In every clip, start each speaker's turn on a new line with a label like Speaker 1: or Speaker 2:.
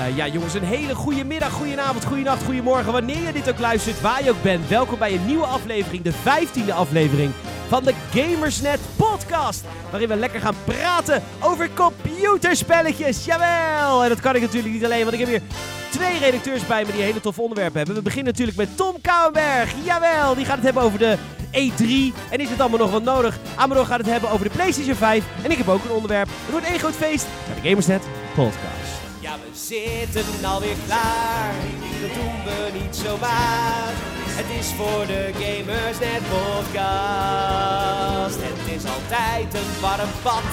Speaker 1: Eh, ja, jongens, een hele goede middag, goedenavond, goedenacht, goedemorgen. Wanneer je dit ook luistert, waar je ook bent. Welkom bij een nieuwe aflevering, de 15e aflevering van de Gamersnet podcast. Waarin we lekker gaan praten over computerspelletjes. Jawel! En dat kan ik natuurlijk niet alleen, want ik heb hier twee redacteurs bij me die hele toffe onderwerpen hebben. We beginnen natuurlijk met Tom Kouwenberg. Jawel, die gaat het hebben over de E3. En is het allemaal nog wel nodig? Amaro gaat het hebben over de PlayStation 5. En ik heb ook een onderwerp. Het wordt één groot feest naar de Gamersnet podcast. Ja, we zitten alweer klaar. Dat doen we niet zomaar. Het is voor de Gamers Net Podcast. Het is altijd een warm bad.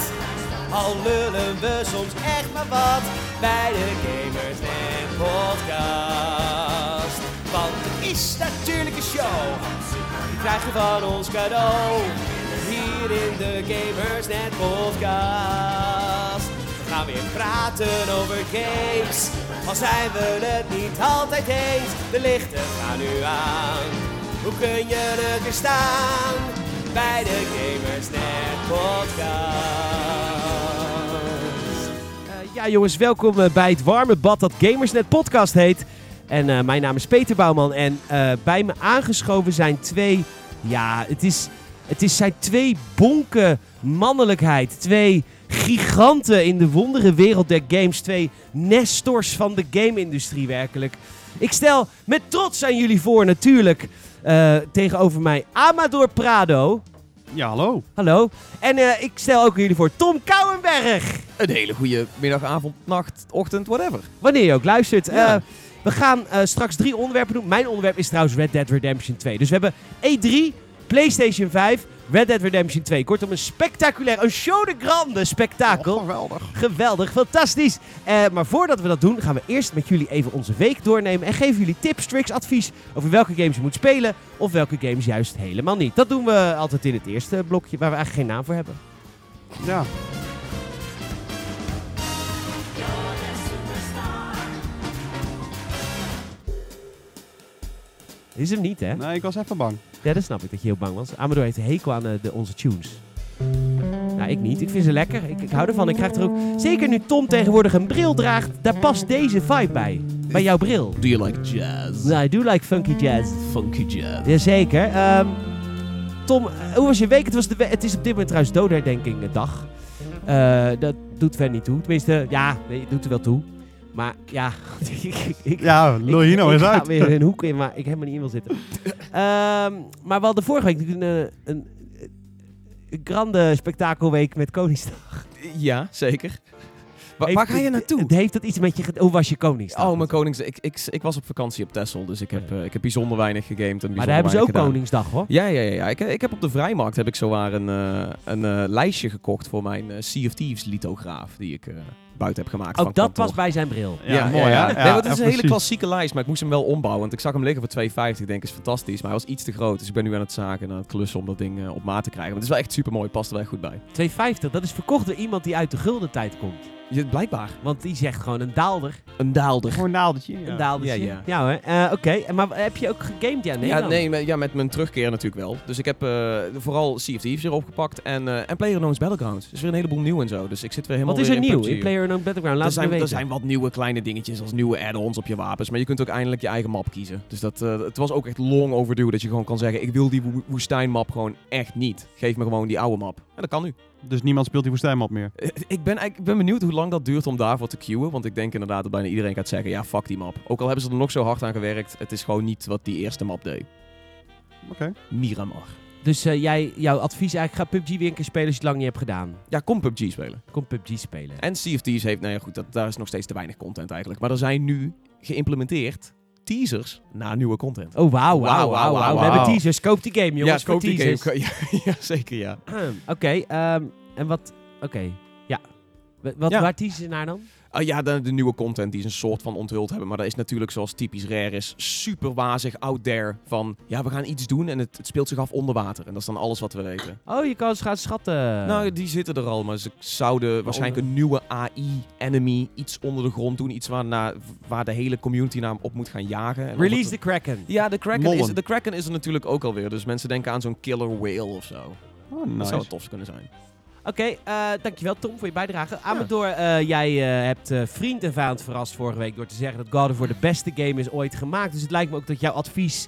Speaker 1: Al lullen we soms echt maar wat bij de Gamers Net Podcast. Want het is natuurlijk een show. Die krijg je van ons cadeau. Hier in de Gamers Net Podcast. We gaan weer praten over games. Al zijn we het niet altijd eens, de lichten gaan nu aan. Hoe kun je er weer staan bij de Gamersnet Podcast? ja, jongens, welkom eh, bij het warme bad dat Gamersnet Podcast heet. En eh, mijn naam is Peter Bouwman. En eh, bij me aangeschoven zijn twee. Ja, het is. Het is zijn twee bonken mannelijkheid. Twee giganten in de wondere wereld der games. Twee nestors van de game-industrie, werkelijk. Ik stel met trots aan jullie voor, natuurlijk. eh, tegenover mij Amador Prado.
Speaker 2: Ja, hallo.
Speaker 1: Hallo. En eh, ik stel ook aan jullie voor Tom Kouwenberg.
Speaker 3: Een hele goede middag, avond, nacht, ochtend, whatever.
Speaker 1: Wanneer je ook luistert.
Speaker 3: Ja.
Speaker 1: Eh, we gaan eh, straks drie onderwerpen doen. Mijn onderwerp is trouwens Red Dead Redemption 2. Dus we hebben E3, PlayStation 5, Red Dead Redemption 2. Kortom, een spectaculair, een show de grande spektakel.
Speaker 2: Oh, geweldig.
Speaker 1: Geweldig, fantastisch. Eh, maar voordat we dat doen, gaan we eerst met jullie even onze week doornemen. En geven jullie tips, tricks, advies over welke games je moet spelen. Of welke games juist helemaal niet. Dat doen we altijd in het eerste blokje, waar we eigenlijk geen naam voor hebben.
Speaker 2: Ja.
Speaker 1: Is hem niet, hè?
Speaker 2: Nee, ik was even bang.
Speaker 1: Ja, dat snap ik dat je heel bang was. Amador heeft een hekel aan eh, de, onze tunes. Nou, ik niet. Ik vind ze lekker. Ik, ik hou ervan. Ik krijg er ook... Zeker nu Tom tegenwoordig een bril draagt, daar past deze vibe bij. Bij jouw bril.
Speaker 3: Do you like jazz?
Speaker 1: Nou, I do like funky jazz.
Speaker 3: Funky jazz.
Speaker 1: Jazeker. Ehm, Tom, eh, hoe was je week? Het, was de we- het is op dit moment trouwens doodherdenking eh, dag. Eh, dat doet Van niet toe. Tenminste, ja, nee, het doet er wel toe. Maar ja, ik, ik,
Speaker 2: Ja, lul Hino
Speaker 1: ik,
Speaker 2: is
Speaker 1: ik ga
Speaker 2: uit.
Speaker 1: weer een hoek in waar ik helemaal niet in wil zitten. Ehm, maar we hadden vorige week natuurlijk een, eh, een, een grande spektakelweek met Koningsdag.
Speaker 3: Ja, zeker. Wa-
Speaker 1: Heeft
Speaker 3: waar ga je
Speaker 1: het-
Speaker 3: naartoe?
Speaker 1: het- Heeft dat iets met je... ge- Hoe was je Koningsdag?
Speaker 3: Oh, mijn konings... Ik, ik, ik was op vakantie op Texel, dus ik heb, eh, ik heb bijzonder weinig gegamed. En bijzonder
Speaker 1: maar daar hebben ze ook
Speaker 3: weinig gedaan.
Speaker 1: Koningsdag, hoor.
Speaker 3: Ja, ja, ja. ja. Ik, ik heb op de vrijmarkt heb ik zowaar een, eh, een eh, lijstje gekocht voor mijn eh, Sea of Thieves lithograaf die ik eh, buiten heb gemaakt van
Speaker 1: Ook Oh, dat
Speaker 3: kantoor.
Speaker 1: was bij zijn bril.
Speaker 2: Ja, mooi, hè?
Speaker 3: nee, want het
Speaker 2: Ja,
Speaker 3: is een hele
Speaker 2: precies.
Speaker 3: klassieke lijst, maar ik moest hem wel ombouwen. Want ik zag hem liggen voor 2,50. Ik denk, is fantastisch. Maar hij was iets te groot. Dus ik ben nu aan het zaken en aan het klussen om dat ding eh, op maat te krijgen. Maar het is wel echt super mooi. Past er wel echt goed bij.
Speaker 1: 2,50, dat is verkocht door iemand die uit de gulden tijd komt.
Speaker 3: Je, blijkbaar.
Speaker 1: Want die zegt gewoon een daalder.
Speaker 3: Een daalder.
Speaker 2: Gewoon een naaldertje. Ja.
Speaker 1: Een daalder. Ja,
Speaker 3: Ja, ja.
Speaker 1: hoor. Eh, Oké, En maar heb je ook gegamed? Ja, nee.
Speaker 3: ja,
Speaker 1: dan.
Speaker 3: nee, met, ja, met mijn terugkeer natuurlijk wel. Dus ik heb eh, vooral Sea of Thieves weer opgepakt. En, eh en PlayerUnknown's Battlegrounds. Er is weer een heleboel nieuw en zo. Dus ik zit weer helemaal
Speaker 1: Wat is
Speaker 3: weer
Speaker 1: er nieuw
Speaker 3: PUBG.
Speaker 1: in PlayerUnknown's Battleground? Laat
Speaker 3: er
Speaker 1: het me
Speaker 3: zijn, er
Speaker 1: weten.
Speaker 3: zijn wat nieuwe kleine dingetjes als nieuwe add-ons op je wapens. Maar je kunt ook eindelijk je eigen map kiezen. Dus dat, eh, het was ook echt long overdue dat je gewoon kan zeggen... ik wil die woe- woestijnmap gewoon echt niet. Geef me gewoon die oude map. En dat kan nu.
Speaker 2: Dus niemand speelt die woestijnmap meer.
Speaker 3: Eh, Ik ben, eigenlijk- ik ben benieuwd hoe lang dat duurt om daarvoor te queuen. Want ik denk inderdaad dat bijna iedereen gaat zeggen... ja, fuck die map. Ook al hebben ze er nog zo hard aan gewerkt... het is gewoon niet wat die eerste map deed.
Speaker 2: Oké.
Speaker 3: Miramar.
Speaker 1: Dus eh, jij, jouw advies eigenlijk, ga PUBG weer een keer spelen als je het lang niet hebt gedaan.
Speaker 3: Ja, kom PUBG spelen.
Speaker 1: Kom PUBG spelen.
Speaker 3: En Sea of Thieves heeft, nou ja goed, dat, daar is nog steeds te weinig content eigenlijk. Maar er zijn nu geïmplementeerd teasers naar nieuwe content.
Speaker 1: Oh, wauw, wauw,
Speaker 3: Wauw,
Speaker 1: wauw,
Speaker 3: wauw,
Speaker 1: wauw. We
Speaker 3: wauw.
Speaker 1: hebben teasers. Koop die game, jongens. voor
Speaker 3: koop die
Speaker 1: teasers.
Speaker 3: game. Ja, ja, zeker ja.
Speaker 1: Oké, ehm, en wat... Oké, ja. Wa- Wat,
Speaker 3: Ja.
Speaker 1: Waar teasen ze naar dan?
Speaker 3: Ah ja, de, de nieuwe content die ze een soort van onthuld hebben. Maar dat is natuurlijk zoals typisch rare is, super wazig out there. Van, ja, we gaan iets doen en het, het speelt zich af onder water. En dat is dan alles wat we weten.
Speaker 1: Oh, je kan eens gaan schatten.
Speaker 3: Nou, die zitten er al, maar ze zouden waarschijnlijk een nieuwe AI-enemy, iets onder de grond doen. Iets waar, na, waar de hele community naar op moet gaan jagen. En
Speaker 1: Release
Speaker 3: of
Speaker 1: the
Speaker 3: het-
Speaker 1: Kraken.
Speaker 3: Ja, de Kraken, is,
Speaker 2: Mollen.
Speaker 3: de Kraken is er natuurlijk ook alweer. Dus mensen denken aan zo'n killer whale of zo.
Speaker 2: Oh,
Speaker 3: Dat
Speaker 2: nice.
Speaker 3: zou het tofst kunnen zijn.
Speaker 1: Oké, eh, dankjewel Tom voor je bijdrage. Amador, eh, jij eh, hebt eh, vriend en vijand verrast vorige week door te zeggen dat God of War de beste game is ooit gemaakt. Dus het lijkt me ook dat jouw advies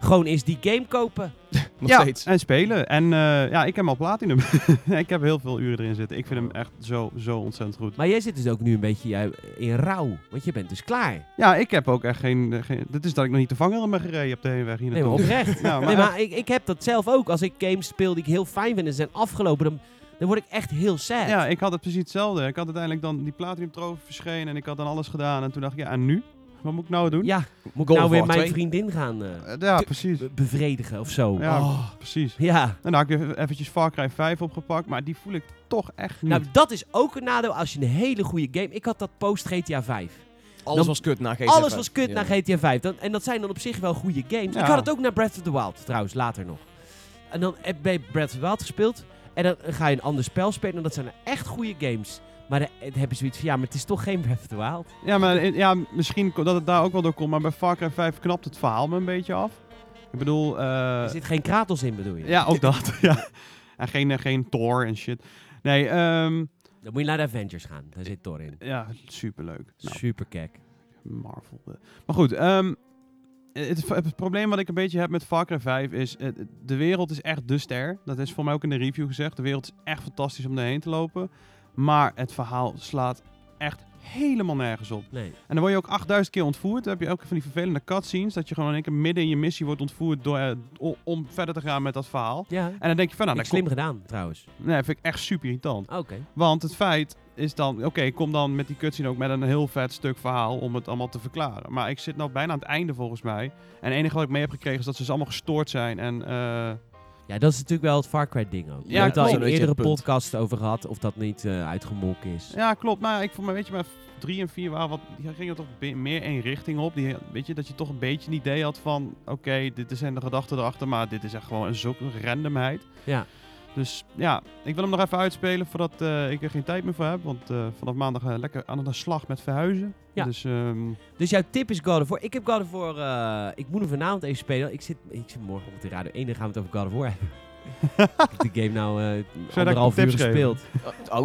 Speaker 1: gewoon is die game kopen.
Speaker 3: Nog
Speaker 2: ja,
Speaker 1: Nou,
Speaker 3: steeds.
Speaker 2: en spelen. En eh, ja, ik heb hem al platinum. ik heb heel veel uren erin zitten. Ik vind hem echt zo, zo ontzettend goed.
Speaker 1: Maar jij zit dus ook nu een beetje eh, in rouw, want je bent dus klaar.
Speaker 2: Ja, ik heb ook echt geen... eh, geen dit is dat ik nog niet de vangrail ben gereden op de heenweg hier
Speaker 1: Nee, maar
Speaker 2: naartoe.
Speaker 1: oprecht.
Speaker 2: Ja, maar
Speaker 1: Nee, maar ik, ik heb dat zelf ook. Als ik games speel die ik heel fijn vind en ze zijn afgelopen, dan, dan word ik echt heel sad.
Speaker 2: Ja, ik had het precies hetzelfde. Ik had uiteindelijk dan die Platinum Trophy verschenen en ik had dan alles gedaan. En toen dacht ik, ja, en nu? Wat moet ik nou doen?
Speaker 1: Ja,
Speaker 3: Moet
Speaker 1: nou weer mijn vriendin gaan eh,
Speaker 2: Eh, ja precies.
Speaker 1: be- bevredigen of zo.
Speaker 2: Ja,
Speaker 3: Oh.
Speaker 2: precies.
Speaker 1: Ja.
Speaker 2: En dan heb ik weer eventjes Far Cry 5 opgepakt, maar die voel ik toch echt niet.
Speaker 1: Nou, dat is ook een nadeel als je een hele goede game... Ik had dat post GTA 5.
Speaker 3: Alles
Speaker 1: Dan-
Speaker 3: was kut na GTA
Speaker 1: Alles was kut
Speaker 3: Ja.
Speaker 1: naar GTA 5. Dan, en dat zijn dan op zich wel goede games.
Speaker 2: Ja.
Speaker 1: Ik had het ook naar Breath of the Wild trouwens, later nog. En dan heb je Breath of the Wild gespeeld. En dan ga je een ander spel spelen. En dat zijn echt goede games. Maar dan dan heb je zoiets van, ja, maar het is toch geen Breath of the Wild.
Speaker 2: Ja, maar in- ja, misschien ko- dat het daar ook wel door komt, maar bij Far Cry 5 knapt het verhaal me een beetje af. Ik bedoel, eh,
Speaker 1: Er zit geen Kratos in, bedoel je?
Speaker 2: ja, ook dat. ja. En geen, eh, geen Thor en shit. Nee, ehm,
Speaker 1: Dan moet je naar de Avengers gaan. Daar zit Thor in.
Speaker 2: ja, superleuk. Nou,
Speaker 1: Super kek.
Speaker 2: Marvel. eh. Maar goed, ehm, het, het probleem wat ik een beetje heb met Far Cry 5 is, eh, de wereld is echt de ster. Dat is voor mij ook in de review gezegd. De wereld is echt fantastisch om erheen te lopen. Maar het verhaal slaat echt helemaal nergens op.
Speaker 1: Nee.
Speaker 2: En dan word je ook 8000 keer ontvoerd. Dan heb je ook van die vervelende cutscenes. Dat je gewoon in één keer midden in je missie wordt ontvoerd door, eh, o- om verder te gaan met dat verhaal.
Speaker 1: Ja.
Speaker 2: En dan denk je van, nou,
Speaker 1: Ik
Speaker 2: dat
Speaker 1: slim gedaan, trouwens.
Speaker 2: komt- nee, vind ik echt super irritant.
Speaker 1: Oké.
Speaker 2: Want het feit is dan, oké, kom dan met die cutscene ook met een heel vet stuk verhaal om het allemaal te verklaren. Maar ik zit nou bijna aan het einde volgens mij. En het enige wat ik mee heb gekregen is dat ze dus allemaal gestoord zijn. En eh,
Speaker 1: Ja, dat is natuurlijk wel het Far Cry ding ook.
Speaker 2: Ja,
Speaker 1: Ja, het al
Speaker 2: klopt.
Speaker 1: in
Speaker 3: Weet je,
Speaker 1: eerdere
Speaker 3: punt.
Speaker 1: podcasts over gehad of dat niet eh uitgemolken is.
Speaker 2: ja, klopt. Maar ik vond, maar weet je, maar drie en vier waren wat, die gingen toch be- meer één richting op. Die, weet je, dat je toch een beetje een idee had van, oké, dit zijn de gedachten erachter, maar dit is echt gewoon een zulke randomheid.
Speaker 1: Ja.
Speaker 2: Dus ja, ik wil hem nog even uitspelen voordat eh, ik er geen tijd meer voor heb. Want eh, vanaf maandag eh, lekker aan de slag met verhuizen.
Speaker 1: Ja.
Speaker 2: Dus ehm,
Speaker 1: Dus jouw tip is God of War. Ik heb God of War... eh, ik moet hem vanavond even spelen. Ik zit, ik zit morgen op de radio 1 dan gaan we het over God of War hebben. ik heb de game nou eh,
Speaker 2: ik
Speaker 1: anderhalf
Speaker 2: een
Speaker 1: uur
Speaker 2: tip geven?
Speaker 1: gespeeld.
Speaker 3: Oh,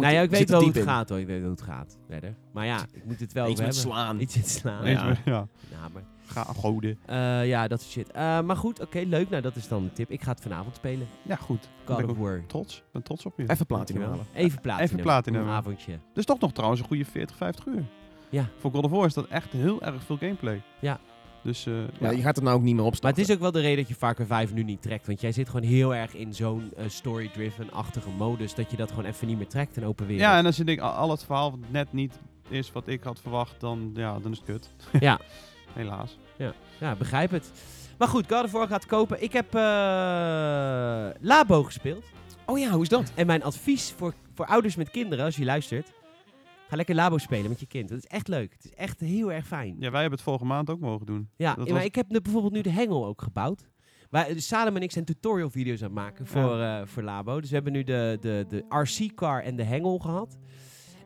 Speaker 1: nou ja, ik
Speaker 3: zit
Speaker 1: weet
Speaker 3: er
Speaker 1: wel hoe
Speaker 3: diep
Speaker 1: het
Speaker 3: in.
Speaker 1: gaat hoor. Ik weet hoe het gaat verder. Maar ja, ik moet het wel
Speaker 3: Iets
Speaker 1: over
Speaker 3: met
Speaker 1: hebben.
Speaker 3: slaan.
Speaker 1: Iets met slaan.
Speaker 2: ja.
Speaker 3: Ja.
Speaker 2: Eens, ja.
Speaker 1: Ah, Ja, maar,
Speaker 2: Ga goden.
Speaker 1: eh, ja, dat soort shit. Eh, maar goed, oké, leuk. Nou, dat is dan de tip. Ik ga het vanavond spelen.
Speaker 2: Ja, goed. Ben
Speaker 1: God
Speaker 2: ik
Speaker 1: of
Speaker 2: ook
Speaker 1: War.
Speaker 2: trots. Ik ben trots op je.
Speaker 3: Even platinum
Speaker 1: Dankjewel.
Speaker 3: halen.
Speaker 1: Even platinum.
Speaker 2: Even platinum.
Speaker 1: Een avondje.
Speaker 2: Dus toch nog trouwens een goede 40, 50 uur.
Speaker 1: Ja.
Speaker 2: Voor God of War is dat echt heel erg veel gameplay.
Speaker 1: Ja.
Speaker 2: Dus eh,
Speaker 3: Ja,
Speaker 2: ja.
Speaker 3: je gaat er nou ook niet meer op
Speaker 1: Maar het is ook wel de reden dat je Far Cry 5 nu niet trekt. Want jij zit gewoon heel erg in zo'n eh, story-driven-achtige modus. Dat je dat gewoon even niet meer trekt in open wereld.
Speaker 2: ja, en als je denkt, al- al het verhaal wat net niet is wat ik had verwacht, dan, ja, dan is het kut.
Speaker 1: Ja.
Speaker 2: Helaas.
Speaker 1: Ja, begrijp het. Maar goed, God of War gaat kopen. Ik heb eh, Labo gespeeld.
Speaker 3: Oh ja, hoe is dat?
Speaker 1: En mijn advies voor, voor ouders met kinderen, als je luistert. Ga lekker Labo spelen met je kind. Dat is echt leuk. Het is echt heel erg fijn.
Speaker 2: Ja, wij hebben het vorige maand ook mogen doen.
Speaker 1: Ja,
Speaker 2: Dat
Speaker 1: maar
Speaker 2: was-
Speaker 1: ik heb nu bijvoorbeeld nu de hengel ook gebouwd. Waar, dus Salem en ik zijn tutorial video's aan het maken voor, eh, voor Labo. Dus we hebben nu de, de, de RC-car en de hengel gehad.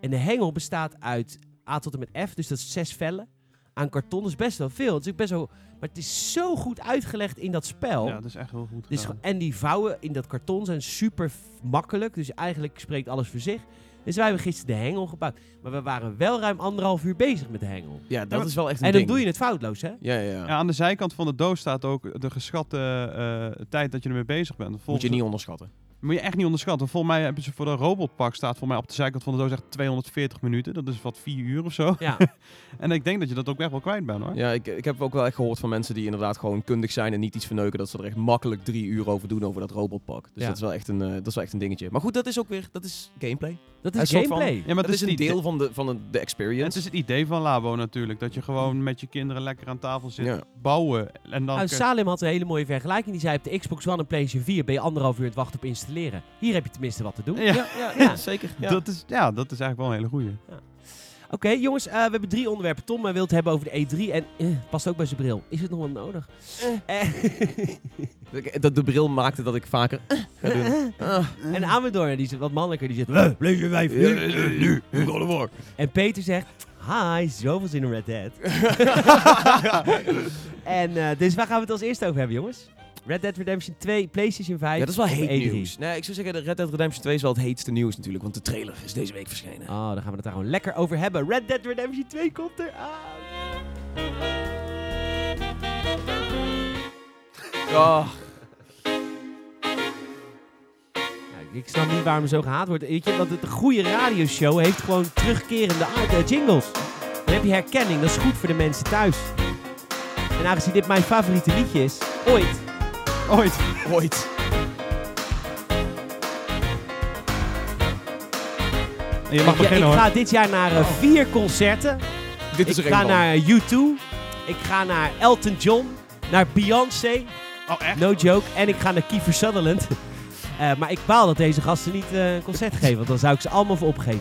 Speaker 1: En de hengel bestaat uit A tot en met F, dus dat is zes vellen. Aan karton dat is best wel veel. Dus Het is ook best wel, maar het is zo goed uitgelegd in dat spel.
Speaker 2: Ja, dat is echt heel goed.
Speaker 1: Dus,
Speaker 2: gedaan.
Speaker 1: ge- en die vouwen in dat karton zijn super f- makkelijk. Dus eigenlijk spreekt alles voor zich. Dus wij hebben gisteren de hengel gebouwd. Maar we waren wel ruim anderhalf uur bezig met de hengel.
Speaker 3: Ja, dat
Speaker 2: maar-
Speaker 3: is wel echt een
Speaker 1: En dan
Speaker 3: ding.
Speaker 1: doe je het foutloos, hè?
Speaker 3: Ja, ja, ja.
Speaker 2: ja, aan de zijkant van de doos staat ook de geschatte eh, tijd dat je ermee bezig bent.
Speaker 3: Moet
Speaker 2: Volgens
Speaker 3: je niet onderschatten.
Speaker 2: Moet je echt niet onderschatten. Volgens mij hebben ze voor de robotpak staat voor mij op de zijkant van de doos echt 240 minuten. Dat is wat 4 uur of zo.
Speaker 1: Ja.
Speaker 2: En ik denk dat je dat ook echt wel kwijt bent hoor.
Speaker 3: Ja, ik, ik heb ook wel echt gehoord van mensen die inderdaad gewoon kundig zijn en niet iets verneuken. Dat ze er echt makkelijk drie uur over doen over dat robotpak. Dus
Speaker 1: Ja.
Speaker 3: dat, is wel echt een, eh, dat is wel echt een dingetje. Maar goed, dat is ook weer, dat is gameplay.
Speaker 1: Dat
Speaker 3: Een
Speaker 1: is
Speaker 3: soort van-
Speaker 1: gameplay.
Speaker 2: Ja, maar
Speaker 3: dat is een
Speaker 2: die-
Speaker 3: deel van de, van de, de
Speaker 2: Het
Speaker 3: experience.
Speaker 2: is het idee van Labo natuurlijk. Dat je gewoon met je kinderen lekker aan tafel zit
Speaker 3: Mm. Ja.
Speaker 2: bouwen. En dan
Speaker 1: Nou,
Speaker 2: kun-
Speaker 1: Salim had een hele mooie vergelijking. Die zei op de Xbox One en PlayStation 4 ben je anderhalf uur aan het wachten op installeren. Hier heb je tenminste wat te doen.
Speaker 2: ja,
Speaker 3: ja,
Speaker 1: Ja.
Speaker 3: zeker.
Speaker 2: Dat is, ja, dat is eigenlijk wel een hele goeie.
Speaker 1: Oké, jongens, eh, we hebben drie onderwerpen. Tom eh, wil het hebben over de E3 en eh, past ook bij zijn bril. Is het nog wel nodig? Eh,
Speaker 3: Ik- Dat de bril maakte dat ik vaker... eh, ga doen. Ah.
Speaker 1: en Amador, die zit wat mannelijker, die zegt... "Eh,
Speaker 2: Lees wijf
Speaker 3: nu, God of War.
Speaker 1: En Peter zegt: Hi, zoveel zin in Red Dead. en eh, dus waar gaan we het als eerste over hebben, jongens? Red Dead Redemption 2, PlayStation 5.
Speaker 3: Ja, dat is wel
Speaker 1: op E
Speaker 3: heet
Speaker 1: E3.
Speaker 3: nieuws. Nee, ik zou zeggen, de Red Dead Redemption 2 is wel het heetste nieuws natuurlijk, want de trailer is deze week verschenen.
Speaker 1: Oh, dan gaan we het daar gewoon lekker over hebben. Red Dead Redemption 2 komt eraan.
Speaker 3: Oh,
Speaker 1: Nou, ik snap niet waarom zo gehaat wordt. Weet je, want het- een goede radioshow heeft gewoon terugkerende a- eh, jingles. Dan heb je herkenning, dat is goed voor de mensen thuis. En aangezien dit mijn favoriete liedje is, ooit,
Speaker 2: Ooit.
Speaker 3: ooit.
Speaker 2: En je mag
Speaker 1: Ja, ik
Speaker 2: beginnen hoor. Oh.
Speaker 1: ga dit jaar naar eh, vier concerten.
Speaker 3: Dit is
Speaker 1: ik
Speaker 3: er
Speaker 1: ga
Speaker 3: één van.
Speaker 1: naar U2. Ik ga naar Elton John. Naar Beyoncé.
Speaker 2: Oh, echt?
Speaker 1: No joke. En ik ga naar Kiefer Sutherland. Eh, maar ik baal dat deze gasten niet eh, een concert geven. Want dan zou ik ze allemaal voor opgeven.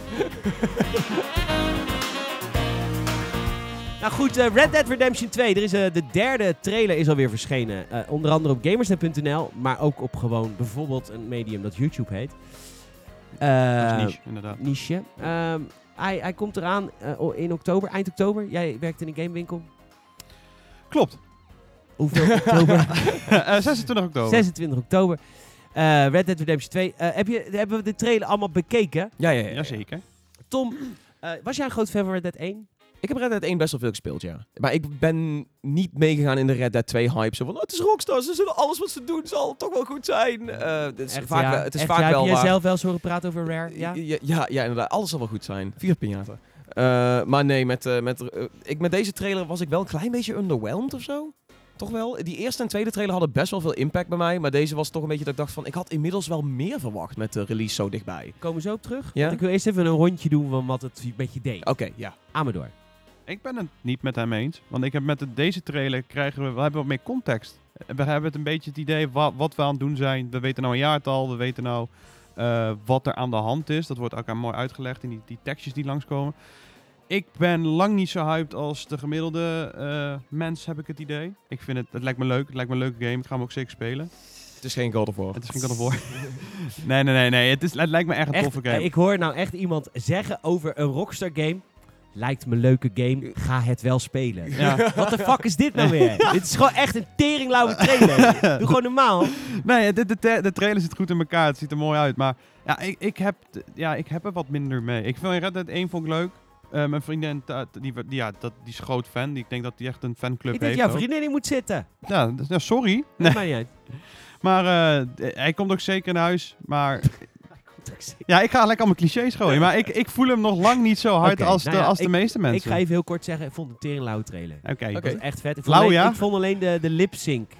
Speaker 1: nou goed, eh, Red Dead Redemption 2. Er is, eh, de derde trailer is alweer verschenen. Eh, onder andere op gamersnet.nl. Maar ook op gewoon bijvoorbeeld een medium dat YouTube heet.
Speaker 2: Dat
Speaker 1: Eh,
Speaker 2: is niche, inderdaad.
Speaker 1: niche. Ehm, hij, hij komt eraan eh, o- in oktober, eind oktober. Jij werkt in een gamewinkel.
Speaker 2: Klopt.
Speaker 1: Hoeveel oktober?
Speaker 2: Eh, 26 oktober.
Speaker 1: 26 oktober. Eh, Red Dead Redemption 2. Eh, heb je, hebben we de trailer allemaal bekeken?
Speaker 3: Ja, ja, ja. ja.
Speaker 2: Jazeker.
Speaker 1: Tom, eh, was jij een groot fan van Red Dead 1?
Speaker 3: Ik heb Red Dead 1 best wel veel gespeeld, ja. Maar ik ben niet meegegaan in de Red Dead 2 hype. Zo van, oh, het is Rockstar, ze zullen alles wat ze doen zal toch wel goed zijn. Eh, het is vaak,
Speaker 1: ja.
Speaker 3: wel- het is
Speaker 1: Echt,
Speaker 3: vaak
Speaker 1: ja,
Speaker 3: wel
Speaker 1: Heb
Speaker 3: waar.
Speaker 1: jij zelf wel eens horen praten over Rare? Ja?
Speaker 3: Ja? Ja, ja, inderdaad. Alles zal wel goed zijn. Vier pinata. Eh, maar nee, met, eh, met, eh, ik, met deze trailer was ik wel een klein beetje underwhelmed of zo. Toch wel? Die eerste en tweede trailer hadden best wel veel impact bij mij. Maar deze was toch een beetje dat ik dacht van... Ik had inmiddels wel meer verwacht met de release zo dichtbij.
Speaker 1: Komen we zo op terug?
Speaker 3: Ja. Oh.
Speaker 1: Want ik wil eerst even een rondje doen van wat het met je deed.
Speaker 3: Oké, ja.
Speaker 1: Amador.
Speaker 2: Ik ben het niet met hem eens. Want ik heb met de- deze trailer krijgen we, we hebben wat meer context. We hebben het een beetje het idee wa- wat we aan het doen zijn. We weten nou een jaartal, we weten nou eh, wat er aan de hand is. Dat wordt elkaar mooi uitgelegd in die, die tekstjes die langskomen. Ik ben lang niet zo hyped als de gemiddelde eh, mens, heb ik het idee. Ik vind het, het lijkt me leuk, het lijkt me een leuke game. Ik ga hem ook zeker spelen.
Speaker 3: Het is geen God of War.
Speaker 2: Het is geen God of War. nee, nee, nee, nee. Het, is, het lijkt me echt een
Speaker 1: Echt,
Speaker 2: toffe game.
Speaker 1: eh, ik hoor nou echt iemand zeggen over een Rockstar game. Lijkt me een leuke game, ga het wel spelen.
Speaker 2: Ja.
Speaker 1: Wat de fuck is dit nou weer? Dit is gewoon echt een teringlauwe trailer. Doe gewoon normaal.
Speaker 2: Nee, de, de, de trailer zit goed in elkaar. Het ziet er mooi uit. Maar ja, ik, ik, heb, t- ja, ik heb er wat minder mee. Ik vind Red Dead 1 vond ik leuk. Eh, mijn vriendin, ta- die, wa- die- ja, dat, die is groot fan. Die, ik denk dat die echt een fanclub
Speaker 1: Ik denk,
Speaker 2: heeft.
Speaker 1: jouw
Speaker 2: ook.
Speaker 1: vriendin in moet zitten.
Speaker 2: Ja, d- ja, sorry.
Speaker 1: Nee.
Speaker 2: Nee,
Speaker 1: Maar niet uit.
Speaker 2: maar eh, d- hij komt ook zeker in huis. Maar ja, ik ga lekker allemaal clichés gooien. Maar ik, ik voel hem nog lang niet zo hard
Speaker 1: Oké,
Speaker 2: als,
Speaker 1: nou
Speaker 2: de,
Speaker 1: ja,
Speaker 2: als
Speaker 1: ik-
Speaker 2: de meeste
Speaker 1: Ik
Speaker 2: mensen.
Speaker 1: ga even heel kort zeggen, ik vond het een teringlauwe trailer.
Speaker 2: Oké,
Speaker 1: Dat was echt vet. Ik vond,
Speaker 2: Lauw,
Speaker 1: alleen,
Speaker 2: ja?
Speaker 1: ik vond alleen de, de lip sync.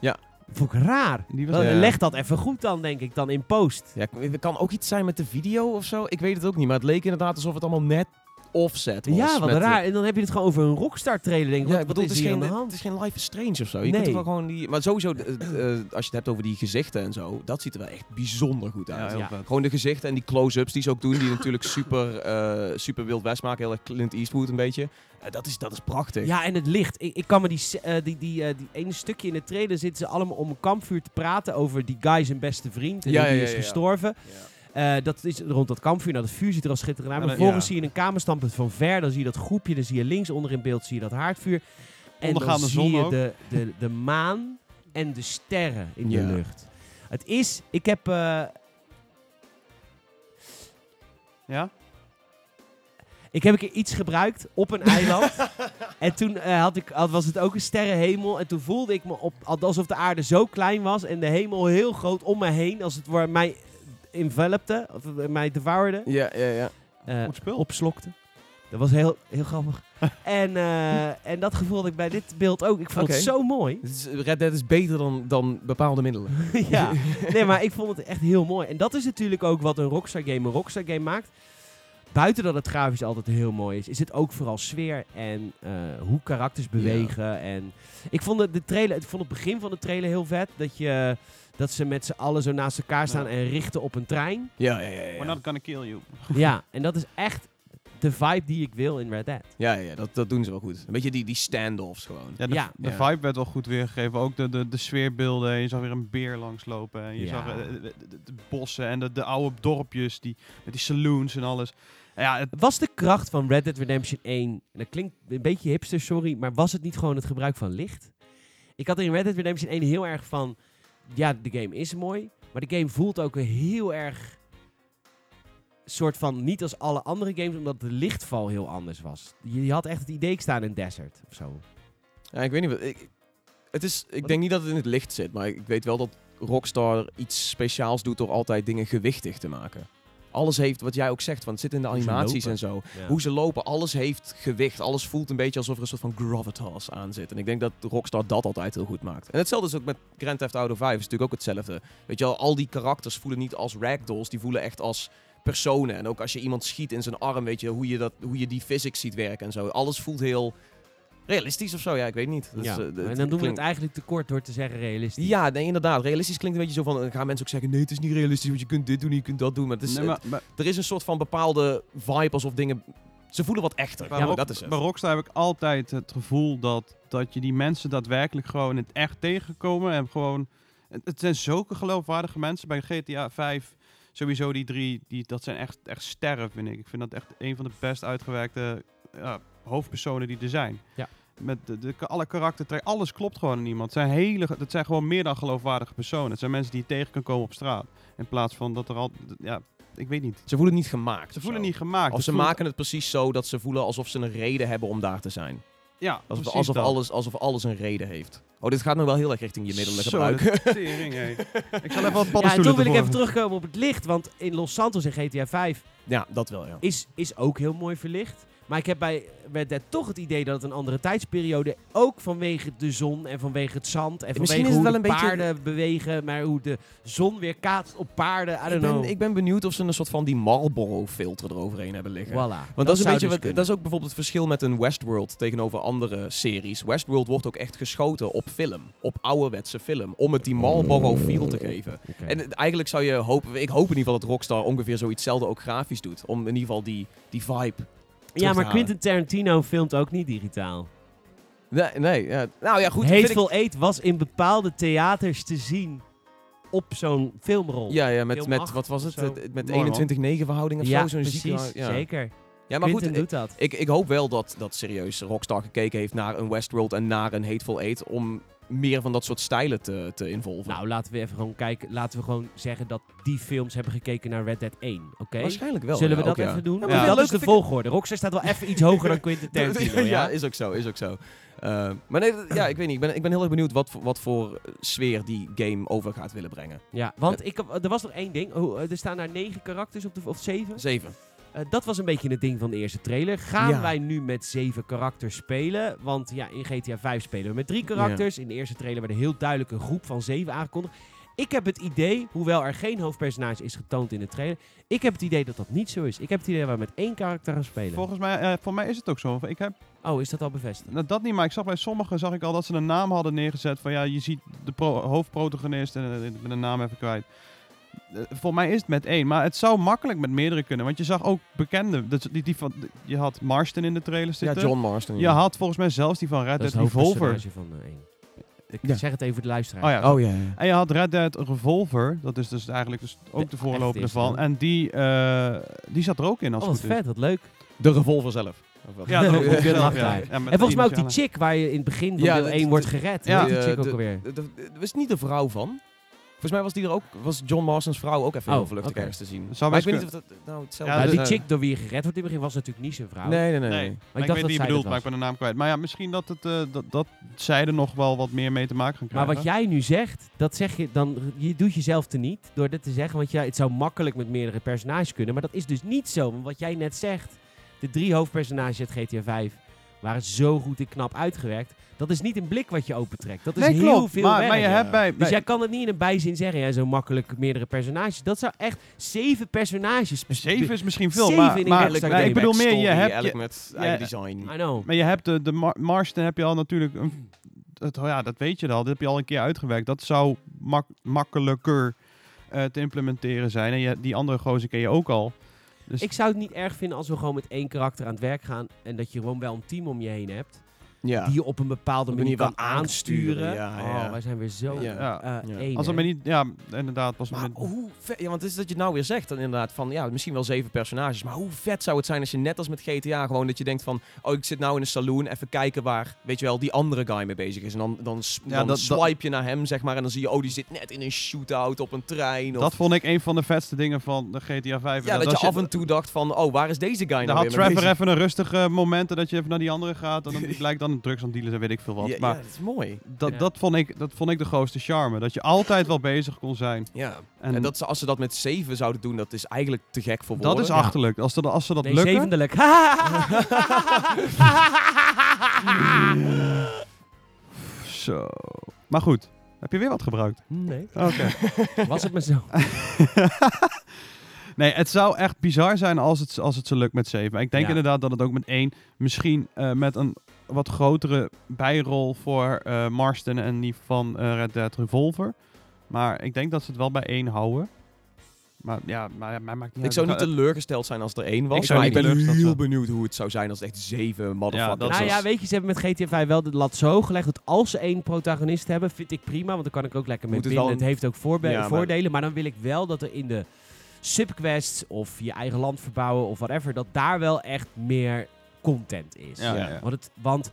Speaker 3: Ja.
Speaker 1: Vond ik raar.
Speaker 2: die was
Speaker 1: Wel,
Speaker 3: Ja.
Speaker 1: Leg dat eh, even goed dan, denk ik, dan in post.
Speaker 3: Ja, het kan ook iets zijn met de video of zo. Ik weet het ook niet. Maar het leek inderdaad alsof het allemaal net offset was.
Speaker 1: Ja, wat
Speaker 3: met de-
Speaker 1: raar. En dan heb je het gewoon over een Rockstar trailer. Denk ik.
Speaker 3: Ja,
Speaker 1: Wat,
Speaker 3: ik
Speaker 1: eh, wat
Speaker 3: bedoel,
Speaker 1: is
Speaker 3: het, is
Speaker 1: hier aan
Speaker 3: geen,
Speaker 1: de
Speaker 3: het
Speaker 1: hand?
Speaker 3: is geen live strange of zo. Je
Speaker 1: Nee.
Speaker 3: kunt toch wel gewoon die, maar sowieso, eh, eh, als je het hebt over die gezichten en zo, dat ziet er wel echt bijzonder goed
Speaker 2: ja,
Speaker 3: uit.
Speaker 2: heel
Speaker 1: Ja.
Speaker 2: vet.
Speaker 3: Gewoon de gezichten en die close-ups die ze ook doen, die natuurlijk super, eh, super wild west maken. Heel erg Clint Eastwood een beetje. Eh, dat, is, dat is prachtig.
Speaker 1: Ja, en het licht. Ik, ik kan me die, se- eh, die, die, eh, die ene stukje in de trailer zitten ze allemaal om een kampvuur te praten over die guy zijn beste vriend. En
Speaker 3: Ja,
Speaker 1: die
Speaker 3: ja,
Speaker 1: is
Speaker 3: ja, ja.
Speaker 1: gestorven. Eh, dat is rond dat kampvuur. Nou, dat vuur ziet er al schitterend uit.
Speaker 2: Ja,
Speaker 1: Maar
Speaker 2: dat-
Speaker 1: vervolgens
Speaker 2: ja.
Speaker 1: zie je een kamerstandpunt van ver. Dan zie je dat groepje. Dan zie je links onder in beeld zie je dat haardvuur. En dan
Speaker 2: Ondergaande
Speaker 1: zie
Speaker 2: zon
Speaker 1: je
Speaker 2: ook.
Speaker 1: de, de, de maan en de sterren in
Speaker 3: Ja.
Speaker 1: de lucht. Het is, ik heb, eh,
Speaker 2: Ja?
Speaker 1: ik heb een keer iets gebruikt op een eiland. en toen eh, had ik, had- was het ook een sterrenhemel. En toen voelde ik me op, alsof de aarde zo klein was en de hemel heel groot om me heen. Als het ware mij envelopte, of eh, mij devouerde.
Speaker 3: Ja, ja, ja.
Speaker 1: Eh,
Speaker 2: Goed spul.
Speaker 1: opslokte. Dat was heel, heel grappig. en, eh, en dat gevoel had ik bij dit beeld ook. Ik vond het
Speaker 3: Oké.
Speaker 1: zo mooi.
Speaker 3: Het is- Red Dead is beter dan, dan bepaalde middelen.
Speaker 1: ja. Nee, maar ik vond het echt heel mooi. En dat is natuurlijk ook wat een Rockstar game een Rockstar game maakt. Buiten dat het grafisch altijd heel mooi is, is het ook vooral sfeer en eh, hoe karakters bewegen. En ik vond het, de trailer, ik vond het begin van de trailer heel vet. Dat, je, dat ze met z'n allen zo naast elkaar staan
Speaker 2: Ja.
Speaker 1: en richten op een trein.
Speaker 3: Ja, ja, ja. Ja,
Speaker 2: We're not gonna kill you.
Speaker 1: ja, en dat is echt de vibe die ik wil in Red Dead.
Speaker 3: ja, ja, dat, dat doen ze wel goed. Een beetje die, die standoffs gewoon.
Speaker 2: Ja, de,
Speaker 1: Ja.
Speaker 2: de
Speaker 3: Ja.
Speaker 2: vibe werd wel goed weergegeven. Ook de, de, de sfeerbeelden. Je zag weer een beer langslopen. En je
Speaker 1: Ja.
Speaker 2: zag eh, de, de- de bossen en de, de oude dorpjes. Die, met die saloons en alles. Ja, het,
Speaker 1: Was de kracht van Red Dead Redemption 1, en dat klinkt een beetje hipster, sorry, maar was het niet gewoon het gebruik van licht? Ik had er in Red Dead Redemption 1 heel erg van... Ja, de game is mooi. Maar de game voelt ook heel erg... soort van niet als alle andere games, omdat de lichtval heel anders was. Je, je had echt het idee, ik sta in een desert of zo.
Speaker 3: Ja, ik weet niet wat. Ik, het is, ik denk niet dat het in het licht zit, maar ik weet wel dat Rockstar iets speciaals doet door altijd dingen gewichtig te maken. Alles heeft, wat jij ook zegt, want het zit in de
Speaker 1: Hoe ze
Speaker 3: animaties
Speaker 1: lopen.
Speaker 3: en zo. Hoe ze lopen, alles heeft gewicht. Alles voelt een beetje alsof er een soort van gravitas aan zit. En ik denk dat Rockstar dat altijd heel goed maakt. En hetzelfde is ook met Grand Theft Auto 5, is natuurlijk ook hetzelfde. Weet je wel, al die karakters voelen niet als ragdolls, die voelen echt als personen. En ook als je iemand schiet in zijn arm, weet je hoe je, dat, hoe je die physics ziet werken en zo. Alles voelt heel realistisch of zo, ja, ik weet niet. Dat
Speaker 1: ja.
Speaker 3: is, eh,
Speaker 1: en dan
Speaker 3: dat
Speaker 1: doen we het
Speaker 3: klinkt-
Speaker 1: eigenlijk tekort door te zeggen realistisch.
Speaker 3: ja, nee, inderdaad. Realistisch klinkt een beetje zo van... Dan gaan mensen ook zeggen... Nee, het is niet realistisch, want je kunt dit doen en je kunt dat doen. Maar, het is,
Speaker 2: Nee, maar, maar-
Speaker 3: het- er is een soort van bepaalde vibe alsof dingen... Ze voelen wat echter.
Speaker 2: Bij,
Speaker 3: Ja,
Speaker 2: Rock-
Speaker 3: dat is het.
Speaker 2: bij Rockstar heb ik altijd het gevoel dat, dat je die mensen daadwerkelijk gewoon in het echt tegenkomen. En gewoon, het, het zijn zulke geloofwaardige mensen. Bij GTA 5 sowieso die drie, die, dat zijn echt, echt sterren vind ik. Ik vind dat echt een van de best uitgewerkte ja, hoofdpersonen die er zijn.
Speaker 1: Ja.
Speaker 2: Met de, de, alle karaktertrek, alles klopt gewoon in iemand. Het zijn, hele, het zijn gewoon meer dan geloofwaardige personen. Het zijn mensen die je tegen kan komen op straat. In plaats van dat er al, ja, ik weet niet.
Speaker 3: Ze voelen het niet gemaakt.
Speaker 2: Ze
Speaker 3: of
Speaker 2: voelen
Speaker 3: zo.
Speaker 2: niet gemaakt.
Speaker 3: Of
Speaker 2: Het
Speaker 3: ze
Speaker 2: voelt-
Speaker 3: maken het precies zo dat ze voelen alsof ze een reden hebben om daar te zijn.
Speaker 2: ja,
Speaker 3: Alsof,
Speaker 2: precies
Speaker 3: alsof,
Speaker 2: dat.
Speaker 3: alles, alsof alles een reden heeft. Oh, dit gaat nou wel heel erg richting je middelen
Speaker 2: Zo,
Speaker 3: gebruiken.
Speaker 2: de tering, hé. Ik zal even wat
Speaker 1: Ja, en toen
Speaker 2: paddenstoelen
Speaker 1: wil ik
Speaker 2: ervoor.
Speaker 1: even terugkomen op het licht. Want in Los Santos in GTA 5
Speaker 3: Ja, dat wel, ja.
Speaker 1: is, is ook heel mooi verlicht. Maar ik heb bij Red Dead toch het idee dat het een andere tijdsperiode... ook vanwege de zon en vanwege het zand... en
Speaker 3: misschien
Speaker 1: vanwege
Speaker 3: is het
Speaker 1: hoe
Speaker 3: wel
Speaker 1: de
Speaker 3: een beetje-
Speaker 1: paarden bewegen... maar hoe de zon weer kaatst op paarden. I don't
Speaker 3: Ik ben,
Speaker 1: know.
Speaker 3: ik ben benieuwd of ze een soort van die Marlboro-filter eroverheen hebben liggen.
Speaker 1: Voilà.
Speaker 3: Want dat, is een beetje wat,
Speaker 1: zou dus
Speaker 3: dat is ook bijvoorbeeld het verschil met een Westworld tegenover andere series. Westworld wordt ook echt geschoten op film, op ouderwetse film, om het die Marlboro feel te geven.
Speaker 1: kunnen. Oké.
Speaker 3: En het- eigenlijk zou je hopen, ik hoop in ieder geval dat Rockstar ongeveer zoietszelfde ook grafisch doet, om in ieder geval die, die vibe.
Speaker 1: Ja, maar
Speaker 3: halen.
Speaker 1: Quentin Tarantino filmt ook niet digitaal.
Speaker 3: Nee, nee ja. nou ja, goed. dat vind ik-
Speaker 1: Hateful Eight was in bepaalde theaters te zien op zo'n filmrol.
Speaker 3: Ja, ja met,
Speaker 1: Film
Speaker 3: met
Speaker 1: acht
Speaker 3: wat was
Speaker 1: of
Speaker 3: het?
Speaker 1: zo.
Speaker 3: Het- Met
Speaker 2: Mooi, man.
Speaker 3: 21-9 verhouding of
Speaker 1: Ja,
Speaker 3: zo? Zo'n
Speaker 1: precies.
Speaker 3: zieke- ja.
Speaker 1: Zeker.
Speaker 3: Ja, maar goed, eh,
Speaker 1: Quentin
Speaker 3: ik,
Speaker 1: doet dat.
Speaker 3: ik, ik hoop wel dat, dat serieus Rockstar gekeken heeft naar een Westworld en naar een Hateful Eight om meer van dat soort stijlen te, te involven.
Speaker 1: Nou, laten we even gewoon kijken. Laten we gewoon zeggen dat die films hebben gekeken naar Red Dead 1. Oké?
Speaker 3: Waarschijnlijk wel.
Speaker 1: Zullen
Speaker 3: ja,
Speaker 1: we dat
Speaker 3: ook, ja.
Speaker 1: even doen?
Speaker 3: Ja,
Speaker 1: Ja,
Speaker 3: maar
Speaker 1: Dat
Speaker 3: leuk
Speaker 1: is de
Speaker 3: vind ik-
Speaker 1: volgorde. Rockstar staat wel even iets hoger dan Quentin Tarantino.
Speaker 3: ja,
Speaker 1: ja?
Speaker 3: is ook zo, is ook zo. Eh, maar nee, dat- ja, ik weet niet. Ik ben, ik ben heel erg benieuwd wat, voor- wat voor eh, sfeer die game over gaat willen brengen.
Speaker 1: Ja, want ik, heb- er was nog één ding. Oh, eh, er staan daar negen karakters op de, of zeven.
Speaker 3: Zeven.
Speaker 1: Eh, dat was een beetje het ding van de eerste trailer. Gaan
Speaker 3: Ja.
Speaker 1: wij nu met zeven karakters spelen? Want ja, in GTA 5 spelen we met drie karakters. In de eerste trailer werd heel duidelijk een groep van zeven aangekondigd. Ik heb het idee, hoewel er geen hoofdpersonage is getoond in de trailer, ik heb het idee dat dat niet zo is. Ik heb het idee dat we met één karakter gaan spelen.
Speaker 2: Volgens mij, eh, voor mij is het ook zo. Ik heb
Speaker 1: oh, is dat al bevestigd?
Speaker 2: nou, dat niet, maar ik zag bij sommigen zag ik al dat ze een naam hadden neergezet. Van ja, je ziet de pro- hoofdprotagonist en eh, ik ben de naam even kwijt. Eh, voor mij is het met één, maar het zou makkelijk met meerdere kunnen. Want je zag ook bekende. Dus die, die van, je had Marston in de trailer
Speaker 3: Ja,
Speaker 2: zitten.
Speaker 3: John Marston.
Speaker 2: Je had volgens mij zelfs die van Red
Speaker 1: dat is
Speaker 2: Dead
Speaker 1: het
Speaker 2: Revolver.
Speaker 1: hoofdpersonage van eh, één. Ik
Speaker 3: Ja.
Speaker 1: zeg het even voor de luisteraar.
Speaker 2: Oh ja,
Speaker 3: Oh ja, ja.
Speaker 2: En je had Red Dead Revolver, dat is dus eigenlijk dus ook de,
Speaker 1: De
Speaker 2: voorloper
Speaker 1: echte is
Speaker 2: ervan.
Speaker 1: dan.
Speaker 2: En die, eh, die zat er ook in als
Speaker 1: Oh,
Speaker 2: het
Speaker 1: wat
Speaker 2: goed is.
Speaker 1: vet, wat leuk.
Speaker 3: De revolver zelf. Of wat?
Speaker 2: Ja, de
Speaker 1: Ik ben
Speaker 2: Revolver zelf,
Speaker 1: lachen.
Speaker 2: ja.
Speaker 1: En
Speaker 2: Ja, met
Speaker 1: en volgens mij ook die
Speaker 2: initialen.
Speaker 1: chick waar je in het begin van
Speaker 3: Ja,
Speaker 1: deel
Speaker 3: dat-
Speaker 1: 1 wordt gered.
Speaker 2: ja.
Speaker 1: Ja, die
Speaker 3: eh,
Speaker 1: chick ook
Speaker 3: de-
Speaker 1: alweer.
Speaker 3: de- de- de- Was niet de vrouw van? Volgens mij was, die er ook, was John Marston's vrouw ook even
Speaker 1: Oh,
Speaker 3: heel vluchtig
Speaker 1: oké.
Speaker 3: ergens te zien.
Speaker 2: Zou
Speaker 3: maar ik
Speaker 2: best
Speaker 3: weet niet of dat nou hetzelfde
Speaker 2: Ja,
Speaker 1: Nou,
Speaker 2: dus-
Speaker 1: die chick door wie je gered wordt in het begin was natuurlijk niet zijn vrouw.
Speaker 3: Nee, nee,
Speaker 2: Nee,
Speaker 3: nee.
Speaker 2: maar
Speaker 3: nee.
Speaker 2: ik,
Speaker 1: dacht dat
Speaker 2: weet wie je
Speaker 1: zij
Speaker 2: bedoelt,
Speaker 1: dat
Speaker 2: maar ik ben de naam kwijt. Maar ja, misschien dat, het, eh, dat, dat zij er nog wel wat meer mee te maken gaan
Speaker 1: Maar
Speaker 2: krijgen.
Speaker 1: wat jij nu zegt, dat zeg je dan, je doet jezelf teniet door dit te zeggen. Want ja, het zou makkelijk met meerdere personages kunnen. Maar dat is dus niet zo. Want wat jij net zegt, de drie hoofdpersonages uit GTA 5 waren zo goed en knap uitgewerkt. Dat is niet een blik wat je opentrekt. Dat is
Speaker 2: nee,
Speaker 1: heel
Speaker 2: klopt.
Speaker 1: veel
Speaker 2: maar,
Speaker 1: werk.
Speaker 2: maar je
Speaker 3: ja.
Speaker 2: hebt bij...
Speaker 1: Dus
Speaker 2: bij-
Speaker 1: jij kan het niet in een bijzin zeggen, ja, zo makkelijk meerdere personages. Dat zou echt zeven personages.
Speaker 2: Zeven is misschien veel,
Speaker 1: Zeven
Speaker 2: maar,
Speaker 1: in
Speaker 2: maar,
Speaker 1: elk
Speaker 2: maar ik bedoel meer, je hebt,
Speaker 3: Elk
Speaker 2: je,
Speaker 3: met
Speaker 2: ja,
Speaker 3: eigen design.
Speaker 1: I know.
Speaker 2: maar je hebt de, de Mar- Marston heb je al natuurlijk... Een, het, ja, dat weet je al, dat heb je al een keer uitgewerkt. Dat zou mak- makkelijker eh, te implementeren zijn. En je, die andere gozer ken je ook al. Dus
Speaker 1: Ik zou het niet erg vinden als we gewoon met één karakter aan het werk gaan. En dat je gewoon wel een team om je heen hebt.
Speaker 3: Ja.
Speaker 1: die je op een bepaalde
Speaker 3: Op een
Speaker 1: manier
Speaker 3: manier
Speaker 1: kan
Speaker 3: van aansturen,
Speaker 1: aansturen.
Speaker 3: ja,
Speaker 1: Oh,
Speaker 3: ja.
Speaker 1: wij zijn weer zo
Speaker 3: Ja.
Speaker 2: Ja.
Speaker 1: eh,
Speaker 3: Ja.
Speaker 1: één,
Speaker 2: Als het
Speaker 1: hè?
Speaker 2: maar niet, ja, inderdaad. Was het
Speaker 3: Maar
Speaker 2: met-
Speaker 3: hoe vet, ja, want het is dat je het nou weer zegt, dan inderdaad van, ja, misschien wel zeven personages, maar hoe vet zou het zijn als je net als met GTA gewoon dat je denkt van, oh, ik zit nou in een saloon, even kijken waar, weet je wel, die andere guy mee bezig is. En dan, dan, s-
Speaker 2: Ja,
Speaker 3: dan
Speaker 2: dat- dat-
Speaker 3: swipe je naar hem, zeg maar, en dan zie je, oh, die zit net in een shootout op een trein. Of,
Speaker 2: dat vond ik een van de vetste dingen van de GTA 5.
Speaker 3: ja, dat,
Speaker 2: als
Speaker 3: je af en toe dacht van, oh, waar is deze guy
Speaker 2: Dan
Speaker 3: nou
Speaker 2: had
Speaker 3: weer mee
Speaker 2: Trevor
Speaker 3: bezig?
Speaker 2: even een rustig eh, moment dat je even naar die andere gaat. En dan die blijkt dan drugs aan dealen en weet ik veel wat.
Speaker 3: Ja, ja,
Speaker 2: maar
Speaker 3: dat is mooi.
Speaker 2: Dat,
Speaker 1: Ja.
Speaker 2: dat, vond ik, dat vond ik de grootste charme. Dat je altijd wel bezig kon zijn.
Speaker 3: Ja.
Speaker 2: En,
Speaker 3: En
Speaker 2: dat,
Speaker 3: dat, ze- als ze dat met zeven zouden doen, dat is eigenlijk te gek voor woorden.
Speaker 2: is achterlijk. Als, dat, als ze dat
Speaker 1: nee,
Speaker 2: lukken...
Speaker 1: zevendelijk.
Speaker 2: Zo. Maar goed. Heb je weer wat gebruikt?
Speaker 1: nee,
Speaker 2: Oké.
Speaker 1: was het maar zo.
Speaker 2: nee, het zou echt bizar zijn als het, als het ze lukt met 7. Ik denk
Speaker 1: Ja.
Speaker 2: inderdaad dat het ook met 1... Misschien eh, met een wat grotere bijrol voor eh, Marston en die van eh, Red Dead Revolver. Maar ik denk dat ze het wel bij 1 houden. Maar ja, maar, maar maakt niet
Speaker 3: ik
Speaker 2: uit.
Speaker 3: zou niet
Speaker 2: Het-
Speaker 3: teleurgesteld zijn als er één was.
Speaker 2: Ik zou
Speaker 3: maar ik
Speaker 2: niet
Speaker 3: ben
Speaker 2: teleurgesteld
Speaker 3: heel
Speaker 2: zijn.
Speaker 3: benieuwd hoe het zou zijn als het echt zeven motherfuckers
Speaker 2: dat
Speaker 3: was.
Speaker 1: nou
Speaker 2: is-
Speaker 1: ja, weet je, ze hebben met GTA 5 wel de lat zo gelegd dat als ze één protagonist hebben, vind ik prima, want dan kan ik ook lekker mee
Speaker 3: Moet het
Speaker 1: binnen. Het,
Speaker 3: wel een-
Speaker 1: heeft ook voorbe-
Speaker 3: Ja, maar-
Speaker 1: voordelen, maar dan wil ik wel dat er in de subquests of je eigen land verbouwen of whatever, dat daar wel echt meer content is.
Speaker 2: Ja, ja,
Speaker 3: Ja.
Speaker 2: ja.
Speaker 1: Want, het, want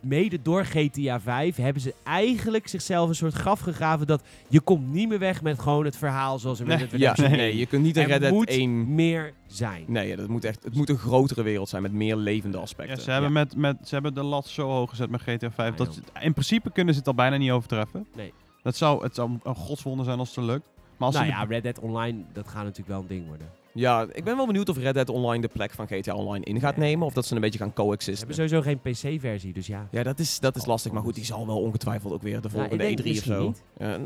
Speaker 1: mede door GTA 5 hebben ze eigenlijk zichzelf een soort graf gegraven dat je komt niet meer weg met gewoon het verhaal zoals er
Speaker 2: Nee,
Speaker 1: met het
Speaker 3: Ja,
Speaker 1: Redemption
Speaker 3: nee, je kunt niet een
Speaker 1: Er
Speaker 3: Red Dead
Speaker 1: moet
Speaker 3: 1...
Speaker 1: meer zijn.
Speaker 3: Nee, ja, dat moet echt, het moet een grotere wereld zijn met meer levende
Speaker 2: Ja,
Speaker 3: aspecten.
Speaker 2: ze, hebben Met, met, ze hebben de lat zo hoog gezet met GTA 5.
Speaker 1: I
Speaker 2: Dat, ze- in principe kunnen ze het al bijna niet overtreffen.
Speaker 1: Nee.
Speaker 2: Dat zou, het zou een godswonder zijn als het lukt. Maar als
Speaker 1: nou
Speaker 2: ze
Speaker 1: ja, Red Dead Online, dat gaat natuurlijk wel een ding worden.
Speaker 3: Ja, ik ben wel benieuwd of Red Dead Online de plek van GTA Online in gaat
Speaker 1: Nee.
Speaker 3: nemen. Of dat ze een beetje gaan
Speaker 1: Ze hebben
Speaker 3: coexisten.
Speaker 1: sowieso geen PC-versie, dus ja.
Speaker 3: Ja, dat is, dat is lastig. Maar goed, die zal wel ongetwijfeld ook weer de volgende
Speaker 1: ik denk
Speaker 3: E3 of
Speaker 1: misschien
Speaker 3: zo.
Speaker 1: niet.
Speaker 3: Ja, nou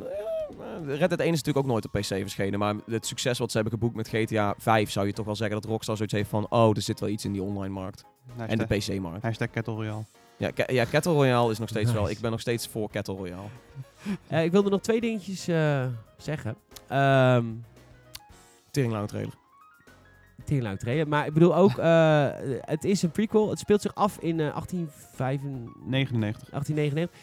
Speaker 3: ja, Red Dead 1 is natuurlijk ook nooit op PC verschenen. Maar het succes wat ze hebben geboekt met GTA 5 zou je toch wel zeggen dat Rockstar zoiets heeft van... Oh, er zit wel iets in die online markt.
Speaker 2: hashtag,
Speaker 3: En de PC-markt.
Speaker 2: hashtag Kettle Royale.
Speaker 3: Ja, Ca- ja, Cattle Royale is nog steeds wel...
Speaker 1: Nice.
Speaker 3: Ik ben nog steeds voor Cattle Royale.
Speaker 1: Eh, ik wilde nog twee dingetjes eh, zeggen. Ehm
Speaker 3: Teringlange trailer.
Speaker 1: Tering lang treden. Maar ik bedoel ook, eh, het is een prequel. Het speelt zich af in eh, 1895.
Speaker 2: 99.
Speaker 1: 1899.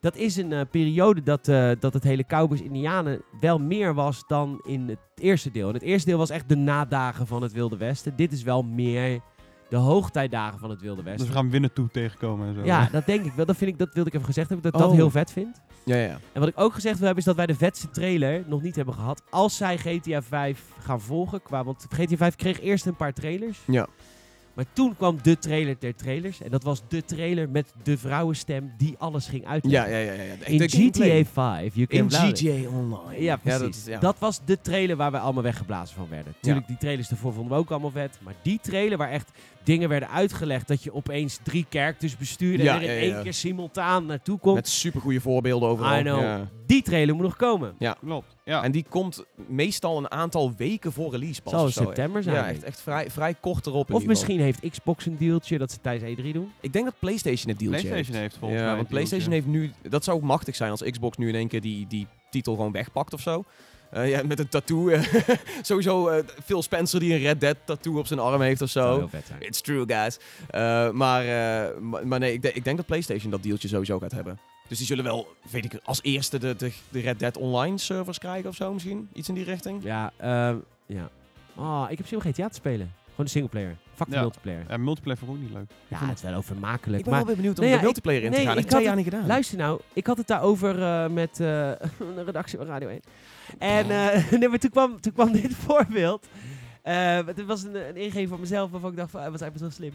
Speaker 1: Dat is een eh, periode dat, eh, dat het hele Cowboys-Indianen wel meer was dan in het eerste deel. En het eerste deel was echt de nadagen van het Wilde Westen. Dit is wel meer de hoogtijdagen van het Wilde
Speaker 2: Dus
Speaker 1: Westen.
Speaker 2: we gaan winnen toe tegenkomen en zo.
Speaker 1: ja, dat denk ik wel. Dat, vind ik, dat wilde ik even gezegd hebben, dat ik
Speaker 3: Oh.
Speaker 1: dat heel vet vind.
Speaker 3: Ja, ja, ja.
Speaker 1: En wat ik ook gezegd wil hebben is dat wij de vetste trailer nog niet hebben gehad. Als zij GTA 5 gaan volgen. Qua, want GTA 5 kreeg eerst een paar trailers.
Speaker 3: Ja.
Speaker 1: Maar toen kwam de trailer ter trailers. En dat was de trailer met de vrouwenstem die alles ging
Speaker 3: Ja,
Speaker 1: uitleggen.
Speaker 3: ja, ja. ja, ja. De-
Speaker 1: In
Speaker 3: de gameplay.
Speaker 1: GTA 5. You can loud it.
Speaker 3: Online.
Speaker 1: Ja, precies.
Speaker 3: dat
Speaker 1: dat,
Speaker 3: is- ja.
Speaker 1: was de trailer waar we allemaal weggeblazen van werden. Tuurlijk, die trailers daarvoor vonden we ook allemaal vet. Maar die trailer waar echt dingen werden uitgelegd... dat je opeens drie characters bestuurde...
Speaker 3: Ja,
Speaker 1: en er in
Speaker 3: ja, ja,
Speaker 1: één
Speaker 3: ja.
Speaker 1: keer simultaan naartoe komt.
Speaker 3: Met supergoeie voorbeelden overal.
Speaker 1: I know.
Speaker 3: Ja.
Speaker 1: Die trailer moet nog komen.
Speaker 2: Klopt. Ja.
Speaker 3: En die komt meestal een aantal weken voor release pas.
Speaker 1: Zal
Speaker 3: of
Speaker 1: in
Speaker 3: zo,
Speaker 1: september
Speaker 3: hè.
Speaker 1: zijn.
Speaker 3: Ja,
Speaker 1: denk ik.
Speaker 3: echt, echt vrij, vrij kort erop in
Speaker 1: Of
Speaker 3: ieder geval.
Speaker 1: misschien heeft Xbox een dealtje dat ze tijdens E3 doen.
Speaker 3: Ik denk dat PlayStation het dealtje
Speaker 2: PlayStation heeft volgens
Speaker 3: ja,
Speaker 2: mij.
Speaker 3: want PlayStation heeft nu... Dat zou ook machtig zijn als Xbox nu in één keer die, die titel gewoon wegpakt of zo. Eh, ja, met een tattoo. eh, sowieso eh, Phil Spencer die een Red Dead tattoo op zijn arm heeft of
Speaker 1: Zou
Speaker 3: zo.
Speaker 1: heel vet zijn.
Speaker 3: It's true, guys. Eh, maar, eh, maar, maar nee, ik, denk- ik denk dat PlayStation dat dealtje sowieso gaat hebben. Dus die zullen wel, weet ik, als eerste de, de, de Red Dead Online servers krijgen of zo misschien. Iets in die richting.
Speaker 1: Ja, ehm, ja. Oh, ik heb zin om GTA te spelen. Gewoon de singleplayer. Fuck de
Speaker 2: Ja.
Speaker 1: multiplayer.
Speaker 2: En multiplayer vond ik ook niet leuk.
Speaker 1: Ja, het is wel overmakelijk.
Speaker 3: Ik ben
Speaker 1: Maar
Speaker 3: wel weer benieuwd om
Speaker 1: Nee,
Speaker 3: de
Speaker 1: ja,
Speaker 3: multiplayer
Speaker 1: ik-
Speaker 3: in te
Speaker 1: nee,
Speaker 3: gaan.
Speaker 1: ik
Speaker 3: Ik heb twee
Speaker 1: had
Speaker 3: jaar niet gedaan.
Speaker 1: luister nou, ik had het daarover eh, met eh, een redactie van Radio 1. En
Speaker 3: Oh.
Speaker 1: eh, nee, maar toen, kwam, toen kwam dit voorbeeld. Eh, het was een, een ingeving van mezelf waarvan ik dacht, van, ah, wat zijn we zo slim.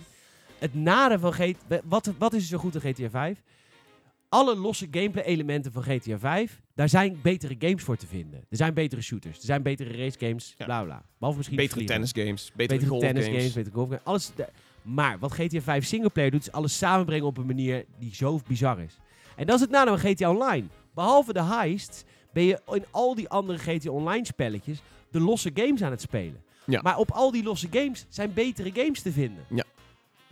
Speaker 1: Het nare van GTA... Wat, wat is er zo goed aan GTA 5? Alle losse gameplay elementen van GTA 5, daar zijn betere games voor te vinden. Er zijn betere shooters, er zijn betere race games,
Speaker 3: Ja.
Speaker 1: bla bla. Behalve misschien
Speaker 3: Betere
Speaker 1: vliegen
Speaker 3: tennisgames, betere,
Speaker 1: betere,
Speaker 3: golf
Speaker 1: tennis
Speaker 3: games.
Speaker 1: games, betere golf games. Alles da- maar wat GTA 5 singleplayer doet, is alles samenbrengen op een manier die zo bizar is. En dat is het nadeel van GTA Online. Behalve de heists ben je in al die andere GTA Online spelletjes de losse games aan het spelen.
Speaker 3: Ja.
Speaker 1: Maar op al die losse games zijn betere games te vinden.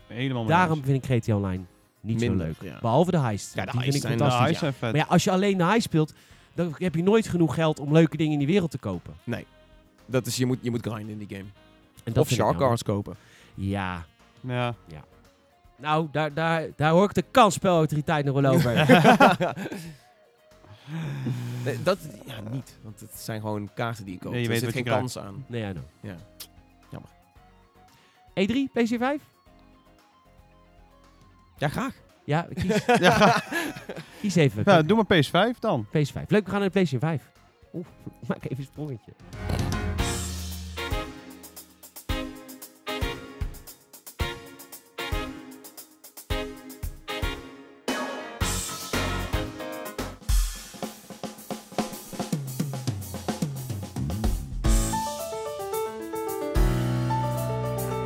Speaker 2: Helemaal mee
Speaker 1: Daarom
Speaker 2: eens.
Speaker 1: vind ik GTA Online niet
Speaker 3: Minder,
Speaker 1: zo leuk.
Speaker 3: ja.
Speaker 1: Behalve de heists.
Speaker 3: Ja, de
Speaker 1: die
Speaker 3: heists
Speaker 1: vind ik
Speaker 3: zijn-
Speaker 2: Nou,
Speaker 1: fantastisch.
Speaker 2: hij zijn
Speaker 3: ja.
Speaker 2: vet.
Speaker 1: Maar ja, als je alleen de heist speelt, dan heb je nooit genoeg geld om leuke dingen in die wereld te kopen.
Speaker 3: Dat is, je moet, je moet grinden in die game.
Speaker 1: En dat nou-
Speaker 3: of
Speaker 1: vind ik
Speaker 3: Shark
Speaker 1: jammer.
Speaker 3: Cars kopen.
Speaker 1: Ja,
Speaker 2: Ja.
Speaker 1: Ja. Nou, daar, daar, daar hoor ik de kansspelautoriteit nog wel over.
Speaker 3: Nee, dat ja, niet. Want het zijn gewoon kaarten die ik koop.
Speaker 2: Nee, je
Speaker 3: er
Speaker 2: weet
Speaker 3: zit
Speaker 2: wat
Speaker 3: geen
Speaker 2: je
Speaker 3: kans aan.
Speaker 1: nee, I know. E
Speaker 3: Ja. Jammer.
Speaker 1: E3, PC5?
Speaker 3: Ja, graag.
Speaker 1: Ja, kies,
Speaker 2: Ja,
Speaker 1: kies even.
Speaker 2: nou, doe maar PS5 dan.
Speaker 1: PS5. Leuk, we gaan naar de PlayStation 5. Oeh, maak even een sprongetje.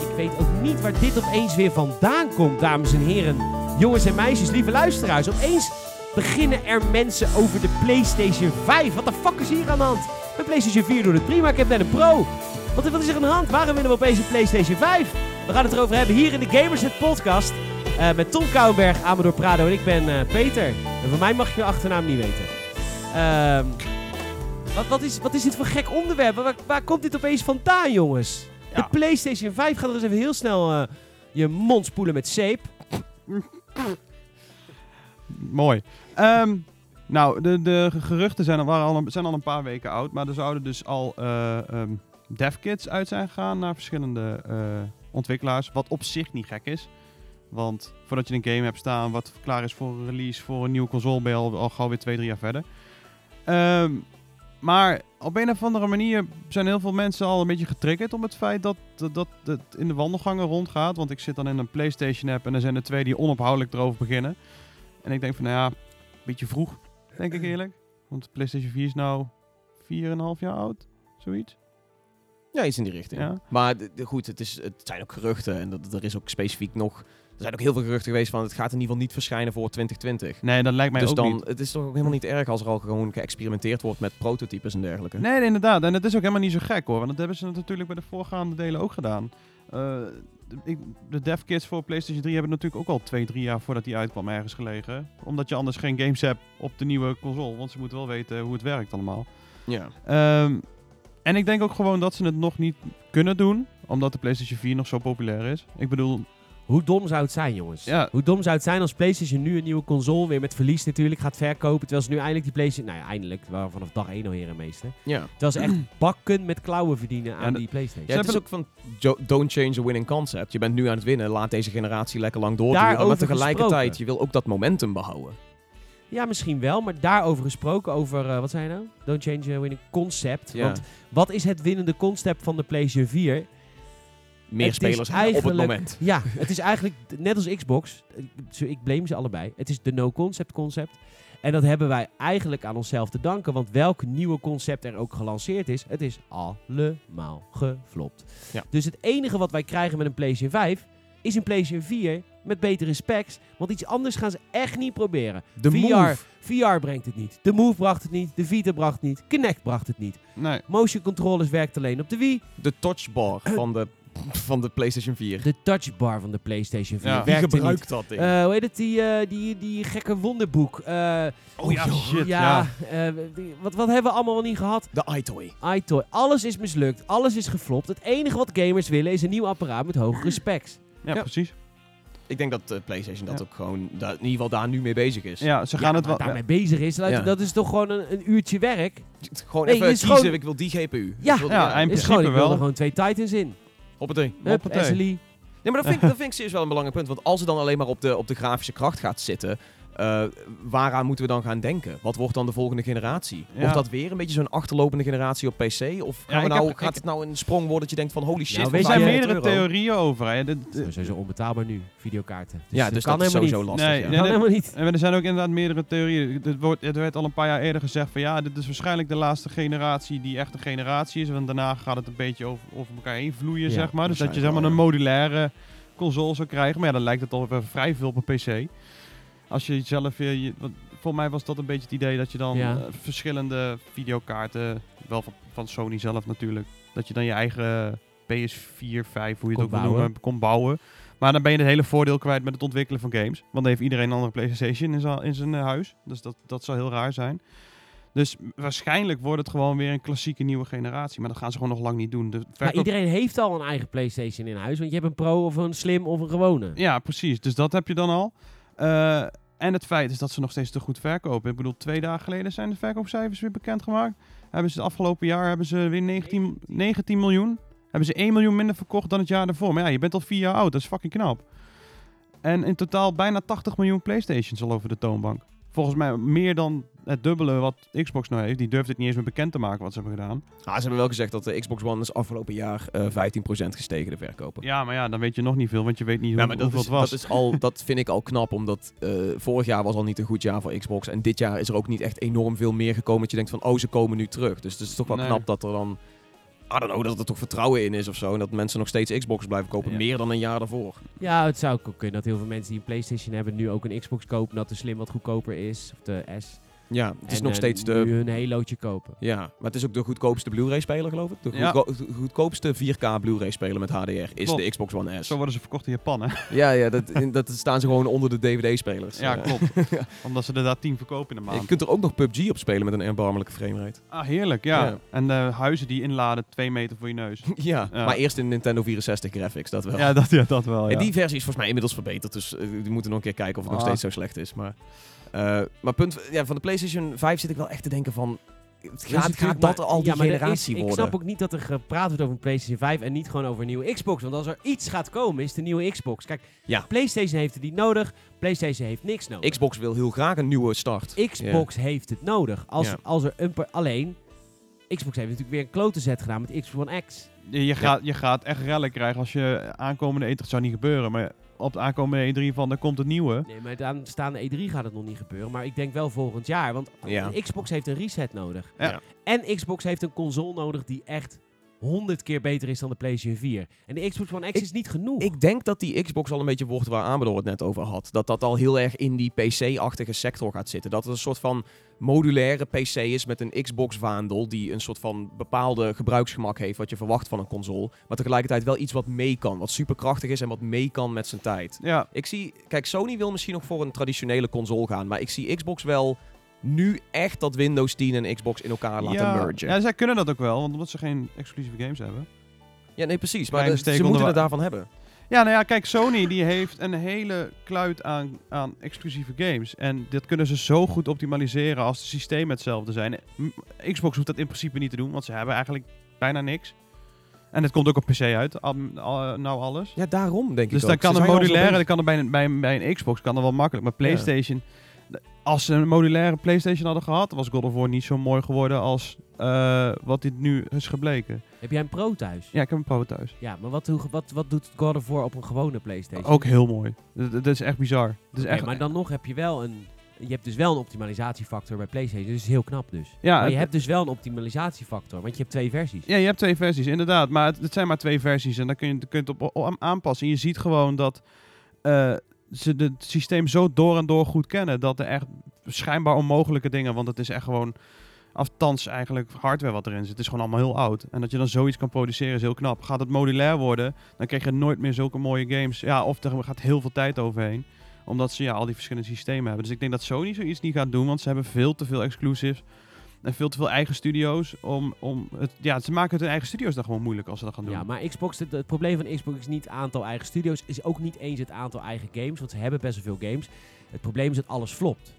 Speaker 1: Ik weet ook niet waar dit opeens weer vandaan komt, dames en heren. Jongens en meisjes, lieve luisteraars. Opeens beginnen er mensen over de PlayStation 5. Wat de fuck is hier aan de hand? Mijn PlayStation 4 doet het prima, ik heb net een Pro. Wat, wat is er aan de hand? Waarom willen we opeens een PlayStation 5? We gaan het erover hebben hier in de Gamers Net podcast. eh, met Tom Kouwenberg, Amador Prado en ik ben eh, Peter. En van mij mag je je achternaam niet weten. Ehm, wat, wat, is, wat is dit voor gek onderwerp? Waar, waar komt dit opeens vandaan, jongens?
Speaker 2: Ja.
Speaker 1: De PlayStation 5 gaat er eens even heel snel eh, je mond spoelen met zeep.
Speaker 2: Mooi. Ehm, nou, de, de geruchten zijn al, waren al een, zijn al een paar weken oud. Maar er zouden dus al eh ehm dev kits uit zijn gegaan naar verschillende eh, ontwikkelaars. Wat op zich niet gek is. Want voordat je een game hebt staan wat klaar is voor een release voor een nieuwe console, ben je al, al gauw weer twee, drie jaar verder. Ehm, maar op een of andere manier zijn heel veel mensen al een beetje getriggerd om het feit dat, dat, dat het in de wandelgangen rondgaat. Want ik zit dan in een PlayStation app en er zijn er twee die onophoudelijk erover beginnen. En ik denk van, nou ja, een beetje vroeg, denk ik eerlijk. Want de PlayStation 4 is nou 4,5 jaar oud, zoiets.
Speaker 3: Ja, iets in die richting.
Speaker 2: Ja.
Speaker 3: Maar d- d- goed, het, is, het zijn ook geruchten. En dat, er is ook specifiek nog... Er zijn ook heel veel geruchten geweest van... Het gaat in ieder geval niet verschijnen voor 2020.
Speaker 2: Nee, dat lijkt mij
Speaker 3: dus
Speaker 2: ook
Speaker 3: dan,
Speaker 2: niet.
Speaker 3: het is toch ook helemaal niet erg als er al gewoon geëxperimenteerd wordt met prototypes en dergelijke.
Speaker 2: Nee, nee, inderdaad. En dat is ook helemaal niet zo gek hoor. Want dat hebben ze natuurlijk bij de voorgaande delen ook gedaan. Eh, de- ik, de dev kits voor PlayStation 3 hebben natuurlijk ook al 2, 3 jaar voordat die uitkwam ergens gelegen. Omdat je anders geen games hebt op de nieuwe console. Want ze moeten wel weten hoe het werkt allemaal.
Speaker 3: Ja.
Speaker 2: Ehm, en ik denk ook gewoon dat ze het nog niet kunnen doen. Omdat de PlayStation 4 nog zo populair is. Ik bedoel,
Speaker 1: Hoe dom zou het zijn, jongens?
Speaker 2: Ja.
Speaker 1: Hoe dom zou het zijn als PlayStation nu een nieuwe console weer met verlies natuurlijk gaat verkopen. Terwijl ze nu eindelijk die PlayStation... Nou ja, eindelijk. We waren vanaf dag 1 al heren meester.
Speaker 3: Ja.
Speaker 1: Terwijl ze echt bakken met klauwen verdienen aan
Speaker 2: Ja, dat-
Speaker 1: die PlayStation.
Speaker 3: Ja, het is ook van jo- don't change a winning concept. Je bent nu aan het winnen, laat deze generatie lekker lang doorduren. Maar
Speaker 1: Daarover
Speaker 3: tegelijkertijd,
Speaker 1: gesproken.
Speaker 3: je wil ook dat momentum behouden.
Speaker 1: Ja, misschien wel. Maar daarover gesproken, over... eh, wat zei je nou? Don't change your winning concept.
Speaker 3: Ja.
Speaker 1: Want wat is het winnende concept van de PlayStation 4?
Speaker 3: Meer
Speaker 1: Het is
Speaker 3: spelers op het
Speaker 1: eigenlijk-
Speaker 3: moment.
Speaker 1: Ja, het is eigenlijk net als Xbox. eh, zo- Ik blame ze allebei. Het is de no-concept concept. En dat hebben wij eigenlijk aan onszelf te danken. Want welk nieuwe concept er ook gelanceerd is, het is allemaal geflopt.
Speaker 3: Ja.
Speaker 1: Dus het enige wat wij krijgen met een PlayStation 5 is een PlayStation 4 met betere specs. Want iets anders gaan ze echt niet proberen.
Speaker 3: De
Speaker 1: VR,
Speaker 3: move.
Speaker 1: VR brengt het niet. De Move bracht het niet. De Vita bracht het niet. Kinect bracht het niet.
Speaker 2: nee.
Speaker 1: Motion controllers werkt alleen op de Wii.
Speaker 3: De touchbar van de, van de PlayStation 4.
Speaker 1: De touchbar van de PlayStation 4
Speaker 2: Ja.
Speaker 3: Wie
Speaker 1: werkte niet.
Speaker 3: gebruikt dat ding?
Speaker 1: Eh, hoe heet het? Die, eh, die, die gekke wonderboek. Eh,
Speaker 2: Oh ja,
Speaker 1: joh,
Speaker 2: shit,
Speaker 1: Ja, eh, die- wat, wat hebben we allemaal wel niet gehad?
Speaker 3: de iToy.
Speaker 1: iToy. Alles is mislukt. Alles is geflopt. Het enige wat gamers willen is een nieuw apparaat met hogere specs.
Speaker 2: Ja,
Speaker 3: Ja.
Speaker 2: precies.
Speaker 3: Ik denk dat eh, PlayStation dat
Speaker 2: Ja.
Speaker 3: ook gewoon, da- in ieder geval daar nu mee bezig is.
Speaker 2: Ja, ze
Speaker 1: Ja,
Speaker 2: gaan het
Speaker 1: maar
Speaker 2: wel.
Speaker 1: daarmee bezig is. laat-
Speaker 3: Ja.
Speaker 1: Dat is toch gewoon een, een uurtje werk.
Speaker 3: Gewoon
Speaker 1: Nee,
Speaker 3: even
Speaker 1: dit is
Speaker 3: kiezen,
Speaker 1: gewoon-
Speaker 3: ik wil die GPU.
Speaker 1: Ja.
Speaker 3: ik wil,
Speaker 2: Ja, en- In
Speaker 1: is
Speaker 2: principe
Speaker 1: gewoon, ik wil
Speaker 2: wel.
Speaker 1: er gewoon twee Titans in.
Speaker 3: Hoppatee.
Speaker 1: Hup,
Speaker 2: Hoppatee.
Speaker 1: SLI.
Speaker 3: Nee, maar dat vind, ik, dat vind ik serieus wel een belangrijk punt. Want als het dan alleen maar op de, op de grafische kracht gaat zitten, eh, waaraan moeten we dan gaan denken? Wat wordt dan de volgende generatie?
Speaker 2: Ja.
Speaker 3: Wordt dat weer een beetje zo'n achterlopende generatie op PC? Of gaan we
Speaker 2: ik
Speaker 3: nou,
Speaker 2: heb-
Speaker 3: gaat
Speaker 2: ik-
Speaker 3: het nou een sprong worden dat je denkt van holy shit,
Speaker 1: Nou,
Speaker 3: voor
Speaker 1: weet je-
Speaker 2: Er zijn
Speaker 3: 500
Speaker 2: meerdere
Speaker 3: euro?
Speaker 2: theorieën over. Hè. Dit- dit-
Speaker 1: Ze zijn zo onbetaalbaar nu, videokaarten. Dus
Speaker 3: Ja, dus
Speaker 1: kan
Speaker 3: dat is
Speaker 1: helemaal
Speaker 3: sowieso
Speaker 1: niet.
Speaker 3: lastig.
Speaker 2: Nee,
Speaker 3: ja.
Speaker 1: kan
Speaker 2: nee.
Speaker 1: helemaal niet.
Speaker 2: en er zijn ook inderdaad meerdere theorieën. Het, wordt, het werd al een paar jaar eerder gezegd van ja, dit is waarschijnlijk de laatste generatie die echt een generatie is. Want daarna gaat het een beetje over, over elkaar heen vloeien,
Speaker 1: Ja,
Speaker 2: zeg maar. Dus dat je zeg maar een
Speaker 3: waarschijnlijk
Speaker 2: modulaire console zou krijgen. Maar ja, dan lijkt het al weer vrij veel op een PC. Als je zelf weer... Je, want voor mij was dat een beetje het idee dat je dan
Speaker 1: Ja.
Speaker 2: eh, verschillende videokaarten, wel van, van Sony zelf natuurlijk, dat je dan je eigen PS4, 5, hoe je het
Speaker 1: Kon
Speaker 2: ook wil
Speaker 1: bouwen.
Speaker 2: noemen, kon bouwen. Maar dan ben je het hele voordeel kwijt met het ontwikkelen van games. Want dan heeft iedereen een andere PlayStation in zijn, in zijn eh, huis. Dus dat, dat zou heel raar zijn. Dus waarschijnlijk wordt het gewoon weer een klassieke nieuwe generatie. Maar dat gaan ze gewoon nog lang niet doen. De
Speaker 1: Maar
Speaker 2: verkoop-
Speaker 1: iedereen heeft al een eigen PlayStation in huis. Want je hebt een Pro of een Slim of een gewone.
Speaker 2: Ja, precies. Dus dat heb je dan al. Eh, en het feit is dat ze nog steeds te goed verkopen. Ik bedoel, twee dagen geleden zijn de verkoopcijfers weer bekendgemaakt. Hebben ze het afgelopen jaar hebben ze weer 19, 19 miljoen. Hebben ze 1 miljoen minder verkocht dan het jaar daarvoor. Maar ja, je bent al vier jaar oud. Dat is fucking knap. En in totaal bijna 80 miljoen Playstations al over de toonbank. Volgens mij meer dan het dubbele wat Xbox nou heeft. Die durft het niet eens meer bekend te maken wat ze hebben gedaan.
Speaker 3: Ah, ze hebben wel gezegd dat de Xbox One is afgelopen jaar eh 15% gestegen de verkopen.
Speaker 2: Ja, maar ja, dan weet je nog niet veel, want je weet niet hoe,
Speaker 3: Ja, maar dat
Speaker 2: hoeveel
Speaker 3: is,
Speaker 2: het was.
Speaker 3: dat is al, dat vind ik al knap, omdat eh, vorig jaar was al niet een goed jaar voor Xbox. En dit jaar is er ook niet echt enorm veel meer gekomen. Dat je denkt van, oh, ze komen nu terug. Dus het is toch wel
Speaker 2: Nee.
Speaker 3: knap dat er dan, I don't know, dat er toch vertrouwen in is of zo. En dat mensen nog steeds Xbox blijven kopen,
Speaker 2: Ja.
Speaker 3: meer dan een jaar daarvoor.
Speaker 1: Ja, het zou ook kunnen dat heel veel mensen die een PlayStation hebben nu ook een Xbox kopen. Dat de Slim wat goedkoper is. Of de S.
Speaker 3: Ja, het is
Speaker 1: En,
Speaker 3: nog
Speaker 1: eh,
Speaker 3: steeds de...
Speaker 1: Nu hun Halo'tje kopen.
Speaker 3: Ja, maar het is ook de goedkoopste Blu-ray-speler, geloof ik. De
Speaker 2: Ja.
Speaker 3: goedko- de goedkoopste 4K Blu-ray-speler met HDR is
Speaker 2: Klopt.
Speaker 3: de Xbox One S.
Speaker 2: Zo worden ze verkocht in Japan, hè?
Speaker 3: Ja, ja dat, in- dat staan ze gewoon onder de DVD-spelers.
Speaker 2: Ja,
Speaker 3: Eh,
Speaker 2: klopt. Omdat ze er daar 10 verkopen in de maand.
Speaker 3: Je kunt er ook nog PUBG op spelen met een erbarmelijke framerate.
Speaker 2: Ah, heerlijk, ja.
Speaker 3: Ja.
Speaker 2: En de huizen die inladen, twee meter voor je neus.
Speaker 3: ja,
Speaker 2: Ja.
Speaker 3: maar eerst in Nintendo 64 graphics, dat wel.
Speaker 2: Ja, dat, ja, dat wel, ja.
Speaker 3: En die versie is volgens mij inmiddels verbeterd, dus eh, we moeten nog een keer kijken of het nog
Speaker 2: Ah.
Speaker 3: steeds zo slecht is. Maar, eh, maar punt, ja, van de PlayStation 5 zit ik wel echt te denken van,
Speaker 1: Dus
Speaker 3: het gaat,
Speaker 1: het
Speaker 3: gaat
Speaker 1: natuurlijk
Speaker 3: dat
Speaker 1: maar-
Speaker 3: al die
Speaker 1: ja, maar er is-
Speaker 3: generatie worden?
Speaker 1: Ik snap ook niet dat er gepraat wordt over een PlayStation 5 en niet gewoon over een nieuwe Xbox. Want als er iets gaat komen, is het een nieuwe Xbox. Kijk,
Speaker 3: Ja.
Speaker 1: PlayStation heeft het niet nodig. PlayStation heeft niks nodig.
Speaker 3: Xbox wil heel graag een nieuwe start.
Speaker 1: Xbox heeft het nodig. Als,
Speaker 3: Ja.
Speaker 1: als er een per- alleen, Xbox heeft natuurlijk weer een klote zet gedaan met Xbox One X.
Speaker 2: Je, je gaat, je gaat echt rellen krijgen als je aankomende E3... Het zou niet gebeuren, maar op de aankomende E3 van, daar komt het nieuwe.
Speaker 1: Nee, maar aan staande E3 gaat het nog niet gebeuren. Maar ik denk wel volgend jaar. Want
Speaker 3: Ja.
Speaker 1: de Xbox heeft een reset nodig.
Speaker 2: Ja.
Speaker 1: En Xbox heeft een console nodig die echt 100 keer beter is dan de PlayStation 4. En de Xbox One X
Speaker 3: Ik-
Speaker 1: is niet genoeg.
Speaker 3: Ik denk dat die Xbox al een beetje wordt waar Amador het net over had. Dat dat al heel erg in die PC-achtige sector gaat zitten. Dat het een soort van modulaire PC is met een Xbox-vaandel... die een soort van bepaalde gebruiksgemak heeft wat je verwacht van een console. Maar tegelijkertijd wel iets wat mee kan. Wat superkrachtig is en wat mee kan met zijn tijd.
Speaker 2: Ja,
Speaker 3: Ik zie... Kijk, Sony wil misschien nog voor een traditionele console gaan. Maar ik zie Xbox wel nu echt dat Windows 10 en Xbox in elkaar laten
Speaker 2: ja.
Speaker 3: mergen.
Speaker 2: Ja, zij kunnen dat ook wel, want omdat ze geen exclusieve games hebben.
Speaker 3: Ja, nee, precies. Maar
Speaker 2: Kleine
Speaker 3: de-
Speaker 2: steek
Speaker 3: ze moeten
Speaker 2: onder
Speaker 3: het daarvan hebben.
Speaker 2: Ja, nou ja, kijk, Sony die heeft een hele kluit aan, aan exclusieve games. En dat kunnen ze zo goed optimaliseren als de systemen hetzelfde zijn. M- Xbox hoeft dat in principe niet te doen, want ze hebben eigenlijk bijna niks. En het komt ook op PC uit, am- al- nou alles.
Speaker 3: Ja, daarom denk
Speaker 2: Dus
Speaker 3: ik
Speaker 2: dan
Speaker 3: ook.
Speaker 2: kan
Speaker 3: Ze
Speaker 2: een
Speaker 3: zijn al zo
Speaker 2: modulaire,
Speaker 3: bezig.
Speaker 2: dan kan er bij, een, bij, een, bij een Xbox kan er wel makkelijk. Maar PlayStation, d- als ze een modulaire PlayStation hadden gehad, was God of War niet zo mooi geworden als eh, wat dit nu is gebleken.
Speaker 1: Heb jij een Pro thuis?
Speaker 2: Ja, ik heb een Pro thuis.
Speaker 1: Ja, maar wat, hoe- wat, wat doet God of War op een gewone PlayStation?
Speaker 2: Ook heel mooi. Dat, dat is echt bizar. Oh, Dat is
Speaker 1: Oké,
Speaker 2: echt,
Speaker 1: maar dan nog heb je wel een. Je hebt dus wel een optimalisatiefactor bij PlayStation. Dus is heel knap dus.
Speaker 2: ja,
Speaker 1: Maar je
Speaker 2: het-
Speaker 1: hebt dus wel een optimalisatiefactor, want je hebt twee versies.
Speaker 2: Ja, je hebt twee versies, inderdaad. Maar het, het zijn maar twee versies en daar kun je, kun je het op o- aanpassen. En je ziet gewoon dat eh, ze de- het systeem zo door en door goed kennen... dat er echt schijnbaar onmogelijke dingen... want het is echt gewoon, althans eigenlijk hardware wat erin zit. Het is gewoon allemaal heel oud. En dat je dan zoiets kan produceren is heel knap. Gaat het modulair worden, dan krijg je nooit meer zulke mooie games. Ja, of er gaat heel veel tijd overheen omdat ze ja, al die verschillende systemen hebben. Dus ik denk dat Sony zoiets niet gaat doen, want ze hebben veel te veel exclusives. En veel te veel eigen studio's. Om, om het, ja, ze maken het hun eigen studio's dan gewoon moeilijk als ze dat gaan doen.
Speaker 1: Ja, maar Xbox, het, het probleem van Xbox is niet het aantal eigen studio's, is ook niet eens het aantal eigen games, want ze hebben best wel veel games. Het probleem is dat alles flopt.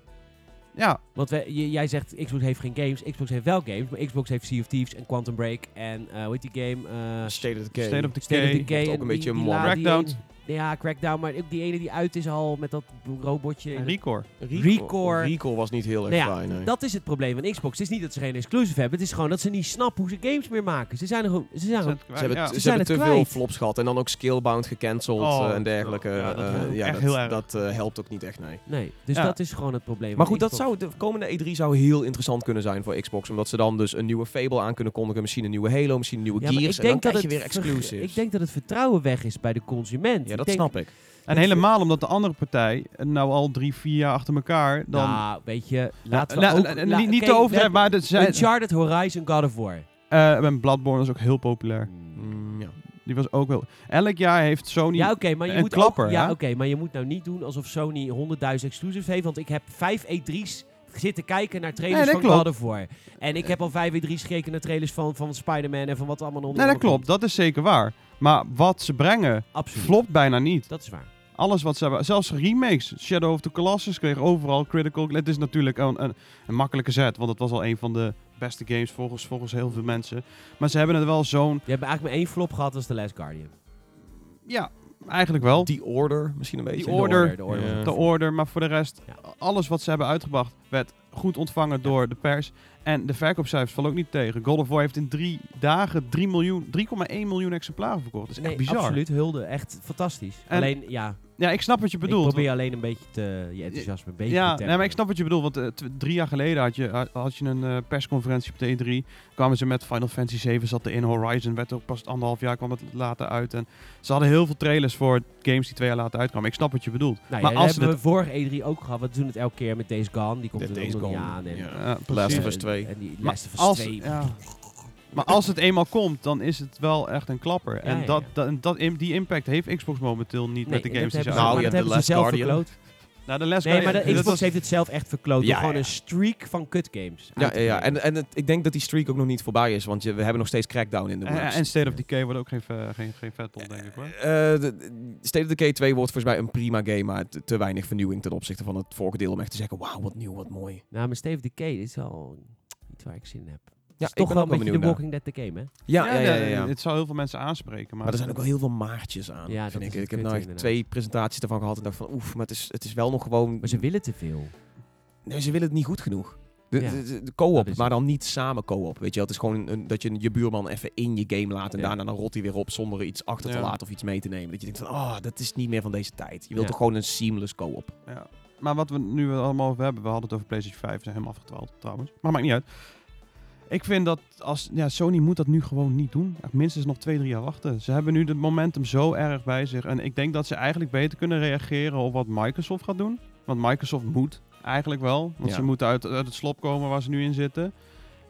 Speaker 2: Ja,
Speaker 1: Want wij- j- jij zegt Xbox heeft geen games, Xbox heeft wel games, maar Xbox heeft Sea of Thieves en Quantum Break en eh hoe heet die game? eh
Speaker 3: State of
Speaker 2: State
Speaker 3: the
Speaker 2: of
Speaker 1: State of
Speaker 2: Decay.
Speaker 1: Decay.
Speaker 3: Heeft ook
Speaker 1: en
Speaker 3: een beetje
Speaker 1: die,
Speaker 3: een
Speaker 1: la- die
Speaker 2: Crackdown.
Speaker 1: ene- ja, Crackdown, maar ook die ene die uit is al met dat robotje. in
Speaker 2: En
Speaker 1: het-
Speaker 2: Recore.
Speaker 1: Recore.
Speaker 3: Recore was niet heel erg
Speaker 1: Nou ja,
Speaker 3: fijn. nee.
Speaker 1: Dat is het probleem van Xbox. Het is niet dat ze geen exclusive hebben. Het is gewoon dat ze niet snappen hoe ze games meer maken. Ze zijn er gewoon... Ze zijn
Speaker 2: Ze
Speaker 1: gewoon
Speaker 2: hebben
Speaker 3: ze hebben,
Speaker 2: ja.
Speaker 3: ze
Speaker 1: zijn
Speaker 3: hebben
Speaker 1: het
Speaker 3: te veel
Speaker 1: kwijt.
Speaker 3: flops gehad en dan ook Scalebound gecanceld
Speaker 2: Oh,
Speaker 3: eh, en dergelijke.
Speaker 2: ja, dat
Speaker 3: Eh,
Speaker 2: helpt ook
Speaker 3: ja,
Speaker 2: echt
Speaker 3: dat,
Speaker 2: heel erg.
Speaker 3: dat, eh, helpt ook niet echt, nee.
Speaker 1: nee, dus
Speaker 2: Ja.
Speaker 1: dat is gewoon het probleem.
Speaker 3: Maar
Speaker 1: van
Speaker 3: goed, dat
Speaker 1: Xbox.
Speaker 3: zou, de komende E3 zou heel interessant kunnen zijn voor Xbox. Omdat ze dan dus een nieuwe Fable aan kunnen kondigen. Misschien een nieuwe Halo, misschien een nieuwe
Speaker 1: Ja, maar
Speaker 3: Gears.
Speaker 1: ik
Speaker 3: en dan
Speaker 1: denk dat
Speaker 3: krijg
Speaker 1: het
Speaker 3: je weer
Speaker 1: ver-
Speaker 3: exclusives.
Speaker 1: Ik denk dat het vertrouwen weg is bij de consument.
Speaker 3: ja,
Speaker 1: Ik
Speaker 3: dat
Speaker 1: denk-
Speaker 3: snap ik.
Speaker 2: En helemaal omdat de andere partij eh, nou al drie, vier jaar achter elkaar dan...
Speaker 1: Nou, weet je, laten we
Speaker 2: Nou,
Speaker 1: ook...
Speaker 2: nou,
Speaker 1: la-
Speaker 2: niet niet
Speaker 1: oké,
Speaker 2: te overdrijven, maar dat
Speaker 1: let-
Speaker 2: zijn,
Speaker 1: Uncharted, Horizon, God of War. Hmm.
Speaker 2: eh, en Bloodborne is ook heel populair.
Speaker 3: Mm, ja.
Speaker 2: Die was ook wel... Elk jaar heeft Sony...
Speaker 1: Ja, oké, maar je
Speaker 2: Een
Speaker 1: moet
Speaker 2: klapper,
Speaker 1: ook, Ja,
Speaker 2: hè?
Speaker 1: oké, maar je moet nou niet doen alsof Sony 100.000 exclusives heeft. Want ik heb vijf E3's zitten kijken naar trailers
Speaker 2: Nee, dat
Speaker 1: van
Speaker 2: klopt.
Speaker 1: God of War. En ik heb al 5 in 3 gekeken naar trailers van, van Spider-Man en van wat er allemaal onder.
Speaker 2: Nee, dat klopt. Dat is zeker waar. Maar wat ze brengen,
Speaker 1: Absoluut.
Speaker 2: flopt bijna niet.
Speaker 1: Dat is waar.
Speaker 2: Alles wat ze hebben, zelfs remakes. Shadow of the Colossus kreeg overal critical. Het is natuurlijk een, een, een makkelijke zet, want het was al een van de beste games volgens, volgens heel veel mensen. Maar ze hebben het wel zo'n,
Speaker 1: Je hebt eigenlijk maar één flop gehad als The Last Guardian.
Speaker 2: ja, eigenlijk wel.
Speaker 3: Die Order misschien een beetje.
Speaker 2: Die Order.
Speaker 1: De Order.
Speaker 3: Ja.
Speaker 1: was
Speaker 2: De
Speaker 1: een
Speaker 2: order, maar voor de rest,
Speaker 1: Ja.
Speaker 2: alles wat ze hebben uitgebracht werd goed ontvangen door de pers. En de verkoopcijfers vallen ook niet tegen. God of War heeft in drie dagen 3 miljoen, 3,1 miljoen exemplaren verkocht. Dat is
Speaker 1: Nee,
Speaker 2: echt bizar.
Speaker 1: absoluut. Hulde. Echt fantastisch.
Speaker 2: En-
Speaker 1: alleen, ja,
Speaker 2: Ja, ik snap wat je bedoelt.
Speaker 1: ik probeer alleen een beetje te, je enthousiasme een beetje
Speaker 2: ja,
Speaker 1: te
Speaker 2: nee, maar ik snap wat je bedoelt. Want eh, tw- drie jaar geleden had je, had- had je een eh, persconferentie op de E3. Kwamen ze met Final Fantasy 7 zat er in. Horizon werd ook pas anderhalf jaar kwam het later uit. En ze hadden heel veel trailers voor games die twee jaar later uitkwamen. Ik snap wat je bedoelt.
Speaker 1: Nou,
Speaker 2: maar
Speaker 1: ja,
Speaker 2: als
Speaker 1: dat hebben we vorige E3 ook gehad. We doen het elke keer met Days Gone. Die komt er ook nog niet aan. En,
Speaker 2: het-
Speaker 3: Ja.
Speaker 2: eh,
Speaker 3: Last
Speaker 2: precies.
Speaker 3: of Us 2.
Speaker 1: En die
Speaker 2: Maar
Speaker 1: Last of Us
Speaker 2: als,
Speaker 1: 2.
Speaker 2: ja. maar als het eenmaal komt, dan is het wel echt een klapper. en
Speaker 1: ja,
Speaker 2: Dat,
Speaker 1: ja.
Speaker 2: dat, en dat, im- die impact heeft Xbox momenteel niet
Speaker 1: Nee,
Speaker 2: met de
Speaker 1: en dat
Speaker 2: games die ze
Speaker 1: hebben ze-
Speaker 3: Nou,
Speaker 1: maar
Speaker 2: nou,
Speaker 1: dat
Speaker 3: ja, The
Speaker 1: hebben ze
Speaker 3: Last
Speaker 1: zelf
Speaker 3: Guardian.
Speaker 1: verkloot.
Speaker 2: nou, de les
Speaker 1: Nee, maar de
Speaker 2: dat
Speaker 1: Xbox
Speaker 2: was-
Speaker 1: heeft het zelf echt verkloot. door
Speaker 3: Ja,
Speaker 1: gewoon
Speaker 3: ja.
Speaker 1: een streak van kutgames. uit
Speaker 3: Ja, ja,
Speaker 1: te
Speaker 3: ja.
Speaker 1: brengen.
Speaker 3: En, en het- ik denk dat die streak ook nog niet voorbij is, want je, we hebben nog steeds Crackdown in de
Speaker 2: en,
Speaker 3: works.
Speaker 2: en State of Decay wordt ook geen, ve- geen, geen vetpot, denk ik hoor.
Speaker 3: Eh, de- de- State of Decay 2 wordt volgens mij een prima game, maar te, te weinig vernieuwing ten opzichte van het vorige deel om echt te zeggen, wauw, wat nieuw, wat mooi.
Speaker 1: Nou, maar Steve Decay dit is wel iets waar ik zin in heb.
Speaker 3: Ja,
Speaker 1: is toch
Speaker 3: ik ben
Speaker 1: wel
Speaker 3: ook
Speaker 1: een beetje de
Speaker 3: benieuwd
Speaker 1: Walking Dead de game, hè?
Speaker 3: naar- Ja, ja, ja. ja,
Speaker 2: nee,
Speaker 3: ja.
Speaker 2: Het zou heel veel mensen aanspreken. Maar,
Speaker 3: Maar er zijn ook wel heel veel maartjes aan,
Speaker 1: Ja, dat
Speaker 3: vind ik.
Speaker 1: is het
Speaker 3: Ik heb
Speaker 1: kutte
Speaker 3: nou echt
Speaker 1: inderdaad.
Speaker 3: twee presentaties ervan gehad en dacht van, oef, maar het is, het is wel nog gewoon...
Speaker 1: Maar ze willen te veel.
Speaker 3: Nee, ze willen het niet goed genoeg. De,
Speaker 1: Ja.
Speaker 3: de, de- de
Speaker 1: Dat
Speaker 3: co-op,
Speaker 1: is het.
Speaker 3: maar dan niet samen co-op. Weet je, wel. het is gewoon een, een- dat je je buurman even in je game laat en
Speaker 1: Ja.
Speaker 3: daarna dan rot hij weer op zonder er iets achter te
Speaker 2: Ja.
Speaker 3: laten of iets mee te nemen. Dat je denkt van, ah, dat is niet meer van deze tijd. Je wilt
Speaker 1: Ja.
Speaker 3: toch gewoon een seamless co-op.
Speaker 2: Ja. Maar wat we nu allemaal over hebben, we hadden het over PlayStation 5, we zijn helemaal afgetwaald trouwens. Maar maakt niet uit. Ik vind dat als ja, Sony moet dat nu gewoon niet doen. Echt minstens nog twee, drie jaar wachten. Ze hebben nu het momentum zo erg bij zich. En ik denk dat ze eigenlijk beter kunnen reageren op wat Microsoft gaat doen. Want Microsoft moet eigenlijk wel. Want
Speaker 3: Ja.
Speaker 2: ze moeten uit, uit het slop komen waar ze nu in zitten.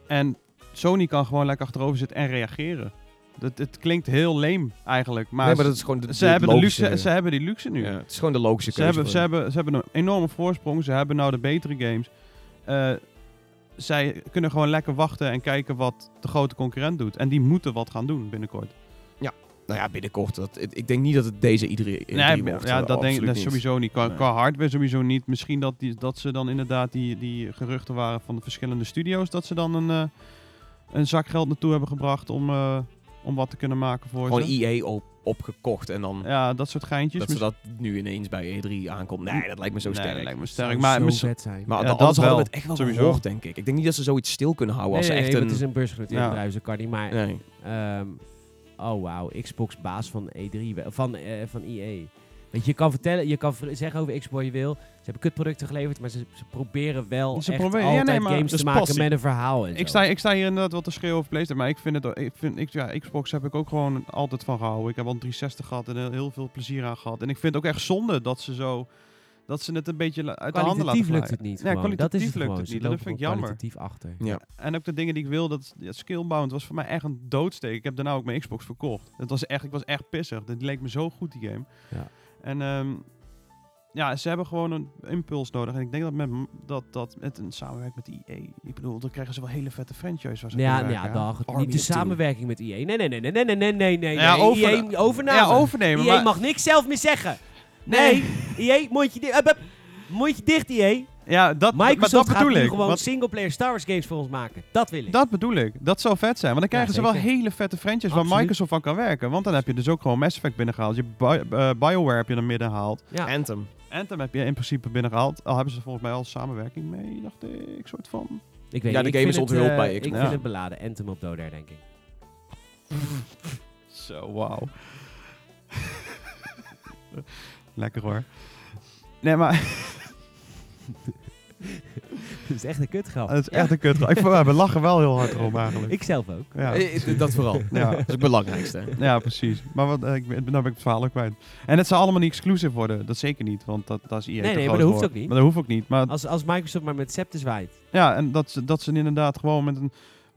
Speaker 2: En Sony kan gewoon lekker achterover zitten en reageren. Dat, het klinkt heel leem eigenlijk. Maar,
Speaker 3: nee, maar dat is gewoon de,
Speaker 2: ze,
Speaker 3: de
Speaker 2: hebben de
Speaker 3: logische-
Speaker 2: luxe, ze hebben die luxe nu.
Speaker 3: Ja, het is gewoon de logische
Speaker 2: Ze
Speaker 3: keuze.
Speaker 2: hebben, ze, hebben, ze hebben een enorme voorsprong. Ze hebben nou de betere games. Eh, zij kunnen gewoon lekker wachten en kijken wat de grote concurrent doet. En die moeten wat gaan doen binnenkort.
Speaker 3: Nou ja, binnenkort. Dat, ik ik denk niet dat het deze iedere E3 wordt.
Speaker 2: ja,
Speaker 3: eh,
Speaker 2: dat denk ik
Speaker 3: absoluut
Speaker 2: dat
Speaker 3: niet.
Speaker 2: sowieso niet. Qua,
Speaker 3: Nee.
Speaker 2: qua hardware sowieso niet. Misschien dat, die, dat ze dan inderdaad die, die geruchten waren van de verschillende studio's. Dat ze dan een, eh, een zak geld naartoe hebben gebracht om, eh, om wat te kunnen maken voor
Speaker 3: Gewoon
Speaker 2: ze.
Speaker 3: EA op, opgekocht en dan
Speaker 2: Ja, dat soort geintjes.
Speaker 3: dat ze dat nu ineens bij E3 aankomt. Nee, dat lijkt me zo
Speaker 2: Nee,
Speaker 3: sterk.
Speaker 2: dat lijkt me sterk.
Speaker 1: Zou
Speaker 2: Maar
Speaker 1: zo
Speaker 2: misschien-
Speaker 1: vet zijn.
Speaker 3: Maar
Speaker 2: Ja,
Speaker 3: dan
Speaker 2: dat
Speaker 3: anders hadden we
Speaker 2: wel.
Speaker 3: het echt wel
Speaker 2: Sowieso.
Speaker 3: gehoord, denk ik. Ik denk niet dat ze zoiets stil kunnen houden als
Speaker 1: nee,
Speaker 3: ze
Speaker 1: nee,
Speaker 3: echt
Speaker 1: nee,
Speaker 3: een...
Speaker 1: het is een beursgenoteerde
Speaker 2: Ja.
Speaker 1: bedrijf, dat kan niet. Maar
Speaker 3: Nee.
Speaker 1: Ehm, oh wauw, Xbox baas van E3, we- van, eh, van EA. Weet je, je kan vertellen, je kan ver- zeggen over Xbox wat je wil. Ze hebben kutproducten geleverd, maar ze, ze proberen wel
Speaker 2: Ze
Speaker 1: echt
Speaker 2: proberen- ja,
Speaker 1: altijd
Speaker 2: nee, maar
Speaker 1: games
Speaker 2: dat
Speaker 1: te
Speaker 2: is
Speaker 1: maken
Speaker 2: passie.
Speaker 1: met een verhaal en
Speaker 2: Ik
Speaker 1: zo.
Speaker 2: sta, ik sta hier inderdaad wat te schreeuwen over PlayStation, maar ik vind het, ook- ik vind, ik, ja, Xbox heb ik ook gewoon altijd van gehouden. Ik heb al een 360 gehad en heel, heel veel plezier aan gehad. En ik vind het ook echt zonde dat ze zo, dat ze het een beetje la- uit de handen laten
Speaker 1: kwalitatief lukt
Speaker 2: glijden.
Speaker 1: het niet.
Speaker 2: Ja,
Speaker 1: gewoon. dat is
Speaker 2: kwalitatief
Speaker 1: het
Speaker 2: lukt
Speaker 1: gewoon.
Speaker 2: het
Speaker 1: Ze
Speaker 2: niet. Dat
Speaker 1: lopen
Speaker 2: vind ik
Speaker 1: gewoon
Speaker 2: jammer.
Speaker 1: kwalitatief achter.
Speaker 3: Ja.
Speaker 2: En ook de dingen die ik wil, dat ja, skillbound was voor mij echt een doodsteek. Ik heb daarna ook mijn Xbox verkocht. Het was echt, ik was echt pissig. Dat leek me zo goed, die game.
Speaker 1: Ja.
Speaker 2: En ehm, ja, ze hebben gewoon een impuls nodig. En ik denk dat met, m- dat, dat met een samenwerking met EA, ik bedoel, dan krijgen ze wel hele vette franchise. Waar ze
Speaker 1: Ja,
Speaker 2: kunnen
Speaker 1: nou ja,
Speaker 2: werken, hè?
Speaker 1: dag.
Speaker 3: Army
Speaker 1: Niet de
Speaker 3: of Two.
Speaker 1: samenwerking met EA. Nee, nee, nee, nee, nee, nee, nee, nee, E nee.
Speaker 2: Ja,
Speaker 1: nee.
Speaker 2: over-
Speaker 1: EA overname.
Speaker 2: Ja, overnemen.
Speaker 1: EA
Speaker 2: maar-
Speaker 1: E mag niks zelf meer zeggen. E Nee, EA, mondje dicht. Hup, hup. Mondje dicht, E EA.
Speaker 2: Ja, dat, maar
Speaker 1: Microsoft
Speaker 2: dat
Speaker 1: gaat
Speaker 2: bedoel
Speaker 1: nu
Speaker 2: ik.
Speaker 1: gewoon
Speaker 2: Want
Speaker 1: singleplayer Star Wars games voor ons maken. Dat wil ik.
Speaker 2: dat bedoel ik. Dat zou vet zijn. Want dan
Speaker 1: Ja,
Speaker 2: krijgen ze wel
Speaker 1: zeker.
Speaker 2: hele vette franchises waar
Speaker 1: Absoluut.
Speaker 2: Microsoft van kan werken. Want dan heb je dus ook gewoon Mass Effect binnengehaald. Je Bi- eh, BioWare heb je er midden gehaald.
Speaker 1: Ja.
Speaker 3: Anthem.
Speaker 2: Anthem heb je in principe binnengehaald. Al hebben ze volgens mij al samenwerking mee, dacht ik. Soort van.
Speaker 1: Ik weet
Speaker 3: Ja,
Speaker 1: niet,
Speaker 3: de
Speaker 1: ik
Speaker 3: game
Speaker 1: vind het,
Speaker 3: is onthuld
Speaker 1: eh,
Speaker 3: bij
Speaker 1: Ik
Speaker 2: Xbox.
Speaker 1: vind
Speaker 2: Ja.
Speaker 1: het beladen. Anthem op Doder, denk ik.
Speaker 2: Zo, wauw. Lekker hoor. Nee, maar
Speaker 1: Dat is echt een kutgrap.
Speaker 2: dat is echt een kut. Ik, vond- we lachen wel heel hard erom eigenlijk.
Speaker 1: Ik zelf ook.
Speaker 2: Ja.
Speaker 3: Eh, eh, Dat vooral. Dat
Speaker 2: Ja.
Speaker 3: is het belangrijkste.
Speaker 2: Ja, precies. Maar wat, eh, ik, ben- nou ben ik het verhaal ook kwijt. En het zou allemaal niet exclusive worden. Dat zeker niet, want dat, dat is EA
Speaker 1: Nee,
Speaker 2: te
Speaker 1: nee, maar
Speaker 2: groot
Speaker 1: dat hoeft
Speaker 2: voor.
Speaker 1: ook niet.
Speaker 2: Maar dat hoeft ook niet. Maar
Speaker 1: Als, als Microsoft maar met scepter zwaait.
Speaker 2: ja, en dat, ze- dat ze inderdaad gewoon met een,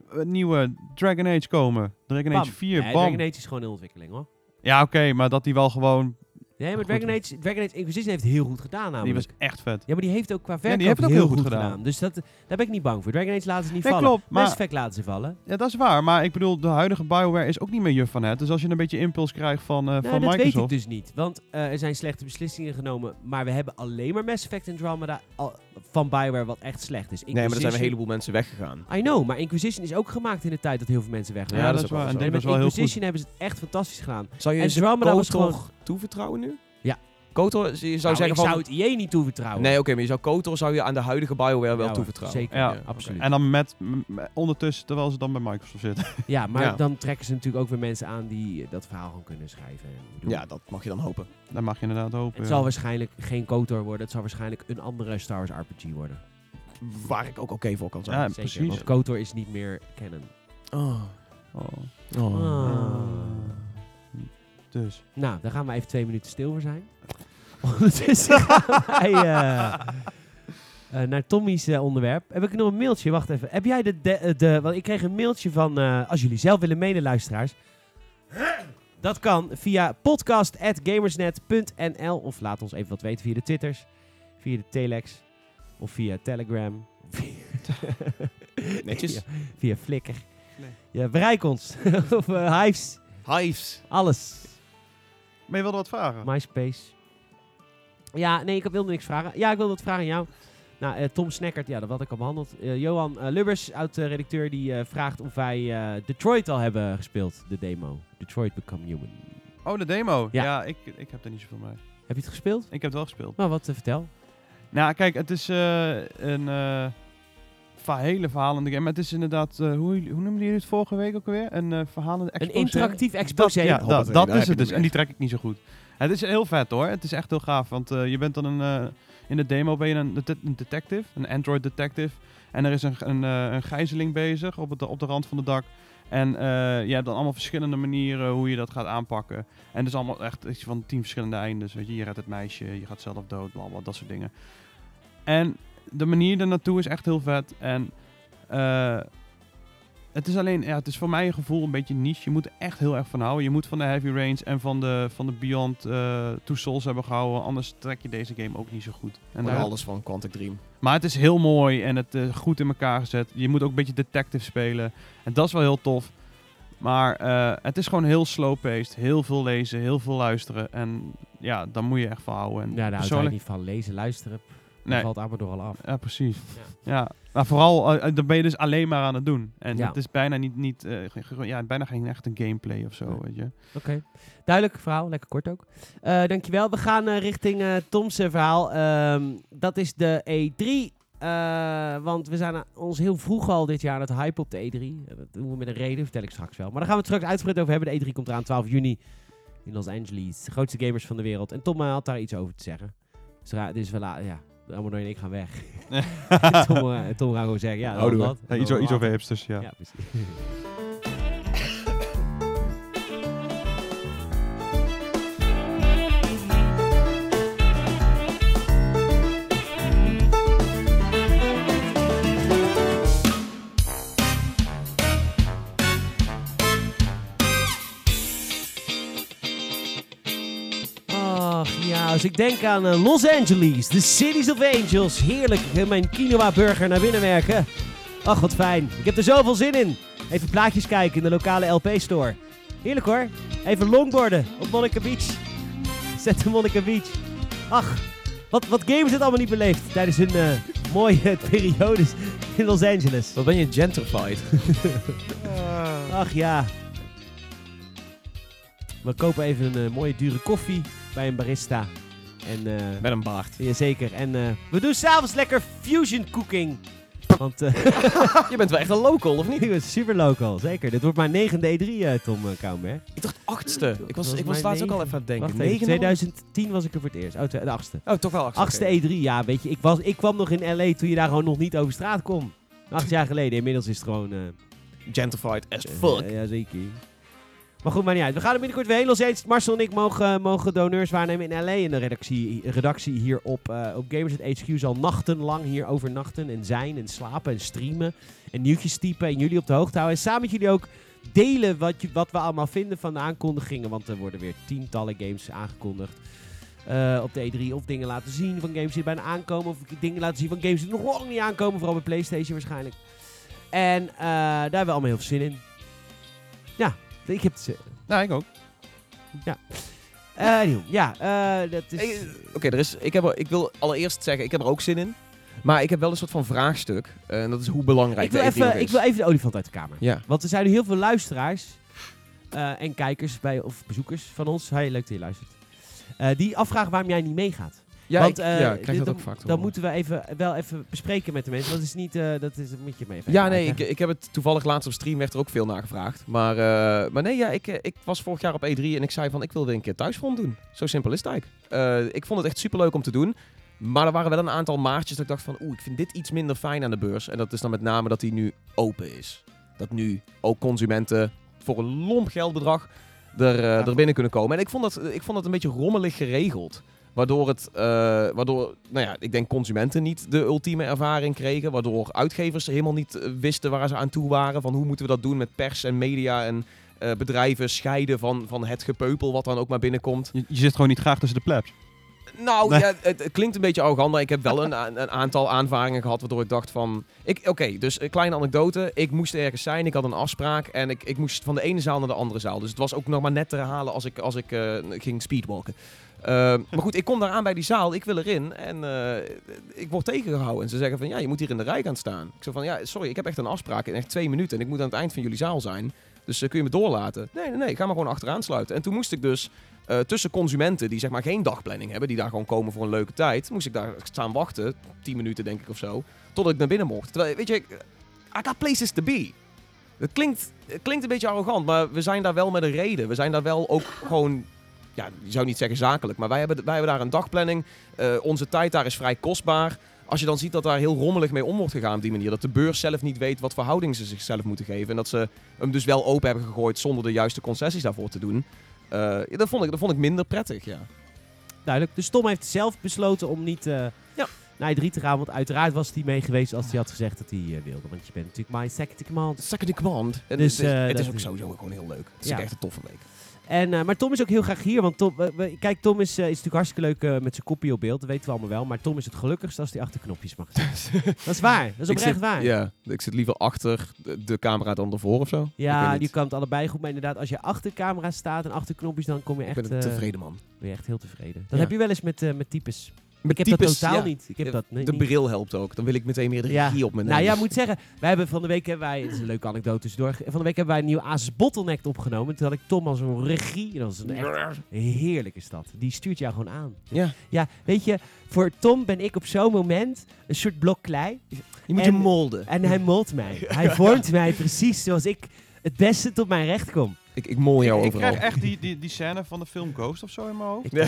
Speaker 2: een nieuwe Dragon Age komen. Dragon
Speaker 1: Bam.
Speaker 2: Age 4,
Speaker 1: Nee,
Speaker 2: bam.
Speaker 1: Dragon Age is gewoon in ontwikkeling, hoor.
Speaker 2: Ja, oké, maar dat die wel gewoon
Speaker 1: Nee, maar
Speaker 2: Goed.
Speaker 1: Dragon Age, Dragon Age Inquisition heeft het heel goed gedaan
Speaker 2: Die
Speaker 1: namelijk.
Speaker 2: was echt vet.
Speaker 1: Ja, maar die heeft ook qua
Speaker 2: die
Speaker 1: verkoop
Speaker 2: heeft
Speaker 1: heel,
Speaker 2: het ook heel
Speaker 1: goed,
Speaker 2: goed
Speaker 1: gedaan.
Speaker 2: gedaan.
Speaker 1: Dus dat, daar ben ik niet bang voor. Dragon Age laten ze niet
Speaker 2: Nee,
Speaker 1: vallen.
Speaker 2: klopt, maar-
Speaker 1: Mass Effect laten ze vallen.
Speaker 2: Ja, dat is waar. Maar ik bedoel, de huidige Bioware is ook niet meer juf van het. Dus als je een beetje impuls krijgt van, eh,
Speaker 1: Nou, dat
Speaker 2: van
Speaker 1: weet ik
Speaker 2: Microsoft...
Speaker 1: dus niet. Want eh, er zijn slechte beslissingen genomen. Maar we hebben alleen maar Mass Effect en Andromeda al- van Bioware wat echt slecht is.
Speaker 3: Nee, maar er zijn een
Speaker 1: Inquisition-
Speaker 3: heleboel mensen weggegaan.
Speaker 1: I know, maar Inquisition is ook gemaakt in de tijd dat heel veel mensen weg
Speaker 2: Ja,
Speaker 1: waren.
Speaker 2: dat, is
Speaker 3: dat is ook
Speaker 2: waar.
Speaker 3: wel
Speaker 2: En
Speaker 3: zo.
Speaker 2: die
Speaker 1: en met
Speaker 2: was wel heel
Speaker 1: Inquisition
Speaker 2: goed.
Speaker 1: hebben ze het echt fantastisch gedaan.
Speaker 3: Zou je
Speaker 1: En
Speaker 3: ze
Speaker 1: Andromeda was
Speaker 3: KOTOR
Speaker 1: gewoon-
Speaker 3: toevertrouwen nu?
Speaker 1: Ja.
Speaker 3: KOTOR, je zou
Speaker 1: Nou,
Speaker 3: zeggen
Speaker 1: ik
Speaker 3: van...
Speaker 1: zou het IE niet toevertrouwen.
Speaker 3: Nee, oké, maar je zou KOTOR zou je aan de huidige Bioware wel
Speaker 1: Ja,
Speaker 3: toevertrouwen.
Speaker 1: zeker.
Speaker 2: Ja,
Speaker 1: absoluut.
Speaker 2: En dan met, m- m- ondertussen, terwijl ze dan bij Microsoft zitten.
Speaker 1: Ja, maar
Speaker 3: Ja.
Speaker 1: dan trekken ze natuurlijk ook weer mensen aan die eh, dat verhaal gewoon kunnen schrijven. en doen.
Speaker 3: Ja, dat mag je dan hopen.
Speaker 2: Daar mag je inderdaad hopen.
Speaker 1: Het
Speaker 2: ja.
Speaker 1: zal waarschijnlijk geen KOTOR worden. Het zal waarschijnlijk een andere Star Wars RPG worden.
Speaker 3: Waar ik ook oké voor kan zijn.
Speaker 2: Ja,
Speaker 1: Zeker,
Speaker 2: precies.
Speaker 1: Want KOTOR is niet meer canon.
Speaker 3: Oh.
Speaker 2: Oh.
Speaker 3: Oh.
Speaker 1: Ah.
Speaker 2: Dus.
Speaker 1: Nou, daar gaan we even twee minuten stil voor zijn. Ondertussen gaan wij eh, eh, naar Tommy's eh, onderwerp. Heb ik nog een mailtje? Wacht even. Heb jij de... de, eh, de want ik kreeg een mailtje van... eh, als jullie zelf willen mailen, luisteraars. Dat kan via podcast.gamersnet.nl of laat ons even wat weten via de Twitters, via de Telex of via Telegram.
Speaker 3: Netjes.
Speaker 1: Ja, via Flickr.
Speaker 2: Nee.
Speaker 1: Ja, bereik ons. of eh, Hives.
Speaker 3: Hives.
Speaker 1: Alles.
Speaker 2: Maar je wilde wat vragen?
Speaker 1: MySpace. Ja, nee, ik wilde niks vragen. Ja, ik wilde wat vragen aan jou. Nou, eh, Tom Snekkert, ja, dat had ik al behandeld. Eh, Johan eh, Lubbers, oud-redacteur, die eh, vraagt of wij eh, Detroit al hebben gespeeld, de demo. Detroit Become Human.
Speaker 2: Oh, de demo.
Speaker 1: Ja.
Speaker 2: Ja, ik, ik heb er niet zoveel mee.
Speaker 1: Heb je het gespeeld?
Speaker 2: Ik heb het wel gespeeld.
Speaker 1: Nou, wat eh, vertel.
Speaker 2: Nou, kijk, het is eh, een eh va- hele verhalende game. Maar het is inderdaad, eh, hoe, hoe noemde jullie het vorige week ook alweer? Een eh verhalende
Speaker 1: Een
Speaker 2: exposé?
Speaker 1: interactief
Speaker 2: Dat,
Speaker 1: exposé. nou,
Speaker 2: ja,
Speaker 3: Hoppatee,
Speaker 2: dat,
Speaker 3: daar
Speaker 2: dat
Speaker 3: heb
Speaker 2: is
Speaker 3: je
Speaker 2: het
Speaker 3: hem
Speaker 2: dus. En die trek ik niet zo goed. Het is heel vet hoor. Het is echt heel gaaf. Want eh, je bent dan een, eh, in de demo ben je een, det- een detective, een android detective. En er is een, een, eh, een gijzeling bezig op, het, op de rand van het dak. En eh, je hebt dan allemaal verschillende manieren hoe je dat gaat aanpakken. En het is allemaal echt iets van tien verschillende eindes. Weet je, je redt het meisje, je gaat zelf dood, bla bla, dat soort dingen. En de manier ernaartoe is echt heel vet. En eh, het is alleen, ja, het is voor mij een gevoel een beetje niche. Je moet er echt heel erg van houden. Je moet van de Heavy Rains en van de, van de Beyond eh Two Souls hebben gehouden. Anders trek je deze game ook niet zo goed. En
Speaker 3: En
Speaker 2: daar-
Speaker 3: alles van Quantic Dream.
Speaker 2: maar het is heel mooi en het is goed in elkaar gezet. Je moet ook een beetje detective spelen. En dat is wel heel tof. Maar eh, het is gewoon heel slow-paced. Heel veel lezen, heel veel luisteren. En ja, daar moet je echt van houden. En
Speaker 1: Ja, daar houdt hij niet van. Lezen, luisteren.
Speaker 2: Nee.
Speaker 1: Nee. valt Amador al af.
Speaker 2: Ja, precies. Ja. Maar vooral, eh, eh, dan ben je dus alleen maar aan het doen. En
Speaker 1: Ja.
Speaker 2: het is bijna, niet, niet, eh, ge- ge- ja, bijna geen echte gameplay of zo,
Speaker 1: Nee.
Speaker 2: weet je.
Speaker 1: Oké. Duidelijk verhaal, lekker kort ook. Eh, dankjewel. We gaan eh, richting eh Tom's eh, verhaal. Ehm, dat is de E3. Eh, want we zijn eh, ons heel vroeg al dit jaar aan het hype op de E3. Eh, Dat doen we met een reden, vertel ik straks wel. Maar daar gaan we het straks uitgebreid over hebben. De E3 komt eraan 12 juni in Los Angeles. De grootste gamers van de wereld. En Tom eh, had daar iets over te zeggen. Dus, ra- dus we laten, ja, Amador en ik gaan weg. Tom, eh, Tom gaat gewoon zeggen, ja,
Speaker 3: Houden we.
Speaker 1: dat.
Speaker 2: Ja,
Speaker 1: Dat-
Speaker 2: hipsters,
Speaker 1: ja, precies. Ach ja, als ik denk aan eh, Los Angeles, de Cities of Angels. Heerlijk, eh, mijn quinoa-burger naar binnen werken. Ach, wat fijn. Ik heb er zoveel zin in. Even plaatjes kijken in de lokale LP-store. Heerlijk hoor. Even longboarden op Monica Beach. Zet de Monica Beach. Ach, wat, wat gamers het allemaal niet beleefd tijdens hun eh, mooie periodes in Los Angeles.
Speaker 3: Wat ben je gentrified?
Speaker 1: Ach ja. We kopen even een eh, mooie dure koffie bij een barista. En eh,
Speaker 3: Met een baard.
Speaker 1: Jazeker. En eh, we doen s'avonds lekker fusion cooking. Want eh
Speaker 3: Je bent wel echt een local, of niet?
Speaker 1: die was super local, zeker. Dit wordt mijn negende E3, eh, Tom eh, Kouwenberg.
Speaker 3: Ik dacht achtste. Ik was,
Speaker 1: was
Speaker 3: ik was
Speaker 1: mijn
Speaker 3: laatst ook al
Speaker 1: negen.
Speaker 3: even aan het denken.
Speaker 1: Wacht even,
Speaker 3: Negende?
Speaker 1: 2010 was ik er voor het eerst. Oh, twe- de achtste.
Speaker 3: Oh, toch wel achtste.
Speaker 1: Achtste
Speaker 3: oké.
Speaker 1: E3, ja, weet je. Ik, was, ik kwam nog in L.A. toen je daar gewoon nog niet over straat kon. Acht jaar geleden. Inmiddels is het gewoon... eh,
Speaker 3: Gentrified as
Speaker 1: eh,
Speaker 3: fuck.
Speaker 1: ja, zeker. Maar goed, maar niet uit. We gaan er binnenkort weer heen. Los Angeles, Marcel en ik mogen, mogen doneurs waarnemen in L.A. En de redactie, redactie hier op, eh op Gamers at HQ zal nachtenlang hier overnachten en zijn en slapen en streamen. En nieuwtjes typen en jullie op de hoogte houden. En samen met jullie ook delen wat, je- wat we allemaal vinden van de aankondigingen. Want er worden weer tientallen games aangekondigd. eh, op de E3. Of dingen laten zien van games die er bijna aankomen. Of dingen laten zien van games die er nog lang niet aankomen. Vooral bij PlayStation waarschijnlijk. En eh, daar hebben we allemaal heel veel zin in. Ja, ik heb het zin.
Speaker 2: Ja, ik ook.
Speaker 1: Eh, anywho, ja, eh, dat is...
Speaker 3: Hey, Oké, er is- ik, heb er- ik wil allereerst zeggen, ik heb er ook zin in. Maar ik heb wel een soort van vraagstuk. eh, en dat is hoe belangrijk
Speaker 1: ik, wil
Speaker 3: de E3 nog
Speaker 1: even,
Speaker 3: is.
Speaker 1: ik wil even de olifant uit de kamer.
Speaker 3: Ja.
Speaker 1: Want er zijn nu heel veel luisteraars eh, en kijkers bij, of bezoekers van ons. Hey, leuk dat je luistert. Eh, die afvragen waarom jij niet meegaat.
Speaker 3: Ja,
Speaker 1: Want,
Speaker 3: ik,
Speaker 1: eh,
Speaker 3: ja, ik krijg
Speaker 1: dit-
Speaker 3: dat ook vaak te
Speaker 1: Dan
Speaker 3: horen.
Speaker 1: moeten we even, wel even bespreken met de mensen. Dat is niet, eh, dat is, dat moet je mee. even
Speaker 3: Ja, nee, ik,
Speaker 1: uitleggen.
Speaker 3: ik heb het toevallig laatst op stream werd er ook veel naar gevraagd. Maar, eh, maar nee, ja, ik, eh, ik was vorig jaar op E3 en ik zei van ik wil weer een keer thuisfront doen. Zo simpel is het eigenlijk. Eh, ik vond het echt superleuk om te doen. Maar er waren wel een aantal maartjes dat ik dacht van oeh, ik vind dit iets minder fijn aan de beurs. En dat is dan met name dat die nu open is. Dat nu ook consumenten voor een lomp geldbedrag er, eh, er binnen kunnen komen. En ik vond, dat, ik vond dat een beetje rommelig geregeld. Waardoor, het, eh, waardoor nou ja, ik denk consumenten niet de ultieme ervaring kregen. Waardoor uitgevers helemaal niet eh, wisten waar ze aan toe waren. Van hoe moeten we dat doen met pers en media en eh, bedrijven scheiden van, van het gepeupel wat dan ook maar binnenkomt.
Speaker 2: Je, je zit gewoon niet graag tussen de plebs.
Speaker 3: Nou
Speaker 2: Nee.
Speaker 3: ja, het, het klinkt een beetje arrogant, maar ik heb wel een, a- een aantal aanvaringen gehad waardoor ik dacht van... ik- Oké, dus een kleine anekdote. Ik moest ergens zijn, ik had een afspraak en ik, ik moest van de ene zaal naar de andere zaal. Dus het was ook nog maar net te herhalen als ik, als ik eh, ging speedwalken. Eh, maar goed, ik kom daar aan bij die zaal, ik wil erin en eh, ik word tegengehouden. En ze zeggen van ja, je moet hier in de rij gaan staan. Ik zeg van ja, sorry, ik heb echt een afspraak in echt twee minuten en ik moet aan het eind van jullie zaal zijn. Dus eh, kun je me doorlaten? Nee, nee, nee, ga maar gewoon achteraan sluiten. En toen moest ik dus eh, tussen consumenten die zeg maar geen dagplanning hebben, die daar gewoon komen voor een leuke tijd, moest ik daar staan wachten, 10 minuten denk ik of zo, totdat ik naar binnen mocht. Terwijl, weet je, ik- I got places to be. Het klinkt, het klinkt een beetje arrogant, maar we zijn daar wel met een reden. We zijn daar wel ook gewoon, ja, je zou niet zeggen zakelijk, maar wij hebben, wij hebben daar een dagplanning. Eh, onze tijd daar is vrij kostbaar. Als je dan ziet dat daar heel rommelig mee om wordt gegaan op die manier, dat de beurs zelf niet weet wat voor houding ze zichzelf moeten geven en dat ze hem dus wel open hebben gegooid zonder de juiste concessies daarvoor te doen. Eh, ja, dat, vond ik, dat vond ik minder prettig, ja.
Speaker 1: Duidelijk. Dus Tom heeft zelf besloten om niet eh,
Speaker 3: Ja.
Speaker 1: naar E3 te gaan. Want uiteraard was hij mee geweest als hij had gezegd dat hij eh, wilde. Want je bent natuurlijk my second in command.
Speaker 3: Second in command. En
Speaker 1: Dus,
Speaker 3: dus, het is,
Speaker 1: eh,
Speaker 3: het is
Speaker 1: dat-
Speaker 3: ook sowieso gewoon heel leuk. Het is
Speaker 1: Ja.
Speaker 3: ook echt een toffe week.
Speaker 1: En, eh, maar Tom is ook heel graag hier, want Tom, we- we- kijk, Tom is, eh, is natuurlijk hartstikke leuk eh, met zijn kopie op beeld, dat weten we allemaal wel. Maar Tom is het gelukkigst als hij achter knopjes mag. zitten. dat is waar, dat is
Speaker 3: Ik
Speaker 1: oprecht
Speaker 3: zit-
Speaker 1: waar.
Speaker 3: Ja, ik zit liever achter de, de camera dan ervoor of zo. ik
Speaker 1: Ja,
Speaker 3: weet
Speaker 1: je
Speaker 3: niet.
Speaker 1: kan het allebei goed, maar inderdaad, als je achter camera staat en achter knopjes, dan kom je
Speaker 3: ik
Speaker 1: echt,
Speaker 3: ben een
Speaker 1: eh,
Speaker 3: tevreden man.
Speaker 1: ben je echt heel tevreden. Dat
Speaker 3: Ja.
Speaker 1: heb je wel eens met, eh, met types.
Speaker 3: Met
Speaker 1: ik heb dat
Speaker 3: types,
Speaker 1: totaal
Speaker 3: ja.
Speaker 1: niet. Ik heb
Speaker 3: Eh,
Speaker 1: dat nee,
Speaker 3: De
Speaker 1: niet.
Speaker 3: bril helpt ook. Dan wil ik meteen meer de
Speaker 1: Ja.
Speaker 3: regie op mijn
Speaker 1: Nou
Speaker 3: neus.
Speaker 1: ja, ik moet zeggen, wij hebben van de week hebben wij, het is een leuke anekdote tussendoor, van de week hebben wij een nieuw Asus Bottleneck opgenomen. Toen had ik Tom als een regie, dat is een echt heerlijke stad. Die stuurt jou gewoon aan.
Speaker 3: Ja,
Speaker 1: Ja, weet je, voor Tom ben ik op zo'n moment een soort blok klei.
Speaker 3: je moet
Speaker 1: En-
Speaker 3: je molden.
Speaker 1: En hij molt mij. Hij vormt mij precies zoals ik het beste tot mijn recht kom.
Speaker 3: Ik, ik mol jou
Speaker 2: ik
Speaker 3: overal.
Speaker 2: krijg echt die, die, die scène van de film Ghost of zo in mijn hoofd.
Speaker 3: ja,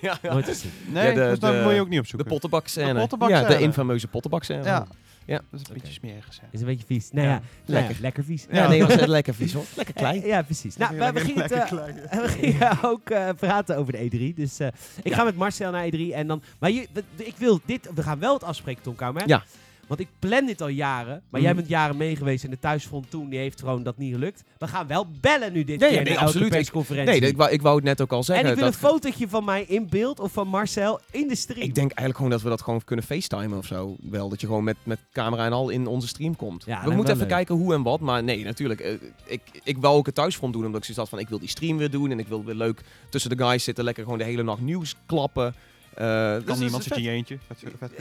Speaker 3: ja, ja.
Speaker 1: Nooit gezien.
Speaker 2: Nee,
Speaker 3: Ja, de-
Speaker 2: dus daar
Speaker 3: de-
Speaker 2: moet je ook niet
Speaker 3: De
Speaker 2: opzoeken.
Speaker 3: pottenbak scène.
Speaker 2: De pottenbak
Speaker 3: ja, de
Speaker 2: scène.
Speaker 3: infameuze pottenbak scène.
Speaker 2: Ja.
Speaker 3: Ja.
Speaker 2: Dat is een
Speaker 1: Oké.
Speaker 2: beetje smerig scène.
Speaker 1: Is een beetje vies. Nou ja,
Speaker 3: Ja,
Speaker 1: nou ja, lekker.
Speaker 3: lekker.
Speaker 1: vies.
Speaker 2: Ja.
Speaker 3: nee, was echt lekker vies hoor. Lekker
Speaker 1: Eh,
Speaker 3: klein.
Speaker 1: Ja, precies. Nou, we,
Speaker 2: Lekker-
Speaker 1: we gingen het,
Speaker 2: lekker
Speaker 1: eh,
Speaker 2: klein.
Speaker 1: we gingen ook eh, praten over de E3. Dus eh, ik
Speaker 3: Ja.
Speaker 1: ga met Marcel naar E3. En dan, maar je, we- de- ik wil dit, we gaan wel het afspreken, Tom Kouwer.
Speaker 3: Ja.
Speaker 1: Want ik plan dit al jaren. Maar
Speaker 3: Mhm.
Speaker 1: jij bent jaren mee geweest en de thuisfront toen die heeft gewoon dat niet gelukt. We gaan wel bellen nu dit
Speaker 3: Ja, ja,
Speaker 1: keer
Speaker 3: nee,
Speaker 1: na elke
Speaker 3: absoluut. Ik-
Speaker 1: persconferentie.
Speaker 3: Nee, dat- ik wou, ik wou het net ook al zeggen.
Speaker 1: eh, en ik wil
Speaker 3: dat
Speaker 1: een fotootje van mij in beeld of van Marcel in de stream.
Speaker 3: Ik denk eigenlijk gewoon dat we dat gewoon kunnen facetimen of zo. Wel, dat je gewoon met, met camera en al in onze stream komt.
Speaker 1: Ja,
Speaker 3: we
Speaker 1: lijkt me
Speaker 3: moeten even
Speaker 1: wel leuk.
Speaker 3: kijken hoe en wat. Maar nee, natuurlijk. eh, ik, ik wou ook het thuisfront doen, omdat ik zoiets had van... ik wil die stream weer doen en ik wil weer leuk tussen de guys zitten. Lekker gewoon de hele nacht nieuws klappen. Eh,
Speaker 2: Kan
Speaker 3: dus dat
Speaker 2: niemand
Speaker 3: is
Speaker 2: zit in
Speaker 3: vet.
Speaker 2: je eentje. Vet- vet-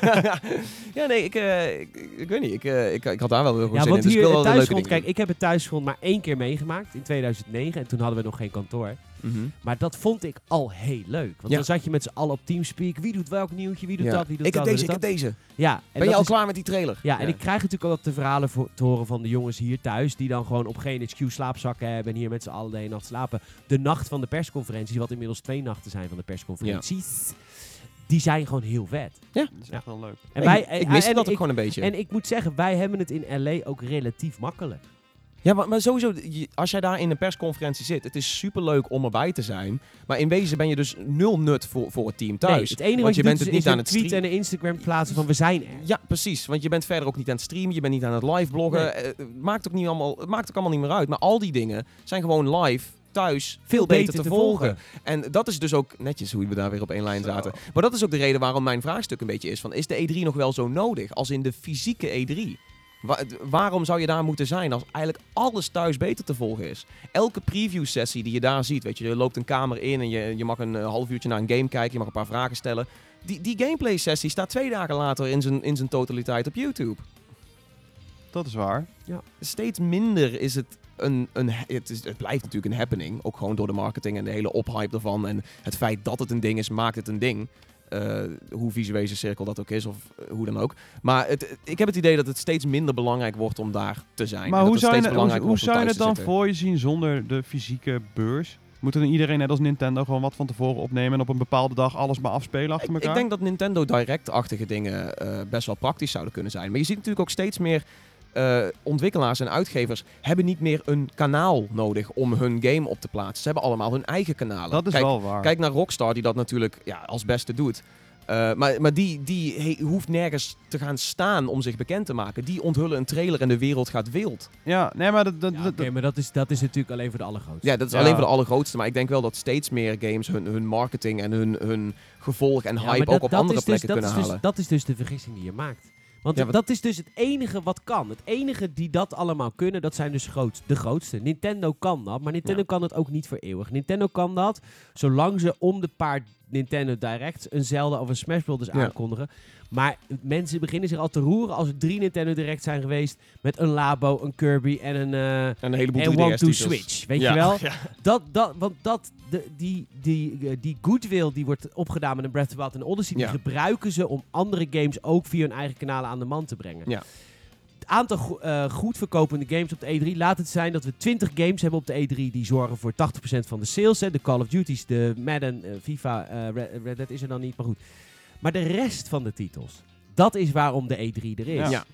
Speaker 2: vet-
Speaker 3: ja, nee, ik, eh, ik, ik, ik weet niet. Ik, eh, ik, ik had daar wel heel veel
Speaker 1: ja,
Speaker 3: zin
Speaker 1: want
Speaker 3: in. Dus ik
Speaker 1: hier
Speaker 3: wil wel
Speaker 1: het
Speaker 3: de leuke
Speaker 1: thuisgrond,
Speaker 3: dingen
Speaker 1: kijk, ik heb het thuisgrond maar één keer meegemaakt in 2009. En toen hadden we nog geen kantoor.
Speaker 3: doen. Mhm.
Speaker 1: Maar dat vond ik al heel leuk. Want
Speaker 3: Ja.
Speaker 1: dan zat je met z'n allen op Teamspeak. Wie doet welk nieuwtje, wie doet
Speaker 3: Ja.
Speaker 1: dat, wie doet
Speaker 3: ik
Speaker 1: dat.
Speaker 3: heb deze, ik
Speaker 1: wie
Speaker 3: heb
Speaker 1: doet dat.
Speaker 3: deze.
Speaker 1: Ja, en
Speaker 3: Ben
Speaker 1: dat
Speaker 3: je al
Speaker 1: is-
Speaker 3: klaar met die trailer?
Speaker 1: Ja, en ik krijg natuurlijk ook altijd de verhalen voor, te horen van de jongens hier thuis. Die dan gewoon op geen excuse slaapzakken hebben. En hier met z'n allen de hele nacht slapen. De nacht van de persconferenties, wat inmiddels twee nachten zijn van de persconferenties. Die zijn gewoon heel vet.
Speaker 2: Dat is echt wel leuk.
Speaker 1: En
Speaker 3: Nee,
Speaker 1: wij,
Speaker 3: ik mis
Speaker 1: en
Speaker 3: dat ook
Speaker 1: ik-
Speaker 3: gewoon een beetje.
Speaker 1: En ik moet zeggen, wij hebben het in LA ook relatief makkelijk.
Speaker 3: Ja, maar, maar sowieso, je- als jij daar in een persconferentie zit, het is superleuk om erbij te zijn. Maar in wezen ben je dus nul nut voor, voor het team thuis.
Speaker 1: Nee, het enige wat
Speaker 3: want
Speaker 1: je
Speaker 3: je bent
Speaker 1: doet
Speaker 3: het
Speaker 1: is
Speaker 3: niet
Speaker 1: een
Speaker 3: aan het
Speaker 1: tweet en
Speaker 3: streamen.
Speaker 1: een Instagram plaatsen van we zijn er.
Speaker 3: Ja, precies. Want je bent verder ook niet aan het streamen, je bent niet aan het live bloggen.
Speaker 1: Nee.
Speaker 3: Eh, eh, maakt, ook niet allemaal, het maakt ook allemaal niet meer uit. Maar al die dingen zijn gewoon live thuis veel beter, te, volgen. En dat is dus ook netjes hoe we daar weer op één lijn
Speaker 2: Zo.
Speaker 3: zaten. Maar dat is ook de reden waarom mijn vraagstuk een beetje is van... is de E3 nog wel zo nodig als in de fysieke E3? Wa- d- waarom zou je daar moeten zijn als eigenlijk alles thuis beter te volgen is? Elke preview sessie die je daar ziet, weet je, je loopt een kamer in en je, je mag een eh, half uurtje naar een game kijken, je mag een paar vragen stellen. Die, die gameplay sessie staat twee dagen later in zijn, in zijn totaliteit op YouTube.
Speaker 2: Dat is waar.
Speaker 3: Steeds minder is het een... een het, is, het blijft natuurlijk een happening. Ook gewoon door de marketing en de hele ophype ervan. En het feit dat het een ding is, maakt het een ding. Eh, hoe visueel cirkel dat ook is, of eh, hoe dan ook. Maar het, het- ik heb het idee dat het steeds minder belangrijk wordt om daar te zijn.
Speaker 2: Maar
Speaker 3: En dat
Speaker 2: hoe
Speaker 3: het
Speaker 2: zou, je,
Speaker 3: steeds
Speaker 2: het- hoe,
Speaker 3: belangrijker
Speaker 2: hoe
Speaker 3: wordt om
Speaker 2: zou je het
Speaker 3: thuis te
Speaker 2: dan
Speaker 3: zitten.
Speaker 2: voor je zien zonder de fysieke beurs? Moet dan iedereen net als Nintendo gewoon wat van tevoren opnemen en op een bepaalde dag alles maar afspelen achter
Speaker 3: Ik-
Speaker 2: elkaar?
Speaker 3: Ik denk dat Nintendo Direct-achtige dingen eh, best wel praktisch zouden kunnen zijn. Maar je ziet natuurlijk ook steeds meer eh, ontwikkelaars en uitgevers hebben niet meer een kanaal nodig om hun game op te plaatsen. Ze hebben allemaal hun eigen kanalen.
Speaker 2: dat is
Speaker 3: Kijk,
Speaker 2: wel waar.
Speaker 3: Kijk naar Rockstar, die dat natuurlijk ja, als beste doet. Eh, maar maar die, die he- hoeft nergens te gaan staan om zich bekend te maken. Die onthullen een trailer en de wereld gaat wild.
Speaker 2: ja, nee, maar dat, dat,
Speaker 1: Ja, Oké,
Speaker 2: dat- dat-
Speaker 1: maar dat is, dat is natuurlijk alleen voor de allergrootste.
Speaker 3: Ja, dat is
Speaker 2: Ja.
Speaker 3: alleen voor de allergrootste. Maar ik denk wel dat steeds meer games hun, hun marketing en hun, hun gevolg en
Speaker 1: Ja, maar
Speaker 3: hype ook
Speaker 1: dat-
Speaker 3: op
Speaker 1: dat
Speaker 3: andere
Speaker 1: is dus-
Speaker 3: plekken
Speaker 1: dat
Speaker 3: kunnen
Speaker 1: is dus-
Speaker 3: halen.
Speaker 1: dat is dus de vergissing die je maakt. Want
Speaker 3: Ja, wat-
Speaker 1: dat is dus het enige wat kan. Het enige die dat allemaal kunnen, dat zijn dus groot, de grootste. Nintendo kan dat, maar Nintendo
Speaker 3: Ja.
Speaker 1: kan dat ook niet voor eeuwig. Nintendo kan dat, zolang ze om de paar Nintendo Directs een Zelda of een Smash Bros.
Speaker 3: Ja.
Speaker 1: aankondigen. Maar mensen beginnen zich al te roeren als er drie Nintendo Directs zijn geweest... met een Labo, een Kirby en een... eh,
Speaker 3: En een heleboel
Speaker 1: en One
Speaker 3: 3DS
Speaker 1: to
Speaker 3: titels.
Speaker 1: Switch, weet
Speaker 3: Ja.
Speaker 1: je wel?
Speaker 3: Ja.
Speaker 1: Dat, dat, want dat, de, die, die, eh, die goodwill die wordt opgedaan met een Breath of the Wild en Odyssey,
Speaker 3: Ja.
Speaker 1: die gebruiken ze om andere games ook via hun eigen kanalen aan de man te brengen.
Speaker 3: Ja.
Speaker 1: Het aantal go- eh, goed verkopende games op de E3 laat het zijn dat we 20 games hebben op de E3 die zorgen voor 80% van de sales. Hè. De Call of Duty's, de Madden, eh, FIFA, eh, Red, Red Dead is er dan niet, maar goed. Maar de rest van de titels, dat is waarom de E3 er is.
Speaker 2: Ja.
Speaker 3: Ja.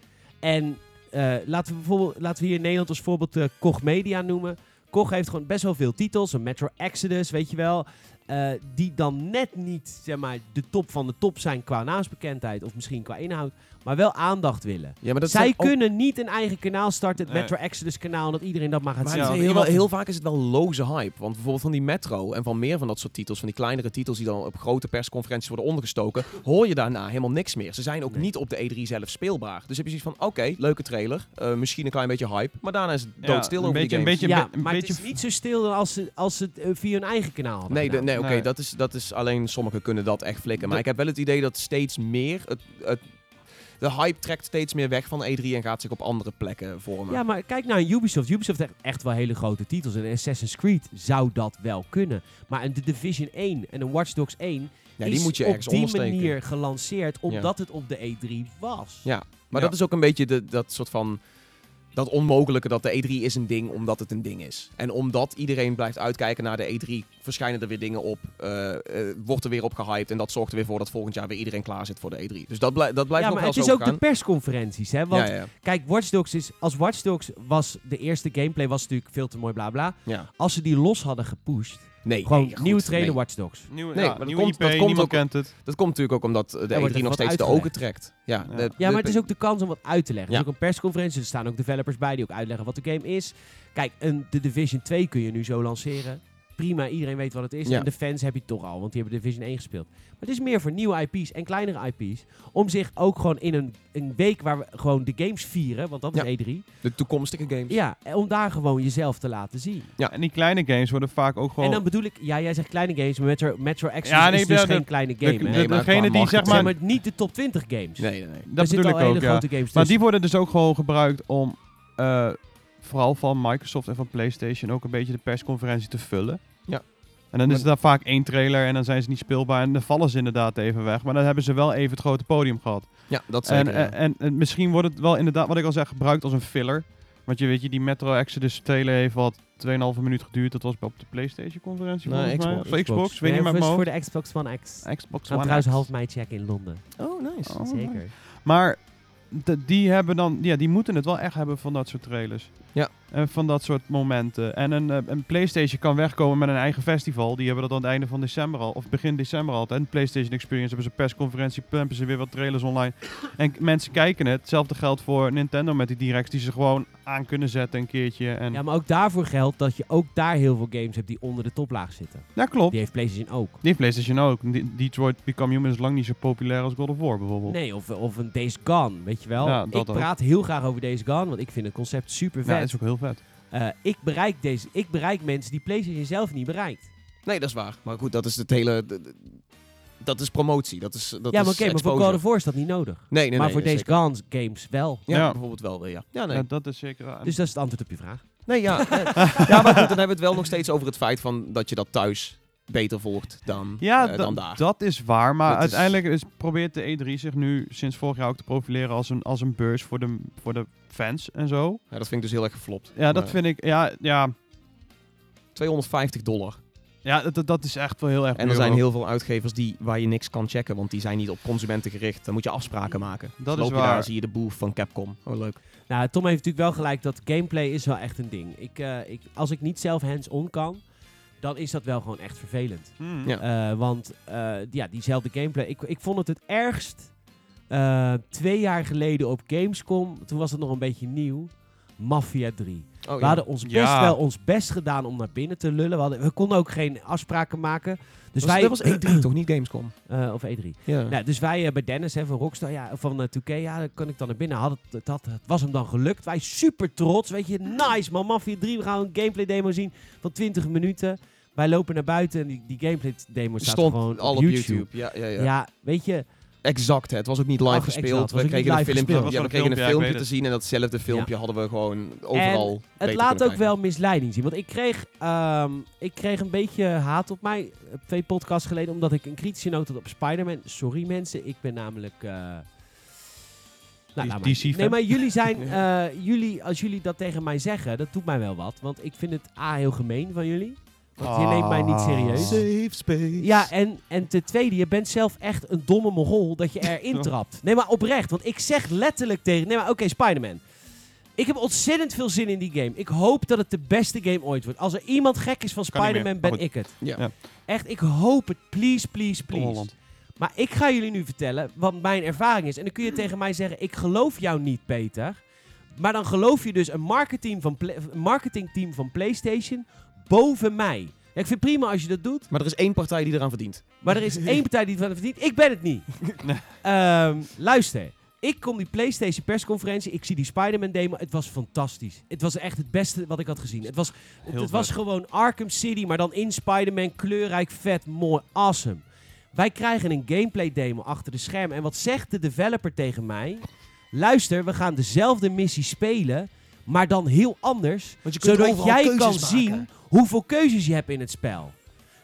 Speaker 1: En eh, laten, we bijvoorbeeld, laten we hier in Nederland als voorbeeld eh Koch Media noemen. Koch heeft gewoon best wel veel titels. Een Metro Exodus, weet je wel. eh, die dan net niet zeg maar, de top van de top zijn qua naamsbekendheid. Of misschien qua inhoud. Maar wel aandacht willen.
Speaker 3: Ja, maar dat
Speaker 1: Zij
Speaker 3: zijn ook-
Speaker 1: kunnen niet een eigen kanaal starten. Het
Speaker 2: Nee.
Speaker 1: Metro Exodus kanaal. Dat iedereen dat maar gaat
Speaker 3: Maar
Speaker 1: zien.
Speaker 2: ja,
Speaker 3: het is
Speaker 1: Heel
Speaker 3: heel, wel-
Speaker 1: wat-
Speaker 3: heel vaak is het wel loze hype. Want bijvoorbeeld van die Metro en van meer van dat soort titels, van die kleinere titels die dan op grote persconferenties worden ondergestoken, hoor je daarna helemaal niks meer. Ze zijn ook
Speaker 1: Nee.
Speaker 3: niet op de E3 zelf speelbaar. Dus heb je zoiets van, oké, leuke trailer, eh, misschien een klein beetje hype, maar daarna is het
Speaker 2: ja,
Speaker 3: doodstil
Speaker 2: een
Speaker 3: over
Speaker 2: beetje,
Speaker 3: die
Speaker 2: een
Speaker 3: games.
Speaker 2: beetje,
Speaker 1: ja,
Speaker 2: een
Speaker 1: maar
Speaker 2: beetje
Speaker 1: het is niet zo stil dan als ze, als ze het eh, via hun eigen kanaal hadden
Speaker 3: Nee, de-
Speaker 1: gedaan.
Speaker 3: nee oké,
Speaker 2: Nee.
Speaker 3: dat, is, dat is alleen sommigen kunnen dat echt flikken. Maar
Speaker 2: De-
Speaker 3: ik heb wel het idee dat steeds meer, het, het, de hype trekt steeds meer weg van E3 en gaat zich op andere plekken vormen.
Speaker 1: Ja, maar kijk naar Ubisoft. Ubisoft heeft echt wel hele grote titels. En Assassin's Creed zou dat wel kunnen. Maar een The Division 1 en een Watch Dogs 1
Speaker 3: Ja,
Speaker 1: is
Speaker 3: die moet je
Speaker 1: op
Speaker 3: ergens
Speaker 1: die
Speaker 3: ondersteken.
Speaker 1: manier gelanceerd omdat het op de E3 was.
Speaker 3: Ja, Maar
Speaker 2: Ja.
Speaker 3: dat is ook een beetje de, dat soort van. Dat onmogelijke dat de E3 is een ding omdat het een ding is. En omdat iedereen blijft uitkijken naar de E3, verschijnen er weer dingen op. eh, eh, wordt er weer op gehyped. En dat zorgt er weer voor dat volgend jaar weer iedereen klaar zit voor de E3. Dus dat, blij- dat blijft
Speaker 1: Ja,
Speaker 3: nog
Speaker 1: maar het
Speaker 3: wel zo
Speaker 1: is ook
Speaker 3: gaan.
Speaker 1: de persconferenties, hè? Want
Speaker 3: ja, ja,
Speaker 1: kijk, Watch Dogs is... Als Watch Dogs was... De eerste gameplay was natuurlijk veel te mooi, bla bla.
Speaker 3: ja.
Speaker 1: Als ze die los hadden gepusht...
Speaker 3: Nee,
Speaker 1: gewoon
Speaker 3: nee, goed,
Speaker 1: nieuwe trainer
Speaker 3: nee.
Speaker 1: Watch Dogs.
Speaker 2: Nieuwe,
Speaker 3: Nee,
Speaker 2: ja,
Speaker 3: maar dat
Speaker 2: nieuwe
Speaker 3: komt-
Speaker 2: IP,
Speaker 3: dat komt
Speaker 2: niemand
Speaker 3: ook-
Speaker 2: kent het.
Speaker 3: Dat komt natuurlijk ook omdat eh, de
Speaker 1: Er wordt
Speaker 3: E3 nog
Speaker 1: wat
Speaker 3: steeds de
Speaker 1: uitgelegd.
Speaker 3: ogen trekt. Ja,
Speaker 2: Ja.
Speaker 3: de-
Speaker 2: Ja,
Speaker 1: Ja,
Speaker 3: de-
Speaker 1: maar het is ook de kans om wat uit te leggen.
Speaker 3: Ja.
Speaker 1: Er is ook een persconferentie, er staan ook developers bij die ook uitleggen wat de game is. Kijk, een, de Division 2 kun je nu zo lanceren. Prima, iedereen weet wat het is.
Speaker 3: Ja.
Speaker 1: En de fans heb je toch al, want die hebben Division 1 gespeeld. Maar het is meer voor nieuwe IP's en kleinere IP's. Om zich ook gewoon in een, een week waar we gewoon de games vieren, want dat is
Speaker 3: Ja.
Speaker 1: E3.
Speaker 3: de toekomstige games.
Speaker 1: Ja, en om daar gewoon jezelf te laten zien.
Speaker 3: Ja.
Speaker 2: En die kleine games worden vaak ook gewoon...
Speaker 1: En dan bedoel ik, ja, jij zegt kleine games, maar Metro, Metro Exodus
Speaker 2: Ja, nee,
Speaker 1: is dus
Speaker 2: de- de-
Speaker 1: geen kleine
Speaker 2: de-
Speaker 1: game.
Speaker 2: de-
Speaker 1: hè?
Speaker 3: Nee, maar
Speaker 2: degene
Speaker 3: qua
Speaker 2: die zeg
Speaker 3: marketing-
Speaker 1: Zeg
Speaker 2: maar...
Speaker 1: maar niet de top 20 games.
Speaker 3: Nee, nee, nee.
Speaker 2: Dat
Speaker 1: er zitten
Speaker 2: bedoel
Speaker 1: al
Speaker 2: ik ook,
Speaker 1: hele
Speaker 2: ja.
Speaker 1: grote games
Speaker 2: Maar
Speaker 1: tussen.
Speaker 2: die worden dus ook gewoon gebruikt om eh, vooral van Microsoft en van PlayStation ook een beetje de persconferentie te vullen.
Speaker 3: Ja.
Speaker 2: En dan is
Speaker 3: Maar-
Speaker 2: het daar vaak één trailer en dan zijn ze niet speelbaar en dan vallen ze inderdaad even weg. Maar dan hebben ze wel even het grote podium gehad.
Speaker 3: Ja, dat
Speaker 2: En, eh,
Speaker 3: zeker. ja.
Speaker 2: en, en, en misschien wordt het wel inderdaad, wat ik al zei, gebruikt als een filler. Want je weet, je, die Metro Exodus trailer heeft wat 2,5 minuut geduurd. Dat was op de PlayStation-conferentie
Speaker 3: Nee,
Speaker 2: volgens mij.
Speaker 3: Nou, Xbox.
Speaker 2: Of Xbox, weet
Speaker 1: Nee,
Speaker 2: niet meer uit
Speaker 1: voor,
Speaker 2: mijn
Speaker 1: voor
Speaker 2: hoofd.
Speaker 1: de Xbox One X.
Speaker 2: Xbox
Speaker 1: Gaan
Speaker 2: One
Speaker 1: trouwens
Speaker 2: X.
Speaker 1: half mei checken in Londen.
Speaker 3: Oh, nice.
Speaker 2: Oh, nice.
Speaker 1: Zeker.
Speaker 2: Maar de- die hebben dan, ja, die moeten het wel echt hebben van dat soort trailers.
Speaker 3: Ja.
Speaker 2: En van dat soort momenten. En een, eh, een PlayStation kan wegkomen met een eigen festival. Die hebben dat aan het einde van december al, of begin december altijd. En PlayStation Experience hebben ze een persconferentie, pumpen ze weer wat trailers online. En k- mensen kijken het. Hetzelfde geldt voor Nintendo met die directs die ze gewoon aan kunnen zetten een keertje. En,
Speaker 1: Ja,
Speaker 2: ja,
Speaker 1: maar ook daarvoor geldt dat je ook daar heel veel games hebt die onder de toplaag zitten.
Speaker 2: klopt.
Speaker 1: Die heeft PlayStation ook.
Speaker 2: Die heeft PlayStation ook. Die- Detroit Become Human is lang niet zo populair als God of War bijvoorbeeld.
Speaker 1: Nee, of, of een Days Gone, weet je wel.
Speaker 2: Ja,
Speaker 1: ik
Speaker 2: dat ook.
Speaker 1: praat heel graag over Days Gone, want ik vind het concept super
Speaker 2: Ja, dat
Speaker 1: vet.
Speaker 2: is ook heel vet.
Speaker 1: Eh, ik, bereik deze, ik bereik mensen die PlayStation zelf niet bereikt.
Speaker 3: Nee, dat is waar. Maar goed, dat is het hele... d- d- Dat is promotie. Dat is, dat
Speaker 1: ja, maar
Speaker 3: is
Speaker 1: oké, maar voor
Speaker 3: exposure.
Speaker 1: God of War is dat niet nodig.
Speaker 3: Nee, nee,
Speaker 1: maar
Speaker 3: nee,
Speaker 1: voor
Speaker 3: nee,
Speaker 1: Days
Speaker 3: zeker.
Speaker 1: Gone games wel.
Speaker 3: Ja,
Speaker 2: Ja.
Speaker 3: bijvoorbeeld wel weer, ja. Ja, nee.
Speaker 2: Ja, dat is zeker. eh, waar.
Speaker 1: Dus dat is het antwoord op je vraag.
Speaker 3: Nee, ja. nee. ja, maar goed, dan hebben we het wel nog steeds over het feit van dat je dat thuis beter volgt dan,
Speaker 2: Ja,
Speaker 3: eh,
Speaker 2: da-
Speaker 3: dan daar.
Speaker 2: dat is waar. Maar
Speaker 3: Dat is-
Speaker 2: uiteindelijk is... probeert de E3 zich nu sinds vorig jaar ook te profileren als een, als een beurs voor de, voor de fans en zo.
Speaker 3: Ja, dat vind ik dus heel erg geflopt.
Speaker 2: Ja, dat
Speaker 3: Maar
Speaker 2: vind ik. Ja, ja,
Speaker 3: 250 dollar.
Speaker 2: ja dat, dat is echt wel heel erg.
Speaker 3: En er
Speaker 2: duur
Speaker 3: zijn
Speaker 2: ook.
Speaker 3: heel veel uitgevers die, waar je niks kan checken, want die zijn niet op consumenten gericht. Dan moet je afspraken maken.
Speaker 2: Dat
Speaker 3: Dus
Speaker 2: is
Speaker 3: loop je
Speaker 2: waar.
Speaker 3: daar, zie je de boef van Capcom. Oh, leuk.
Speaker 1: Nou, Tom heeft natuurlijk wel gelijk dat gameplay is wel echt een ding. Ik, eh, ik, als ik niet zelf hands-on kan, dan is dat wel gewoon echt vervelend.
Speaker 2: Hmm.
Speaker 3: Ja.
Speaker 1: Eh, want eh, ja, diezelfde gameplay. Ik, ik vond het het ergst eh, twee jaar geleden op Gamescom. Toen was het nog een beetje nieuw. Mafia 3.
Speaker 3: Oh,
Speaker 1: We hadden ons best
Speaker 2: Ja.
Speaker 1: wel ons best gedaan om naar binnen te lullen. We, hadden, we konden ook geen afspraken maken. Dus wij,
Speaker 3: dat was E3, toch niet Gamescom?
Speaker 1: eh, of E3.
Speaker 3: Ja.
Speaker 1: Nou, dus wij eh, bij Dennis hè, van Rockstar, ja, van eh, 2K, ja, dan kan ik dan naar binnen. Had het, het, had- het was hem dan gelukt. Wij super trots, weet je, nice man, Mafia 3, we gaan een gameplay demo zien van 20 minuten. Wij lopen naar buiten en die, die gameplay demo staat
Speaker 3: Stond
Speaker 1: gewoon
Speaker 3: al
Speaker 1: op YouTube.
Speaker 3: Ja, ja,
Speaker 1: Ja.
Speaker 3: ja.
Speaker 1: weet je,
Speaker 3: Exact, hè. het was ook niet live
Speaker 1: Ach, exact.
Speaker 3: gespeeld.
Speaker 1: Het was
Speaker 3: We
Speaker 1: ook niet
Speaker 3: kregen, een
Speaker 1: live
Speaker 3: filmpje,
Speaker 1: gespeeld.
Speaker 2: Het was
Speaker 3: ja,
Speaker 2: wel
Speaker 3: we
Speaker 2: een
Speaker 3: kregen
Speaker 2: filmpje,
Speaker 3: een
Speaker 2: ja, ik
Speaker 3: filmpje
Speaker 2: weet
Speaker 3: te
Speaker 2: het.
Speaker 3: zien en datzelfde filmpje hadden we gewoon overal
Speaker 1: het
Speaker 3: beter
Speaker 1: laat ook
Speaker 3: kunnen
Speaker 1: wel misleiding zien. Want ik kreeg, ehm, ik kreeg een beetje haat op mij eh, twee podcasts geleden, omdat ik een kritische noot had op Spider-Man. Sorry mensen, ik ben namelijk... eh, nou,
Speaker 2: Die-
Speaker 1: laat maar.
Speaker 2: die
Speaker 1: Nee,
Speaker 2: fan.
Speaker 1: maar jullie zijn, eh, jullie, als jullie dat tegen mij zeggen, dat doet mij wel wat. Want ik vind het A, heel gemeen van jullie. Want je neemt mij niet serieus.
Speaker 2: Ah.
Speaker 3: krijgen. Safe space.
Speaker 1: Ja, en, en ten tweede, je bent zelf echt een domme mogol dat je erin trapt. Nee, maar oprecht, want ik zeg letterlijk tegen... Nee, maar oké, Spider-Man. Ik heb ontzettend veel zin in die game. Ik hoop dat het de beste game ooit wordt. Als er iemand gek is van
Speaker 2: Kan niet meer,
Speaker 1: Spider-Man,
Speaker 2: maar
Speaker 1: ben
Speaker 2: goed.
Speaker 1: ik het.
Speaker 3: Ja.
Speaker 2: Ja.
Speaker 1: Echt, ik hoop het. Please, please,
Speaker 2: Tom
Speaker 1: please.
Speaker 2: Holland.
Speaker 1: Maar ik ga jullie nu vertellen wat mijn ervaring is. En dan kun je tegen mij zeggen: Ik geloof jou niet, Peter. Maar dan geloof je dus een marketing van Pla- een marketingteam van PlayStation boven mij. Ja, ik vind het prima als je dat doet.
Speaker 3: Maar er is één partij die eraan verdient.
Speaker 1: Maar er is één partij die het van verdient. Ik ben het niet. Ehm, luister. Ik kom die PlayStation persconferentie. Ik zie die Spider-Man demo. Het was fantastisch. Het was echt het beste wat ik had gezien. Het was, het,
Speaker 2: Heel
Speaker 1: het was
Speaker 2: vet.
Speaker 1: gewoon Arkham City, maar dan in Spider-Man. Kleurrijk, vet, mooi, awesome. Wij krijgen een gameplay demo achter de schermen. En wat zegt de developer tegen mij? Luister, we gaan dezelfde missie spelen, maar dan heel anders
Speaker 3: Want je kunt
Speaker 1: zodat
Speaker 3: overal
Speaker 1: jij kan
Speaker 3: keuzes maken.
Speaker 1: zien hoeveel keuzes je hebt in het spel.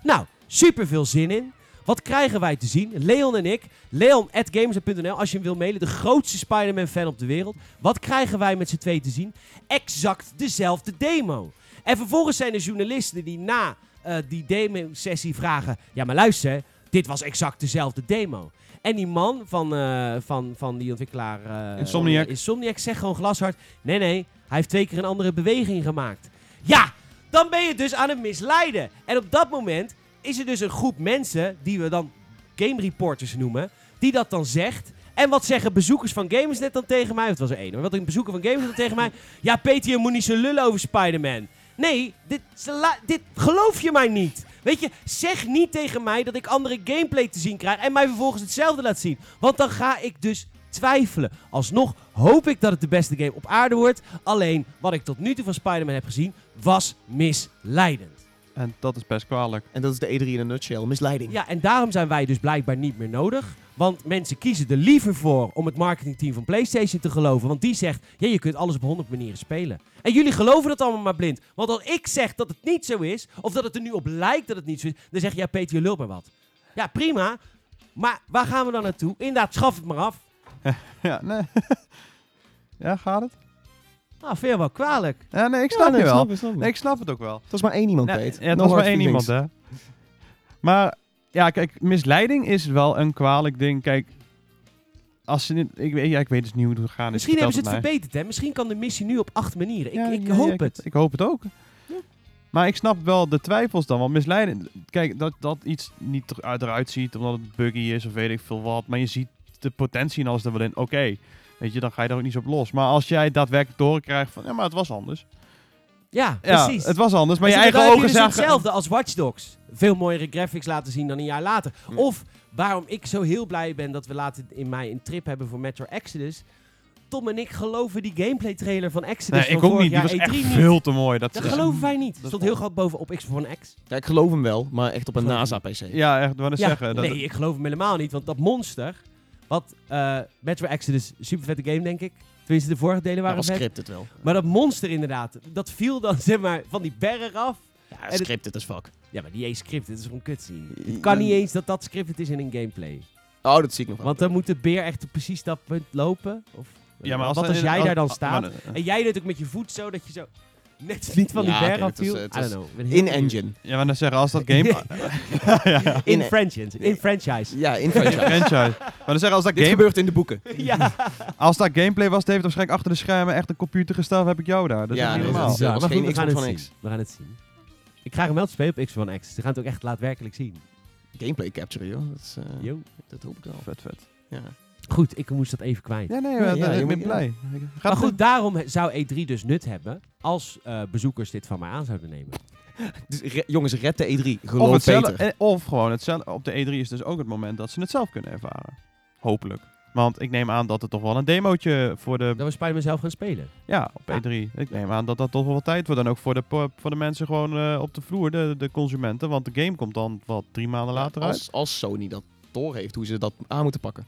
Speaker 1: Nou, super veel zin in. Wat krijgen wij te zien? Leon en ik. Leon at gamers.nl, als je hem wil mailen. De grootste Spider-Man fan op de wereld. Wat krijgen wij met z'n twee te zien? Exact dezelfde demo. En vervolgens zijn er journalisten die na eh, die demo-sessie vragen... Ja, maar luister, dit was exact dezelfde demo. En die man van, eh, van, van die ontwikkelaar... eh,
Speaker 2: Insomniac.
Speaker 1: Insomniac zegt gewoon glashard... Nee, nee, hij heeft twee keer een andere beweging gemaakt. Ja, dan ben je dus aan het misleiden. En op dat moment is er dus een groep mensen, die we dan game reporters noemen, die dat dan zegt. En wat zeggen bezoekers van Gamersnet dan tegen mij? Het was er één, maar wat een bezoeker van Gamersnet dan tegen mij? Ja, Peter, je moet niet zo lullen over Spider-Man. Nee, dit, ze la- dit geloof je mij niet. Weet je, zeg niet tegen mij dat ik andere gameplay te zien krijg en mij vervolgens hetzelfde laat zien. Want dan ga ik dus twijfelen. Alsnog hoop ik dat het de beste game op aarde wordt. Alleen, wat ik tot nu toe van Spider-Man heb gezien, was misleidend.
Speaker 2: En dat is best kwalijk.
Speaker 3: En dat is de E3 in een nutshell, misleiding.
Speaker 1: Ja, en daarom zijn wij dus blijkbaar niet meer nodig. Want mensen kiezen er liever voor om het marketingteam van PlayStation te geloven. Want die zegt, ja, je kunt alles op honderd manieren spelen. En jullie geloven dat allemaal maar blind. Want als ik zeg dat het niet zo is, of dat het er nu op lijkt dat het niet zo is, dan zeg je, ja, Peter, je lult maar wat. Ja, prima. Maar waar gaan we dan naartoe? Inderdaad, schaf het maar af.
Speaker 2: ja, nee. ja, gaat het?
Speaker 1: Nou, veel wel kwalijk.
Speaker 2: Ja, nee, ik snap je wel. Nee,
Speaker 3: Nee,
Speaker 2: ik snap het ook wel.
Speaker 3: het was maar één iemand,
Speaker 2: Nee,
Speaker 3: Peet.
Speaker 2: ja, het was maar één iemand, hè. Maar ja, kijk, misleiding is wel een kwalijk ding. Kijk, als ze niet, ik, weet- ja, ik weet dus niet hoe het gaat.
Speaker 1: Misschien hebben ze het verbeterd, hè? Misschien kan de missie nu op acht manieren. Ik, ik hoop het.
Speaker 2: Ik, hoop het ook.
Speaker 1: Ja.
Speaker 2: Maar ik snap wel de twijfels dan, want misleidend... Kijk, dat, dat iets niet er- eruit ziet omdat het buggy is of weet ik veel wat. Maar je ziet de potentie en alles er wel in. Oké, weet je, dan ga je er ook niet zo op los. Maar als jij daadwerkelijk doorkrijgt van, ja, maar het was anders.
Speaker 1: Ja, precies.
Speaker 2: Ja, het was anders, maar
Speaker 1: Dus
Speaker 2: je eigen
Speaker 1: inderdaad heb
Speaker 2: ogen
Speaker 1: dus
Speaker 2: zagen...
Speaker 1: hetzelfde als Watch Dogs. Veel mooiere graphics laten zien dan een jaar later.
Speaker 2: Hm.
Speaker 3: Ja.
Speaker 1: Of waarom ik zo heel blij ben dat we later in mei een trip hebben voor Metro Exodus. Tom en ik geloven die gameplay trailer van Exodus
Speaker 2: Nee,
Speaker 1: van
Speaker 2: ik ook
Speaker 1: vorig
Speaker 2: niet.
Speaker 1: jaar
Speaker 2: Die was echt
Speaker 1: E3 niet.
Speaker 2: veel te mooi. Dat,
Speaker 1: Dat
Speaker 2: is-
Speaker 1: geloven wij niet. Stond heel
Speaker 2: on-
Speaker 1: groot boven op Xbox One X.
Speaker 3: Ja, ik geloof hem wel, maar echt op een
Speaker 1: Geloof
Speaker 3: NASA-PC.
Speaker 2: Ja, echt, wat ik
Speaker 1: Ja,
Speaker 2: zeggen. Dat,
Speaker 1: nee, ik geloof hem helemaal niet. Want dat monster, wat eh, Metro Exodus, super vette game denk ik. Tenminste, de vorige delen
Speaker 3: Maar
Speaker 1: waren
Speaker 3: was
Speaker 1: vet.
Speaker 3: scripted wel.
Speaker 1: Maar dat monster inderdaad, dat viel dan zeg maar van die berg af.
Speaker 3: Ja,
Speaker 1: het-
Speaker 3: scripted as fuck.
Speaker 1: Ja, maar die eens script, het is gewoon cutscene. Het kan niet eens dat dat scripted is in een gameplay.
Speaker 3: Oh, dat zie ik nog wel.
Speaker 1: Want dan moet de beer echt op precies dat punt lopen. Of, wat
Speaker 2: dat
Speaker 1: als
Speaker 2: in-
Speaker 1: jij daar dan staat.
Speaker 2: maar, eh,
Speaker 1: en jij doet ook met je voet zo dat je zo net niet van die
Speaker 3: Ja,
Speaker 1: berg
Speaker 3: oké,
Speaker 1: af
Speaker 3: het is,
Speaker 1: viel.
Speaker 3: eh, het
Speaker 1: I don't
Speaker 3: is
Speaker 1: know. Ik ben heel
Speaker 3: In
Speaker 1: benieuwd.
Speaker 3: engine.
Speaker 2: Ja, maar dan zeggen als dat game... ja, ja.
Speaker 1: In,
Speaker 3: In- e-
Speaker 1: franchise. In franchise.
Speaker 3: Ja, in franchise.
Speaker 2: franchise. Maar dan zeggen als dat,
Speaker 3: Dit
Speaker 2: game,
Speaker 3: gebeurt in de boeken.
Speaker 1: ja.
Speaker 2: als dat gameplay was, David waarschijnlijk achter de schermen echt een computer gestaan. Heb ik jou daar? Dat
Speaker 3: Ja,
Speaker 2: is niet
Speaker 3: nee,
Speaker 2: normaal.
Speaker 3: dat is-
Speaker 1: Bizar.
Speaker 3: was
Speaker 1: Maar
Speaker 3: geen
Speaker 1: goed, we gaan
Speaker 3: Xbox
Speaker 1: het
Speaker 3: One
Speaker 1: zien. We gaan het zien. Ik krijg hem wel te spelen op Xbox One X. Ze gaan het ook echt daadwerkelijk zien.
Speaker 3: Gameplay capture, joh. Dat, is, eh,
Speaker 1: Yo.
Speaker 3: dat hoop ik wel.
Speaker 2: Vet, vet.
Speaker 3: Ja.
Speaker 1: Goed, ik moest dat even kwijt.
Speaker 2: Ja, nee,
Speaker 3: Ja,
Speaker 2: maar
Speaker 3: ja,
Speaker 2: dat-
Speaker 3: je
Speaker 2: ik ben
Speaker 3: moet-
Speaker 2: blij. Gaat
Speaker 1: Maar goed, daarom he- zou E3 dus nut hebben als eh, bezoekers dit van mij aan zouden nemen.
Speaker 3: Dus re- jongens, red de E3.
Speaker 2: Of,
Speaker 3: Geloof
Speaker 2: het zelf-
Speaker 3: beter.
Speaker 2: eh, of gewoon hetzelfde. Op de E3 is dus ook het moment dat ze het zelf kunnen ervaren. Hopelijk. Want ik neem aan dat er toch wel een demootje voor de...
Speaker 1: Dat we Spider-Man zelf gaan spelen.
Speaker 2: Ja, op
Speaker 1: Ja.
Speaker 2: E3. Ik neem aan dat dat toch wel wat tijd wordt. En ook voor de, po- voor de mensen gewoon eh, op de vloer, de, de consumenten. Want de game komt dan, wat, drie maanden later uit.
Speaker 3: als, als Sony dat door heeft, hoe ze dat aan moeten pakken.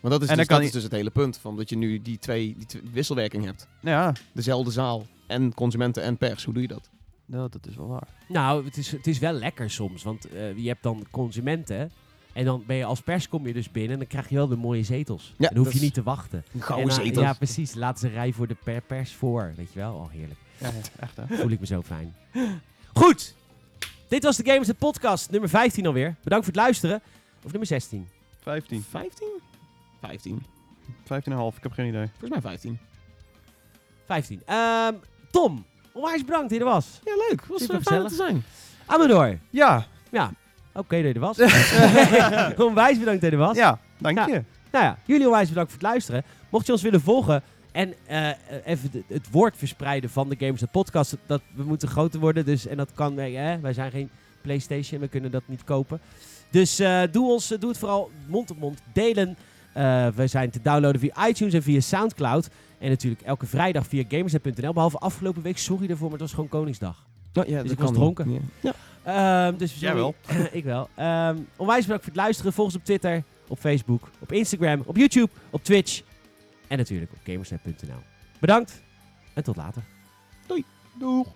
Speaker 3: Want dat is,
Speaker 2: En dan
Speaker 3: dus,
Speaker 2: kan
Speaker 3: dat
Speaker 2: je-
Speaker 3: is dus het hele punt. Van dat je nu die twee, die twee- wisselwerking hebt.
Speaker 2: Ja,
Speaker 3: Dezelfde zaal. En consumenten en pers. Hoe doe je dat?
Speaker 2: dat, dat is wel waar.
Speaker 1: Nou, het is, het is wel lekker soms, want eh, je hebt dan consumenten. En dan ben je als pers kom je dus binnen en dan krijg je wel de mooie zetels.
Speaker 3: Ja,
Speaker 1: en dan hoef je
Speaker 3: dat is-
Speaker 1: niet te wachten.
Speaker 3: Een
Speaker 1: En
Speaker 3: gouden
Speaker 1: dan-
Speaker 3: zetel.
Speaker 1: Ja, precies. Laat ze rij voor de per- pers voor. Weet je wel? Oh, heerlijk.
Speaker 2: Ja, echt hè.
Speaker 1: Voel ik me zo fijn. Goed. Dit was de Gamers het podcast, nummer 15 alweer. Bedankt voor het luisteren. Of nummer 16.
Speaker 2: 15.
Speaker 3: 15? 15.
Speaker 2: 15,5, ik heb geen idee.
Speaker 3: Volgens mij 15.
Speaker 1: 15. Ehm, Tom, onwijs bedankt dat je er was.
Speaker 3: Ja, leuk. Was
Speaker 1: Super
Speaker 3: eh, fijn om
Speaker 1: gezellig.
Speaker 3: te zijn.
Speaker 1: Amador.
Speaker 2: Ja,
Speaker 1: Ja, oké dat je er was. onwijs bedankt dat je er was.
Speaker 2: ja, dank
Speaker 1: Ja.
Speaker 2: je.
Speaker 1: Nou ja, jullie onwijs bedankt voor het luisteren. Mocht je ons willen volgen en eh, eh, even de- het woord verspreiden van de Gamers en Podcast, dat we moeten groter worden. Dus, en dat kan, eh, hè, wij zijn geen PlayStation, we kunnen dat niet kopen. Dus eh, doe, ons, eh, doe het vooral mond op mond delen. Eh, we zijn te downloaden via iTunes en via Soundcloud. En natuurlijk elke vrijdag via gamersnet.nl. Behalve afgelopen week, sorry daarvoor, maar het was gewoon Koningsdag. Dus
Speaker 3: Nou, ja, dat
Speaker 1: ik was
Speaker 3: kan niet.
Speaker 1: dronken.
Speaker 3: Ja.
Speaker 1: Ehm, dus
Speaker 2: Jij
Speaker 1: sorry. ik wel. Ehm, onwijs bedankt voor het luisteren. Volg ons op Twitter, op Facebook, op Instagram, op YouTube, op Twitch. En natuurlijk op gamersnet.nl. Bedankt en tot later.
Speaker 2: Doeg.